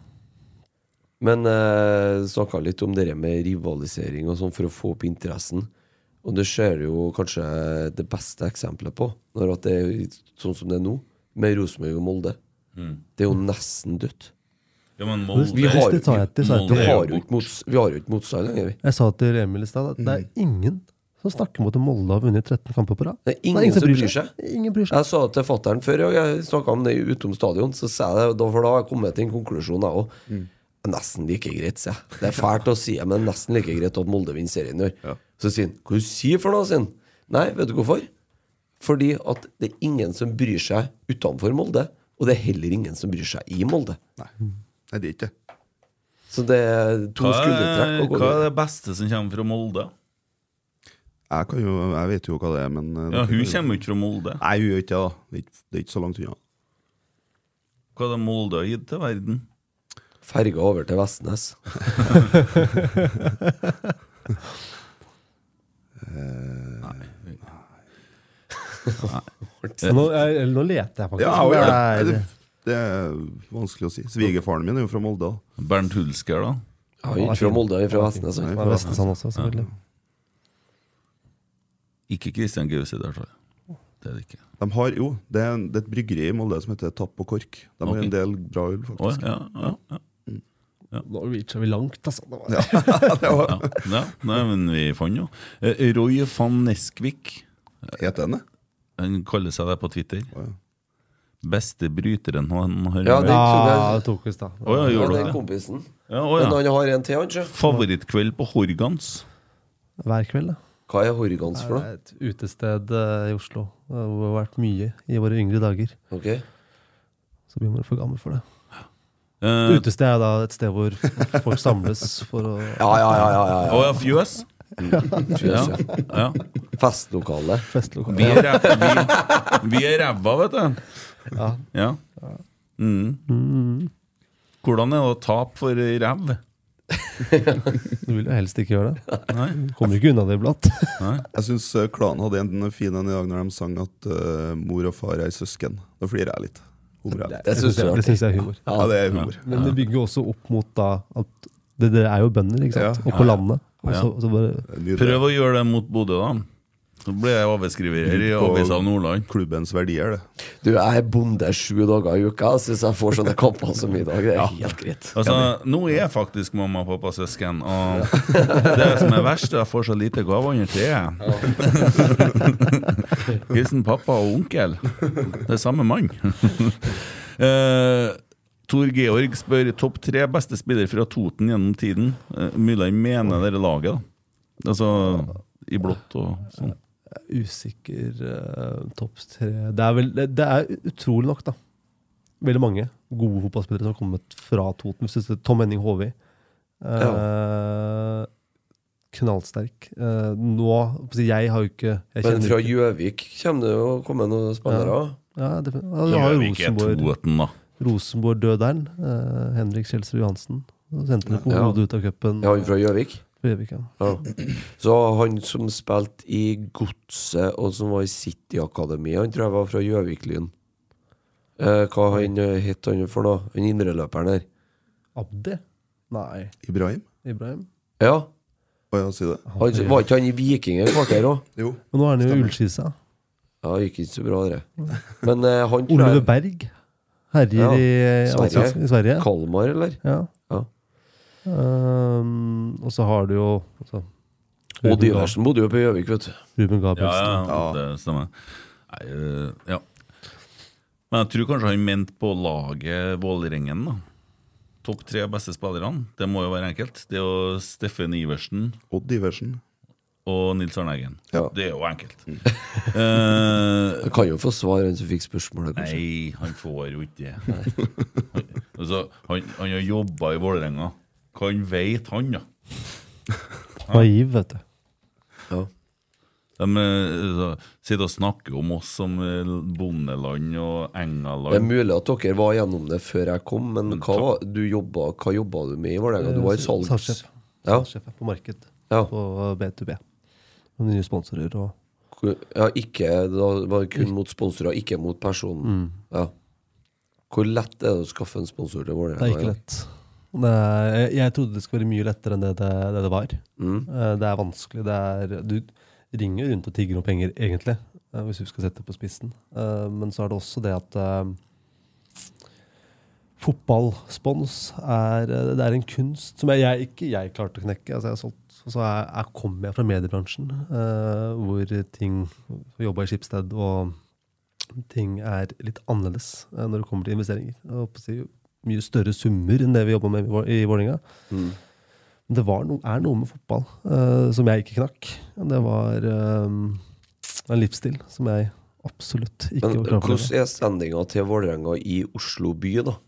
S7: Men eh, snakka litt om det der med rivalisering og sånn for å få opp interessen. Og det ser jo kanskje det beste eksempelet på, når at det er sånn som det er nå, med Rosenborg og Molde.
S3: Mm.
S7: Det er jo nesten dødt.
S3: Ja, men Molde,
S7: Vi har,
S4: Det tar jeg etter, sa jeg.
S7: vi,
S3: Molde er
S7: har
S3: jo
S7: jo
S3: bort.
S7: ikke mots, vi har jo ikke motstand lenger, vi.
S4: Jeg sa til Emil i stad at det
S7: Mm.
S4: er ingen som snakker mot at Molde har vunnet 13 kamper på rad.
S7: Det er ingen som bryr seg.
S4: Ingen bryr seg.
S7: Jeg sa det til fatter'n før, og jeg snakka om det utom stadion. Så sa jeg det, da- for da har jeg kommet til en konklusjon, jeg òg. Nesten like greit, sier jeg. Det er fælt å si, men nesten like greit at Molde vinner serien i år. Så sier han Hva du sier for noe, sier han. Nei, vet du hvorfor? Fordi at det er ingen som bryr seg utenfor Molde. Og det er heller ingen som bryr seg i Molde.
S6: Nei, Nei det er ikke det.
S7: Så det er to
S3: Hva er,
S7: skuldertrekk. å gå
S3: hva er
S7: videre.
S3: det beste som kommer fra Molde?
S6: Jeg, kan jo, jeg vet jo hva det er, men eh,
S3: Ja,
S6: dere-
S3: Hun kommer jo ikke fra Molde.
S6: Nei, hun gjør ikke det, da. Det er ikke, det er ikke så langt unna.
S3: Hva er det Molde har gitt til verden?
S7: Ferga over til Vestnes.
S4: Så Nå, jeg, nå leter jeg faktisk.
S6: Ja, og, jeg-
S4: det
S6: det,
S4: er,
S6: det er vanskelig å si. Svigerfaren min er jo fra Molde. da.
S3: Eh, Bernt Hulsker, da?
S7: Ja, han er ikke fra Molde, han er fra Vestnes.
S6: Nei,
S7: han.
S4: det er Vestensand også, selvfølgelig.
S3: Ikke Christian Gause, der, tror jeg. Det er det ikke.
S6: De har, jo, det er, en- det er et bryggeri i Molde som heter Tapp og Kork. De har
S3: Ok.
S6: en del bra øl,
S3: Å,
S6: faktisk.
S3: ja, ja, ja.
S4: Nå reacher vi langt, altså. Det var-
S3: Ja, ja. Nei, men vi fant jo. Eh, Roy van Neskvik,
S6: Heter den det?
S3: han kaller seg det på Twitter.
S6: Å, ja.
S3: Beste bryteren han har
S7: Ja,
S3: møtt.
S4: [laughs]
S7: det-
S4: Ja, det tok oss, da.
S3: Å ja,
S7: Ja,
S3: gjorde
S7: det
S3: du
S7: er
S3: det?
S7: kompisen.
S3: Ja, å,
S7: Men
S3: ja.
S7: han har en til, han, sjø.
S3: Favorittkveld på Horgans.
S4: Hver kveld, da.
S7: Hva er Horgans for
S4: Det
S7: noe?
S4: er et utested eh, i Oslo. Det har vært mye i våre yngre dager.
S7: Ok.
S4: Så blir man for gammel for det.
S3: Eh,
S4: Utested er da et sted hvor f- folk samles for å
S7: Ja, ja, ja. ja, ja,
S3: Å ja, fjøs.
S7: ja.
S3: Ja,
S7: Fjøs, ja.
S3: ja.
S7: Festlokale.
S4: festlokale.
S3: Vi er ræv- vi- vi er ræva, vet du.
S4: Ja.
S3: Ja. Mm. Hvordan er det å tape for ræv?
S4: Du vil jo helst ikke gjøre det. Du kommer jo ikke unna det iblant.
S6: Jeg syns Klanen hadde en fin en i dag når de sang at eh, mor og far er søsken. Da flirer jeg litt. Humrer jeg litt.
S7: Det syns jeg
S4: Det
S7: er artig.
S4: syns jeg er humor.
S6: Ja, det er humor.
S4: Men det bygger jo også opp mot da at det, Dere er jo bønder, ikke sant?
S6: Ja.
S4: Og på landet. Og så, og så bare
S6: Nydelig.
S3: Prøv å gjøre det mot Bodø, da. Så ble jeg overskriver i
S6: Litt på-
S3: Avisa Nordland.
S6: Klubbens verdier, det.
S7: Du, jeg er bonde sju dager i uka. Jeg syns jeg får sånne kamper som i dag. Det er helt greit.
S3: Altså, nå er jeg faktisk mamma og pappa søsken, og det som er verst, er at jeg får så lite gave under treet. Hilsen pappa og onkel. Det er samme mann. Eh, Tor Georg spør topp tre beste spiller fra Toten gjennom tiden. Uh, Myrland mener dere laget, da. Altså i blått og sånn.
S4: usikker eh, topp tre det er, vel, det, det er utrolig nok, da. Veldig mange gode fotballspillere som har kommet fra Toten. Hvis du ser Tom Henning Håvi. Eh, Knallsterk. Eh, nå på å si, Jeg har jo ikke jeg
S7: Men
S4: kjenner
S7: fra
S4: ikke-
S7: Gjøvik kommer det jo å komme noen spillere òg.
S4: ja, det, ja, du har jo
S3: Gjøvik er eh.
S4: Rosenborg,
S3: Toten, da.
S4: Rosenborg Døderen. eh, Henrik Kjelsrud Johansen. Så sendte de på
S7: Ja.
S4: hodet ut av cupen.
S7: Ja, han fra Gjøvik.
S4: på Gjøvik, ja.
S7: Ja. Så han som spilte i Godset, og som var i City-akademiet, han tror jeg var fra Gjøvik-Lyn. Eh, hva han eh, het han for noe? Han indreløperen der.
S4: Abdi? Nei.
S6: Ibrahim?
S4: Ibrahim?
S7: Ja,
S6: Å ja, si det.
S7: han, Var ikke han i Viking et kvarter òg?
S6: Jo.
S4: Og nå er han jo i Ullskisa.
S7: Ja, det gikk ikke så bra, det. Men eh, han tror
S4: Oliver
S7: jeg
S4: Berg herjer
S7: Ja,
S4: i,
S7: Sverige.
S4: Allsvenskan- i Sverige.
S7: Kalmar, eller?
S4: Ja.
S7: Ja.
S4: Ehm, og så har du jo altså,
S7: Odd
S4: Ruben,
S7: Iversen bodde jo på Gjøvik, vet du.
S4: Ruben
S3: Ja,
S4: Gabrielsen.
S3: ja,
S6: Ja.
S3: det stemmer. Nei, øh, ja. Men jeg tror kanskje han mente på laget Vålerengen, da. Topp tre beste spillerne. Det må jo være enkelt. Det er jo Steffen Iversen
S6: Odd Iversen.
S3: og Nils Arne Eggen.
S7: Ja.
S3: Det er jo enkelt. [laughs] Eh,
S7: Jeg kan jo få svar, han som fikk spørsmålet, kanskje.
S3: nei, han får jo ikke det. Altså, han, han har jobba i Vålerenga. Hva han veit, han, da?
S4: Naiv, vet du.
S7: Ja.
S3: De eh, så sitter og snakker om oss som eh, bondeland og engaland.
S7: Det er mulig at dere var gjennom det før jeg kom, men hva, var- du jobba, hva jobba du med i Vålerenga? Du var i salgs...
S4: Salgssjef.
S7: Ja,
S4: Sjef på marked
S7: ja.
S4: på B2B. Og nye sponsorer og
S7: ja, ikke Da var det kun mot sponsorer, ikke mot
S4: Mm.
S7: personen. Ja. Hvor lett er det å skaffe en sponsor
S4: Det
S7: til
S4: er ikke
S7: Vålerenga?
S4: lett. Det er, jeg- jeg trodde det skulle være mye lettere enn det det, det, det var. Eh, Det er vanskelig. Det er, du ringer rundt og tigger om penger, egentlig, eh, hvis du skal sette det på spissen. Eh, Men så er det også det at eh, fotballspons er, eh, det er en kunst som jeg, jeg ikke jeg klarte å knekke. Altså jeg har solgt, og så er, er, kommer jeg fra mediebransjen, eh, hvor ting jobba i Schibsted og ting er litt annerledes eh, når det kommer til investeringer. Jeg holdt på å si, mye større summer enn det vi jobba med i Vå- i Vålerenga.
S7: Mm.
S4: Men det var no, er noe med fotball eh, som jeg ikke knakk. Det var eh, en livsstil som jeg absolutt ikke altså.
S7: Men
S4: klarte å
S7: hvordan
S4: overleve.
S7: er standinga til Vålerenga i Oslo by, da?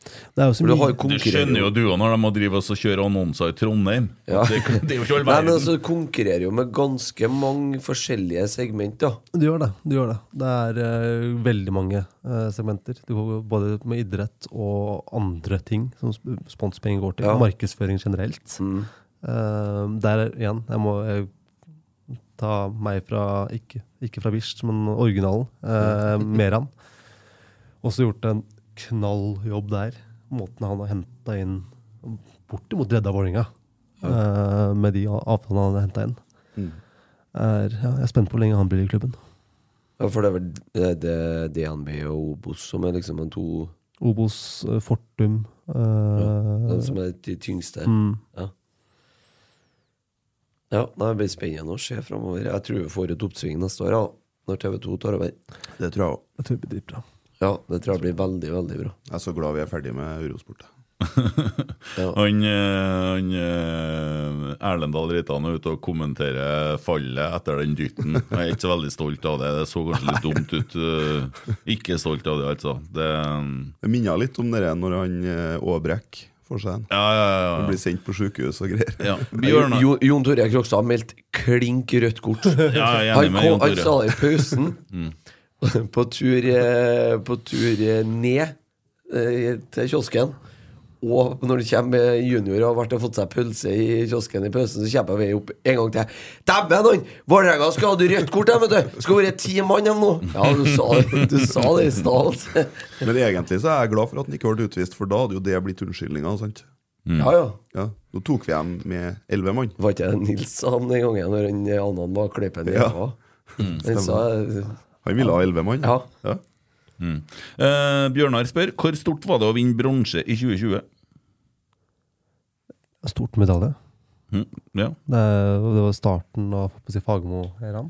S4: Det er jo så
S7: For du har
S4: mye
S7: jo
S3: Du
S7: konkurrerer
S3: skjønner
S7: jo
S3: jo du òg når de må drive oss og kjøre annonser i Trondheim.
S7: Ja.
S3: Det, det er jo ikke all
S7: [laughs] Nei, men
S3: verden.
S7: altså, du konkurrerer jo med ganske mange forskjellige segmenter.
S4: Du gjør det. du gjør Det Det er eh, veldig mange eh, segmenter. Du går både med idrett og andre ting som sp- sponspenger går til.
S7: Ja.
S4: Markedsføring generelt. Eh, der er- igjen, jeg må eh, ta meg fra Ikke, ikke fra Wisht, men originalen. eh, Meran. Også gjort en knalljobb der. Måten han har henta inn bortimot redda Vålerenga eh, med de a- avtalene han har henta inn. Er, ja, jeg er spent på hvor lenge han blir i klubben.
S7: Ja, for det er vel eh, det er DNB og Obos som er liksom de to
S4: Obos, eh, Fortum eh,
S7: de som er de tyngste. Ja. ja, nei, det blir spennende å se framover. Jeg tror vi får et oppsving neste år, ja, når TV2 tar over.
S6: Det tror jeg òg.
S4: Jeg tror det blir dritbra.
S7: Ja, det tror jeg blir veldig, veldig bra.
S6: Jeg er så glad vi er ferdig med Eurosport.
S3: Han, eh, han eh, Erlend Dahl Reitan er ute og kommenterer fallet etter den dytten. Jeg er ikke så veldig stolt av det. Det så kanskje litt dumt ut. eh, Ikke stolt av det, altså. Det,
S6: Det minner litt om det der når han eh, Aabrekk får seg en.
S3: ja, ja,
S6: Han
S3: ja,
S6: blir sendt på sykehus og greier.
S3: ja.
S7: Jon,
S3: Bjørnar.
S7: Jon- Jon Tore Krokstad har meldt klink rødt kort.
S3: [laughs] Ja, jeg er
S7: Han,
S3: enig med
S7: kom,
S3: Jon Mm.
S7: han sa
S3: Tore.
S7: det
S3: [laughs]
S7: i pausen. [laughs] på, tur, eh, på tur eh, ned eh, til kiosken. Og når det kommer eh, junior og har vært og fått seg pølse i kiosken i pausen, så kommer jeg opp en gang til. Dæven, han! Vålerenga skal ha rødt kort, de, vet du! Skal være ti mann, de nå! Ja, du sa, du sa det i stad, altså.
S6: Men egentlig så er jeg glad for at han ikke ble utvist, for da hadde jo det blitt unnskyldninga. sant?
S3: Mm.
S7: Ja, ja.
S6: Ja. Nå tok vi dem med elleve mann.
S7: Var ikke det Nils sa om den gangen når han annen var klypen i
S6: Ja.
S7: ræva?
S3: Mm.
S7: Han sa eh,
S6: Han ville ha elleve mann.
S7: Ja.
S6: Ja.
S3: Eh, Bjørnar spør hvor stort var det å vinne bronse i 2020?
S4: Stort medalje.
S3: Hm, ja.
S4: Det, er- det var starten av på å si, Fagermo-æraen.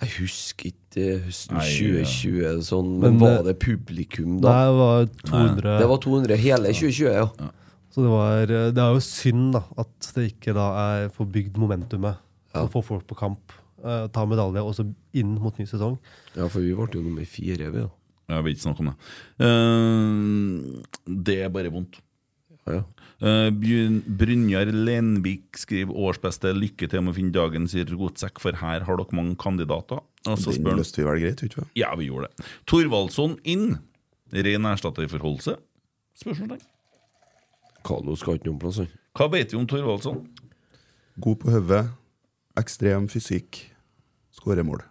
S7: Jeg husker ikke eh, høsten
S3: Nei,
S7: 2020 og sånn,
S4: Men
S7: men var
S4: det-
S7: det publikum
S4: Nei,
S7: da?
S4: det var 200
S7: Det var 200 hele 2020, ja.
S4: Så det, var, eh, det er jo synd da, at det ikke da er forbygd momentumet.
S7: Ja.
S4: Å få folk på kamp, eh, ta medalje også inn mot ny sesong.
S7: Ja, for vi ble jo nummer fire, vi, da.
S3: Jeg vil ikke snakke om det. Eh, det er bare vondt.
S7: Ja, ja.
S3: Eh, Bjørn- Brynjar Lenvik skriver årsbeste lykke til med å finne dagens rotsekk, for her har dere mange kandidater. Og så
S6: Den
S3: spør han
S6: løste vi vel greit, ikke sant?
S3: Ja, vi gjorde det. Thorvaldsson inn. Ren erstatterforholdelse? Spørsmålstegn.
S7: Kalo skal ikke noen plass, han.
S3: Hva vet vi om Thorvaldsson?
S6: God på hodet, ekstrem fysikk, skårer mål.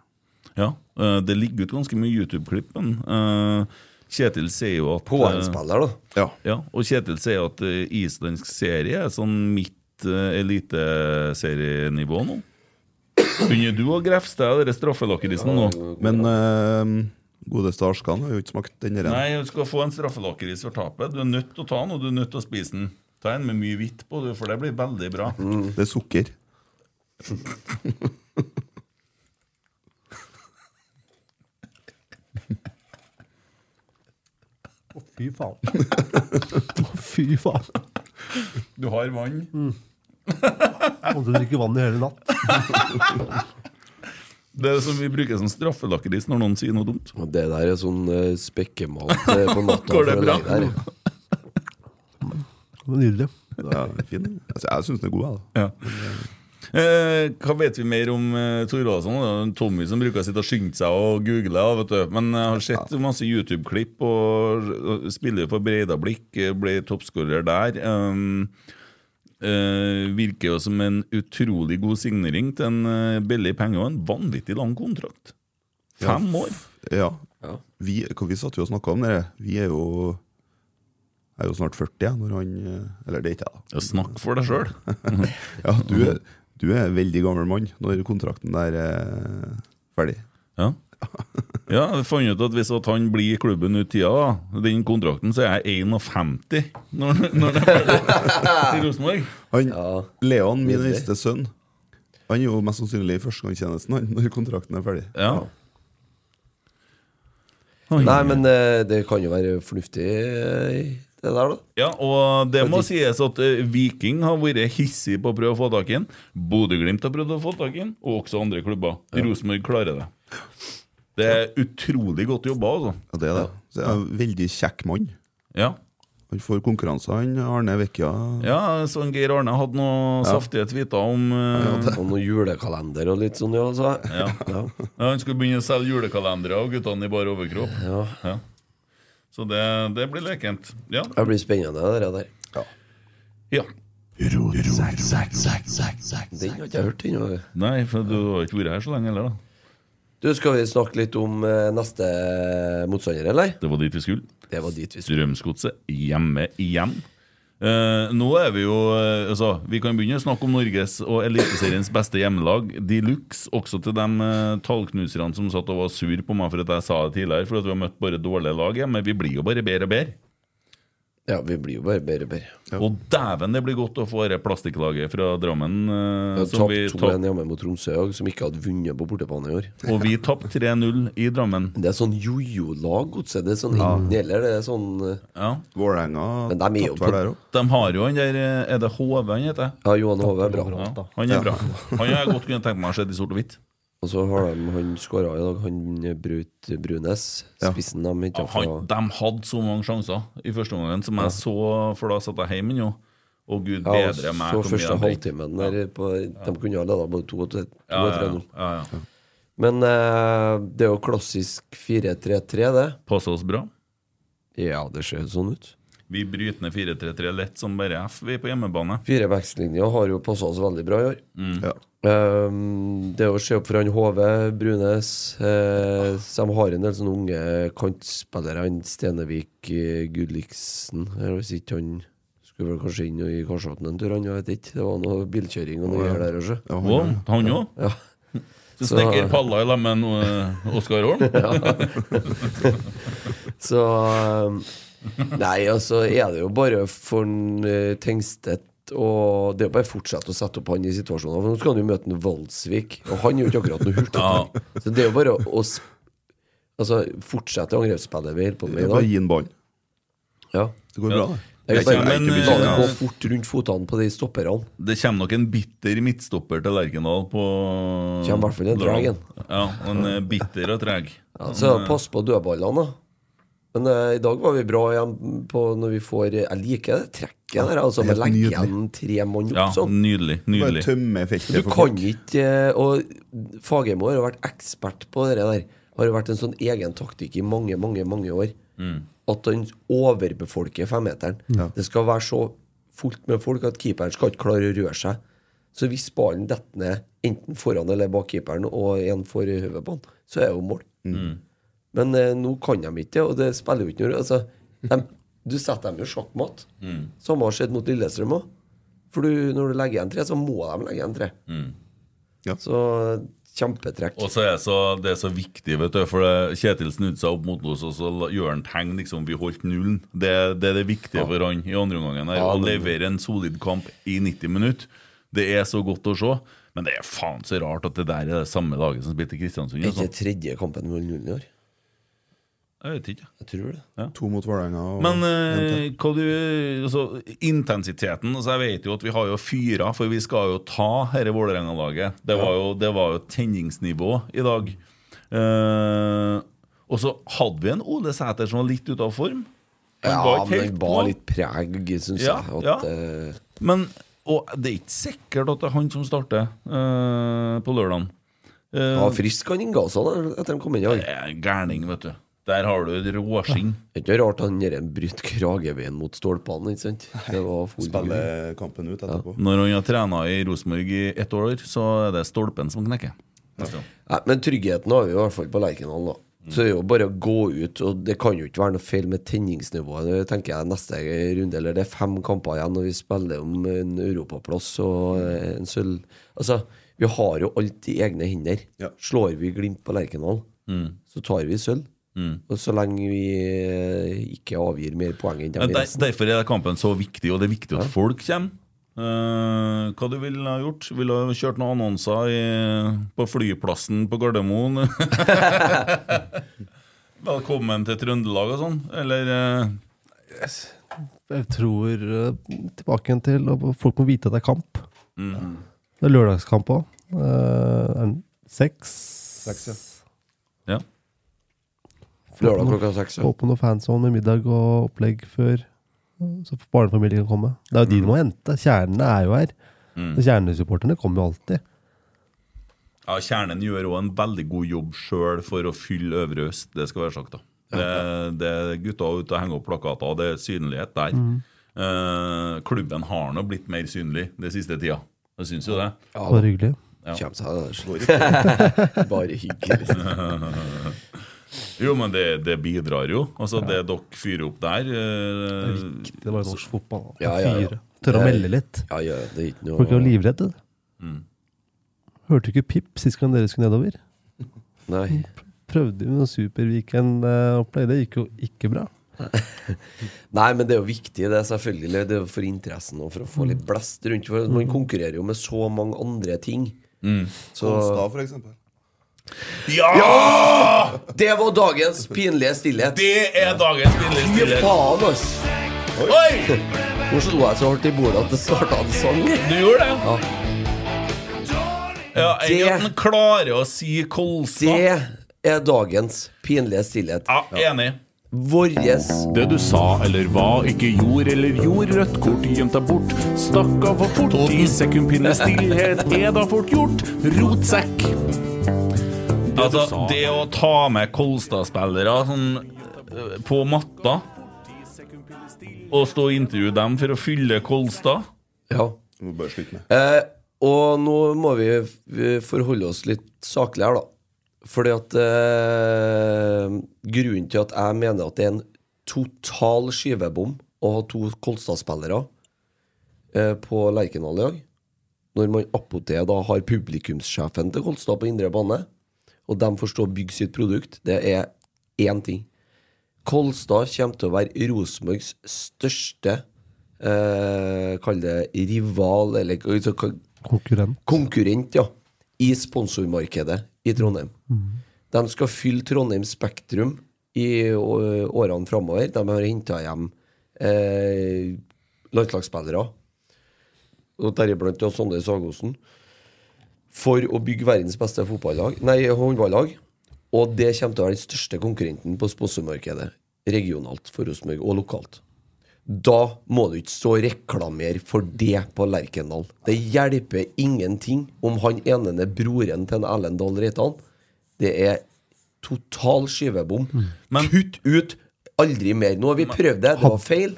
S3: Ja, eh, det ligger ut ganske mye YouTube-klipp, men eh, Kjetil sier jo at eh,
S7: KN-spiller, da.
S6: Ja.
S3: Ja, og Kjetil sier at eh, islandsk serie er sånn midt uh, eliteserienivå nå. Begynner du å grefse deg av den straffelakkerisen nå?
S6: Men eh, godeste Arskan har jo ikke smakt den der.
S3: Nei, du skal få en straffelakkeris for tapet. Du er nødt til å ta den, og du er nødt til å spise den. Ta en med mye hvitt på, du, for det blir veldig bra.
S6: Det er sukker.
S4: Å, fy faen. Å, [laughs] fy faen.
S3: Du har vann.
S4: Kom til å drikke vann i hele natt.
S3: Det er som vi bruker som straffelakkeris når noen sier noe dumt.
S7: Og det der er sånn eh, spekkemat eh,
S3: [laughs]
S7: på natta.
S3: Går det
S7: for å
S3: bra?
S7: legge der.
S4: Det var Nydelig.
S6: Ja, fin. den. Altså, jeg syns den er god, jeg. da.
S3: Ja. Eh, hva vet vi mer om eh, Thorvaldsson? Det er en Tommy som bruker å sitte og skynde seg og google. da, Vet du. Men jeg har sett masse YouTube-klipp, og, og spiller for Breidablikk, eh, ble toppskårer der. Um, eh, virker jo som en utrolig god signering til en eh, billig penge og en vanvittig lang kontrakt. Fem år.
S6: Ja.
S7: Ja.
S6: Vi, hva vi satt jo og snakka om det. Vi er jo jeg er jo snart 40 jeg, når han eh, Eller det er ikke jeg, da.
S3: Ja, Snakk for deg sjøl.
S6: Ja, du, er, du er en veldig gammel mann når kontrakten der er ferdig.
S3: Ja. ja, jeg fant ut at hvis at han blir i klubben ut tida, da, den kontrakten, så er jeg 51 når, når det er ferdig i Rosenborg.
S6: Han,
S7: Ja.
S6: Leon, min
S7: Nydelig.
S6: eldste sønn, han er jo mest sannsynlig i førstegangstjenesten han, når kontrakten er ferdig.
S3: Ja.
S7: Nei, men eh, det kan jo være fornuftig, eh, det der, da.
S3: Ja, og det må sies at eh, Viking har vært hissig på å prøve å få tak i den. Bodø-Glimt har prøvd å få tak i den, og også andre klubber. Rosenborg klarer det. Det er utrolig godt jobba, altså.
S6: Ja, det er det. Så er han en veldig kjekk mann.
S3: Ja.
S6: Han får konkurranser, han Arne Vekkia.
S3: ja, sånn Geir Arne hadde noen saftige tweeter om eh,
S7: Og noen julekalender og litt sånn, ja. Så.
S3: Ja.
S7: Ja.
S3: Ja, han skulle begynne å selge julekalendere og guttene i bare overkropp.
S7: Ja.
S3: Ja. Så det, det blir lekent. Ja.
S7: Det blir spennende, det der.
S3: ja.
S7: Den har ikke jeg hørt ennå.
S3: Nei, for du har ikke vært her så lenge heller, da.
S7: Du, skal vi snakke litt om eh, neste eh, motstander, eller?
S3: Det var dit vi skulle.
S7: Det var dit vi skulle.
S3: Strømsgodset hjemme igjen. Eh, nå er vi jo eh, altså, Vi kan begynne å snakke om Norges og Eliteseriens beste hjemmelag de luxe. Også til de eh, tallknuserne som satt og var sur på meg for at jeg sa det tidligere. For at vi har møtt bare dårlige lag hjemme. Vi blir jo bare bedre og bedre.
S7: Ja, vi blir jo bare bedre og bedre.
S3: Og dæven, det blir godt å få det plastikklaget fra Drammen. eh,
S7: Vi har
S3: som vi
S7: tapt
S3: tap-
S7: 2-1 hjemme mot Tromsø òg, som ikke hadde vunnet på bortebane i år.
S3: og vi tapte 3-0 i Drammen.
S7: Det er sånn jojo-lag, godset. Det er sånn enten eller. Det er sånn eh,
S3: Ja.
S6: Vålerenga
S7: Men de er jo
S6: tatt hver
S7: på-
S6: der òg.
S3: De har jo han der eh, Er det HV han heter?
S7: Ja, Johan Hove er bra.
S3: Ja, han [laughs] er bra. Han har jeg godt kunne tenke meg å se i sort og hvitt.
S7: Og så har de han skåra i dag, han Brut Brunes. Spissen dem
S3: Ja,
S7: ikke
S3: han, de hadde så mange sjanser i første omgang som jeg så, for da satt jeg hjemme nå. Å, gud
S7: Ja, og
S3: bedre meg.
S7: så
S3: hvor mye
S7: første
S3: de fikk.
S7: halvtimen der på, De kunne ha leda både 2-3-0.
S3: Ja, ja, ja, ja.
S7: Men eh, det er jo klassisk 4-3-3, det.
S3: Passer oss bra.
S7: Ja, det ser sånn ut.
S3: Vi bryter ned 4-3-3 lett som bare F, vi, på hjemmebane.
S7: Firebackslinja har jo passa oss veldig bra i år.
S3: Mm.
S6: Ja.
S7: Ehm, det å se opp for han HV, Brunes eh, så De har en del sånne unge kantspillere. Han Stenevik eh, Gudliksen eh, Hvis ikke han skulle Skulle vel kanskje inn i Karlsvatn en tur, han jeg vet ikke. Det var noe bilkjøring og noe greier der også.
S6: Ja,
S3: Å,
S6: han,
S3: han òg?
S7: Ja.
S3: [laughs] Så Snekker palla i lag med en, eh, Oskar [laughs] Holm?
S7: Så um, Nei, altså er det jo bare for en, eh, Tengstedt og det er bare å fortsette å sette opp han i situasjoner. For nå skal han jo møte en Valsvik, og han er jo ikke akkurat noe hurtigtog. Så det er jo bare å, å sp- altså, fortsette angrepsspillet vi holder på med
S6: ja.
S7: i
S6: Bare
S7: dag.
S6: gi en ball.
S7: Ja.
S6: Det går
S3: Ja.
S6: bra, det.
S7: Jeg
S3: Det
S7: vil bare
S3: kommer en,
S7: la det
S3: eh,
S7: gå fort rundt fotene på de stopperne.
S3: Det kommer nok en bitter midtstopper til Lerkendal på
S7: Kommer i hvert fall en drag, en.
S3: Ja, han er bitter og treg.
S7: Ja, så pass på dødballene, da. Men eh, i dag var vi bra igjen på når vi får Jeg liker det trekket der, altså.
S6: helt
S7: Men legge
S6: nydelig.
S7: igjen tre mann opp
S3: Ja,
S7: sånn.
S3: nydelig.
S6: Bare
S3: nydelig
S6: tømme
S7: Du
S6: feltet for folk.
S7: kan ikke eh, Og Fagermo har jo vært ekspert på det der. Har jo vært en sånn egen taktikk i mange, mange mange år. At han overbefolker femmeteren. Det skal være så fullt med folk at keeperen skal ikke klare å røre seg. Så hvis ballen detter ned enten foran eller bak keeperen, og en får hodet på den, så er det jo mål. Men eh, nå kan de ikke det, og det spiller jo ikke noe altså, dem- Du setter dem jo sjakkmatt.
S3: Mm.
S7: Samme har skjedd mot Lillestrøm òg. For du, når du legger igjen tre, så må de legge igjen tre.
S6: Ja.
S7: Så kjempetrekk.
S3: Mm. Og så er det så, det er så viktig, vet du, for det, Kjetil snudde seg opp mot oss, og så la- gjør han tegn liksom vi holdt nullen. Det, det er det viktige for han i andre omgangen. her, Å levere en solid kamp i 90 minutter. Det er så godt å se. Men det er faen så rart at det der er det samme laget som spilte i Kristiansund.
S7: Er ikke
S3: Altså.
S7: det tredje kampen med 0 i år?
S3: Jeg vet ikke.
S7: Jeg tror det.
S6: To mot Vålerenga. og-
S3: Men eh, hva du, altså, intensiteten altså, Jeg vet jo at vi har jo fyra, for vi skal jo ta dette Vålerenga-laget. Det, var jo- det var jo et tenningsnivå i dag. Eh, og så hadde vi en Ole Sæter som var litt ute av form. Han
S7: Ja,
S3: var ikke
S7: men
S3: helt på.
S7: den bar litt preg, syns
S3: Ja,
S7: jeg. At,
S3: ja.
S7: eh,
S3: Men, og det er ikke sikkert at det er han som starter eh, på lørdag.
S7: han var frisk han innga seg da, etter han kom inn i år.
S3: Gærning, vet du. Der har du et råskinn.
S7: Det er ikke rart han der bryter krageveien mot stolpene, ikke sant? Det var full
S6: Spille kampen ut etterpå.
S3: Når han har trena i Rosenborg i ett år, så er det stolpen som knekker.
S7: Nei, men tryggheten har vi jo i hvert fall på Lerkendal, da. Så det er jo bare å gå ut, og det kan jo ikke være noe feil med tenningsnivået. Det tenker jeg neste runde, eller det er fem kamper igjen, og vi spiller om en europaplass og eh, en sølv... Altså, vi har jo alt i egne hender.
S6: Ja.
S7: Slår vi Glimt på Lerkendal, så tar vi sølv. Og så lenge vi eh, ikke avgir mer poeng enn
S3: Men
S7: dem i
S3: der,
S7: resten.
S3: derfor er kampen så viktig, og det er viktig at folk kommer. Eh, hva du ville ha gjort? Ville ha kjørt noen annonser i, på flyplassen på [laughs] Gardermoen? Velkommen til Trøndelag og sånn? Eller eh,
S4: Jeg tror eh, tilbake igjen til og Folk må vite at det er kamp.
S7: Mm.
S4: Det er lørdagskamp òg. seks.
S6: Seks, ja.
S3: Ja.
S7: Lørdag klokka seks. ja.
S4: Få på noe fanzone med middag og opplegg før eh, så barnefamilien kan komme. Det er
S7: Mm.
S4: jo de de må hente. Kjernene er jo her. Og Kjernesupporterne kommer jo alltid.
S3: Ja, Kjernen gjør òg en veldig god jobb sjøl for å fylle Øvre Øst, det skal være sagt. da. Det, det er gutta ute og henger opp plakater, og det er synlighet der. Eh, klubben har nå blitt mer synlig den siste tida. Jeg syns jo det.
S4: Det var hyggelig.
S7: Kjem seg der. [laughs] Bare hyggelig.
S3: Jo, men det, det bidrar jo. Altså, Det dere fyrer opp der eh,
S4: Det var norsk fotball.
S7: Mm. Ja, ja, ja.
S4: Fyre. Tørre å
S7: Det er- Mm.
S4: melde litt.
S7: Ja, ja, det er ikke noe
S4: Folk er jo livredde. Hørte ikke pip sist gang dere skulle nedover.
S7: Nei.
S4: Prøvde jo noe Superviken-opplegg. Det gikk jo ikke bra.
S7: Nei, men det er jo viktig, det er selvfølgelig. Det er jo for interessen og for å få
S3: Mm.
S7: litt blest rundt. For man konkurrerer jo med så mange andre ting.
S3: Mm.
S7: Så
S6: Kolstad, for eksempel.
S3: Ja!
S7: Det var dagens pinlige stillhet.
S3: Det er dagens
S7: Fy
S3: billigstille.
S7: faen, ass!
S3: Oi!
S7: Nå slo jeg så hardt i bordet at det starta en sang.
S3: Du gjorde det? Ja. Ja, jeg,
S7: Det-
S3: at han klarer å si Kolstad.
S7: Det er dagens pinlige stillhet.
S3: Ja, enig.
S7: Vårres
S8: Det du sa eller hva, ikke gjorde eller gjorde, rødt kort gjemt deg bort. Stakk av for fort, i sekundpinne stillhet er da fort gjort. Rotsekk.
S3: Altså, det å ta med Kolstad-spillere sånn, øh, på matta og stå og intervjue dem for å fylle Kolstad
S7: Ja.
S6: Du må bare slutte med
S7: Eh, og nå må vi eh, forholde oss litt saklig her, da. Fordi at eh, Grunnen til at jeg mener at det er en total skyvebom å ha to Kolstad-spillere, eh, på Lerkendal i dag. Når man appåtil da har publikumssjefen til Kolstad på indre bane, og de får stå og bygge sitt produkt, det er én ting. Kolstad kommer til å være Rosenborgs største eh, Kall det rival, eller altså, hva-
S4: Konkurrent.
S7: konkurrent ja, i sponsormarkedet i Trondheim. De skal fylle Trondheim Spektrum i å- årene framover. De har henta hjem eh, landslagsspillere, og deriblant ja, Sondre Sagosen, for å bygge verdens beste fotballag, nei, håndballag. Og det kommer til å være den største konkurrenten på sponsormarkedet regionalt for Rosenborg, og lokalt. Da må du ikke stå og reklamere for det på Lerkendal. Det hjelper ingenting om han ene er broren til en Erlend Dahl Reitan. Det er total skyvebom. Kutt ut! Aldri mer. Nå har vi prøvd det. Det var feil.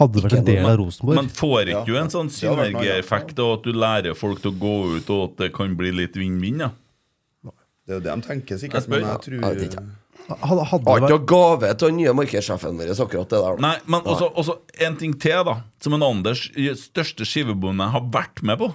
S4: Hadde vært en del av
S3: Men
S4: Rosenborg.
S3: får ikke du en sånn
S6: Det hadde vært noe, ja.
S3: synergieffekt av at du lærer folk til å gå ut, og at det kan bli litt vinn-vinn? Ja.
S6: Det er jo det de tenker, sikkert.
S3: Jeg spør.
S6: Men jeg tror
S7: Ja, jeg vet ikke.
S4: Hadde, hadde
S7: Har
S4: det vært,
S7: ikke noe gave til den nye markedssjefen vår, akkurat det der. da.
S3: Nei, men også, også en ting til, da. Som en Anders største skivebom jeg har vært med på.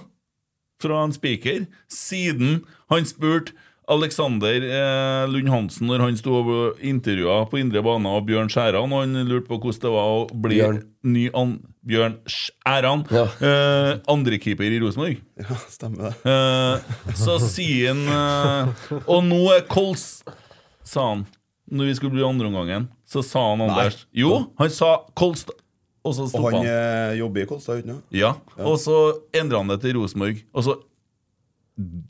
S3: Fra en spiker. Siden han spurte Alexander eh, Lund Hansen når han sto og intervjua på indre bane av Bjørn Skjæran, og han lurte på hvordan det var å bli
S7: Bjørn.
S3: ny an Bjørn Skjæran,
S7: Ja.
S3: eh, andrekeeper i Rosenborg.
S6: Ja, stemmer det.
S3: Eh, så sier han eh, Og nå er Kols Sa han Når vi skulle bli andre omgangen Så sa han Anders Jo, han sa Kols Og så
S6: Og
S3: stoppet
S6: han
S3: han
S6: eh, jobber i Kolstad uten det?
S3: ja. og så endret han det til Rosenborg Og så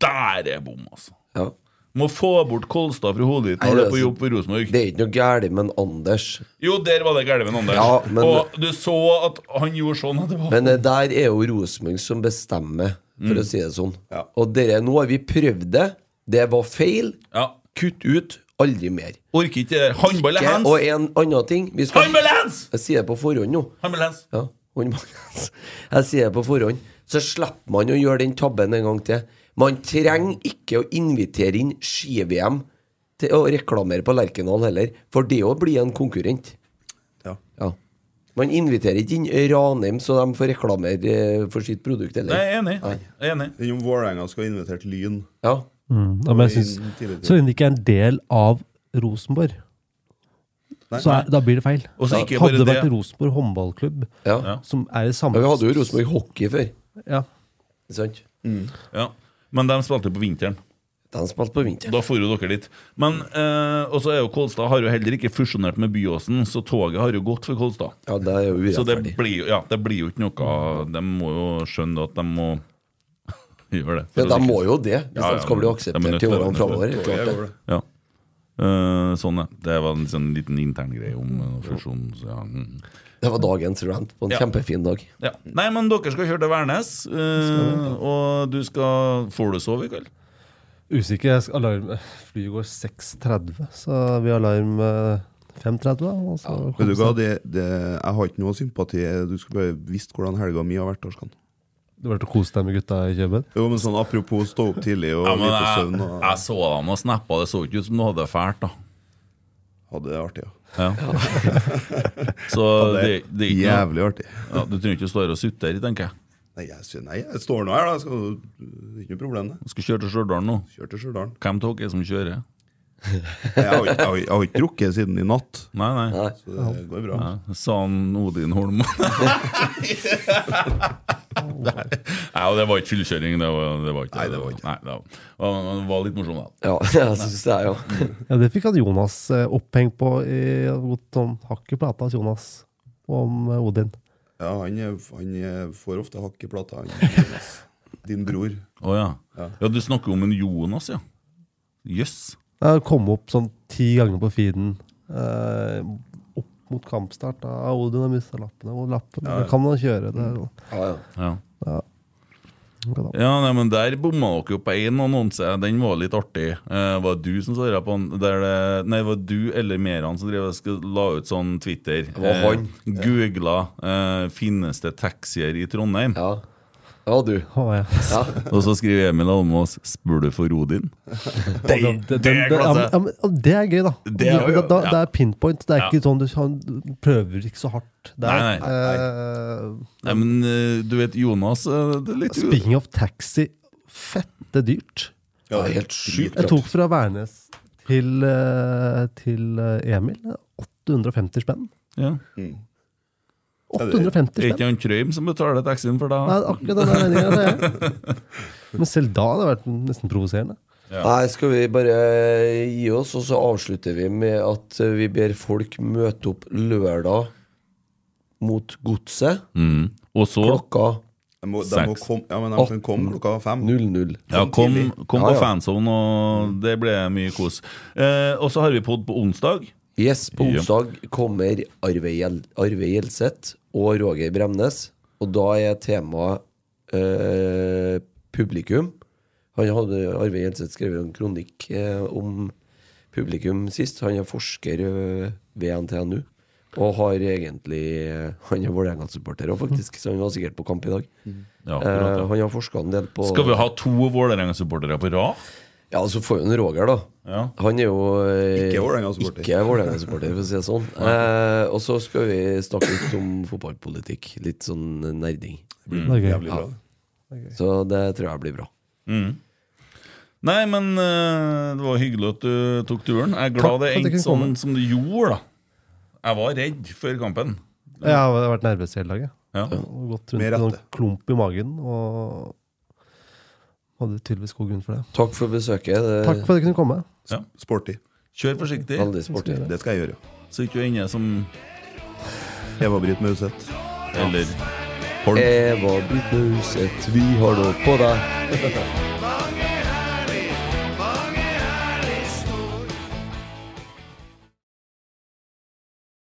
S3: Der er bom altså
S7: Ja.
S3: Må få bort Kolstad fra hodet ditt
S7: Nei,
S3: Når du
S7: det
S3: er på
S7: er-
S3: jobb for Rosenborg
S7: Det er ikke noe gærent med en Anders.
S3: Jo, der var det gærlig med Anders
S7: Ja, men-
S3: Og du så at han gjorde sånn at det var
S7: Men det der er jo Rosenborg som bestemmer, for å si det sånn.
S6: Ja.
S7: Og dere, nå har vi prøvd det. Det var feil.
S3: Ja,
S7: Kutt ut. Aldri mer.
S3: orker ikke det der Håndball er
S7: Ja, Og
S3: hands
S7: en annen ting vi skal,
S3: Håndball er hands
S7: Jeg sier det på forhånd nå.
S3: Håndball er hands
S7: Ja, håndballens. [laughs] Jeg sier det på forhånd. Så slipper man å gjøre den tabben en gang til. Man trenger ikke å invitere inn ski-VM til å reklamere på Lerkendal heller, for det å bli en konkurrent.
S6: Ja.
S7: Ja. Man inviterer ikke inn Ranheim så de får reklamere eh, for sitt produkt
S3: Nei,
S7: heller.
S3: jeg er enig Jeg er enig
S6: Den om Vålerenga skal ha invitert Lyn.
S7: Ja.
S4: mm, ja, men jeg synes, så lenge det ikke er en del av Rosenborg,
S6: Nei,
S4: så er, da blir det feil.
S3: Og så ikke bare
S4: Hadde det
S3: det.
S4: vært Rosenborg håndballklubb,
S7: ja.
S3: Ja.
S4: som er i
S7: ja
S4: samme
S7: vi hadde jo Rosenborg hockey før.
S4: Ja.
S7: ikke Sant?
S3: Ja, men de spilte på vinteren.
S7: De spilte på vinteren.
S3: Da for jo dere dit. Men, eh, Og så er jo Kolstad har jo heller ikke fusjonert med Byåsen, så toget har jo gått for Kolstad.
S7: Ja, det er jo
S3: Så det
S7: urettferdig.
S3: blir, jo- ja, det blir jo ikke noe De må jo skjønne at de må [laughs] gjøre det.
S7: Ja, de må jo det, hvis
S3: Ja, ja,
S7: de skal bli
S3: men- de er nødt
S7: akseptert i
S3: til det,
S7: årene
S3: de er nødt
S7: framover.
S6: toget
S7: klart det.
S6: går det.
S3: Ja. Eh, sånn, ja. Det var en sånn liten intern greie om eh, fusjon. Så, ja. mm.
S7: Det var dagens rant på en
S3: Ja.
S7: kjempefin dag.
S3: ja. Nei, men dere skal kjøre til Værnes, eh, og du skal Får du sove i kveld?
S4: Usikker. Jeg skal alarm Flyet går 6.30, så vi har alarm eh, 5.30. da, og så
S6: Vet
S4: kommer
S6: du hva, det, det, jeg har ikke noe sympati. Du skulle bare visst hvordan helga mi har vært. Arskan.
S4: Det var til å kose deg med gutta i Kjøben.
S6: Jo, men sånn Apropos stå opp tidlig og
S3: Ja, men
S6: lite
S3: jeg,
S6: søvn. Og,
S3: jeg så dem og snappa, det så ikke ut som du hadde det fælt, da.
S6: hadde det artig. Ja.
S3: Ja.
S6: [laughs]
S3: Så det, det er ikke noe
S6: Jævlig artig.
S3: ja, Du trenger ikke å stå her og sutte her, tenker jeg.
S6: Nei, jeg, sy- nei, jeg står nå her, da. Skal, det er ikke noe problem, det.
S3: Du skal kjøre til Stjørdal nå.
S6: Kjør til Stjørdal.
S3: Hvem av dere er det som kjører?
S6: Jeg har ikke- jeg har ikke- jeg har ikke drukket siden i natt,
S3: Nei, nei.
S7: Nei.
S6: så det går bra.
S3: Ja, Sa han Odin
S6: [laughs]
S3: Holm. [laughs] Nei, Nei, og det var ikke fyllekjøring. Det var, det var ikke
S6: Nei, det var ikke.
S3: Nei, det var, det var litt morsomt, da.
S7: Ja, [laughs] jeg syns det, er jo
S4: Ja, det fikk han Jonas eh, oppheng på. i- han har gått sånn hakk i plata hos Jonas om eh, Odin.
S6: Ja, han, er- han er- får ofte hakk i plata. Han, Jonas. Din bror.
S3: Å ja. ja. Du snakker om en Jonas, ja. Jøss.
S4: Det har kommet opp sånn ti ganger på feeden eh, opp mot kampstart. Da. Ah, Odin har mista lappene. Hvor lappen Da Kan han kjøre? Det, er sånn.
S7: ja, ja.
S3: Ja.
S4: Kan han-
S3: Ja, nei, men der bomma dere jo på én annonse. Den var litt artig. Eh, var det du som sa det på den? Der det, nei, var det du eller Meran som drev og sk- la ut sånn Twitter? eh,
S7: var han.
S3: Googla eh, 'Finnes det taxier i Trondheim?'
S7: ja. Ja, du.
S4: Å, ja.
S7: Ja.
S3: Og så skriver Emil Almås 'Spør du for
S7: [laughs]
S3: Odin?'
S4: Den- den- den- ja, men- ja, men- og Det er gøy, da.
S3: Det er jo-
S4: da, da,
S3: ja.
S4: det er pinpoint. Det er ikke sånn du han prøver ikke så hardt. Det er,
S3: Nei, nei, Nei, men eh, du vet Jonas eh, det er
S4: eh,
S3: litt
S4: Speaking of taxi, fette dyrt.
S7: Ja, helt sjukt.
S4: Jeg tok fra Værnes til, eh, til eh, Emil. 850 spenn.
S3: Ja.
S4: 850
S3: Er
S4: spenn!
S3: ikke han Trøim som betaler taxien for
S4: Nei,
S3: deg?
S4: akkurat den altså, regninga, det er [laughs] Men selv da hadde det vært nesten provoserende.
S7: Nei, skal vi bare eh, gi oss, og så avslutter vi med at eh, vi ber folk møte opp lørdag mot Godset
S3: Mm. Og så
S7: klokka
S6: De må, de må
S3: Seks.
S6: komme, ja, men de kan komme klokka fem.
S7: 00.
S3: ja,
S4: Sånn
S3: kom, kom
S7: Ja,
S3: på
S7: ja.
S3: fanzone, og det ble mye kos. Eh, og så har vi pod på onsdag.
S7: Yes, på
S3: Ja.
S7: onsdag kommer Arve Gjel- Arve Gjelseth og Roger Bremnes, og da er temaet eh, publikum. Han hadde, Arve Gjelseth skrev en kronikk eh, om publikum sist. Han er forsker eh, ved NTNU. Og har egentlig eh, Han er Vålerenga-supporter òg, faktisk, så han var sikkert på kamp i dag.
S3: Ja, Mm. akkurat,
S7: Eh,
S3: ja.
S7: han har forska en del på
S3: Skal vi ha to Vålerenga-supportere på rad?
S7: Ja, så får vi en Roger, da.
S3: Ja.
S7: Han er jo eh,
S6: Ikke Vålerenga-supporter.
S7: Ikke Vålerenga-supporter, for å si det sånn. Eh, og så skal vi snakke litt om fotballpolitikk. Litt sånn nerding.
S4: Det er gøy.
S6: Mm, Jævlig bra.
S7: Så det tror jeg blir bra.
S3: Nei, men eh, det var hyggelig at du tok turen. Jeg er
S4: Takk
S3: glad
S4: for
S3: det
S4: at jeg
S3: endte
S4: kunne komme.
S3: sånn som det gjorde, da. Jeg var redd før kampen.
S4: Jeg har vært nervøs hele dagen.
S3: Ja.
S4: Og gått rundt
S6: Med
S4: med
S6: rette.
S4: noen klump i magen. Og hadde tydeligvis god grunn for det.
S7: Takk for besøket. Det,
S4: Takk for at jeg kunne komme.
S6: Sporty.
S3: Kjør forsiktig,
S7: Veldig sporty.
S6: Det skal jeg gjøre.
S3: så ikke du ender som
S6: Eva-Britt Mauseth.
S3: Eller
S4: Eh,
S7: Eva Britt Nauseth, vi har nå på deg.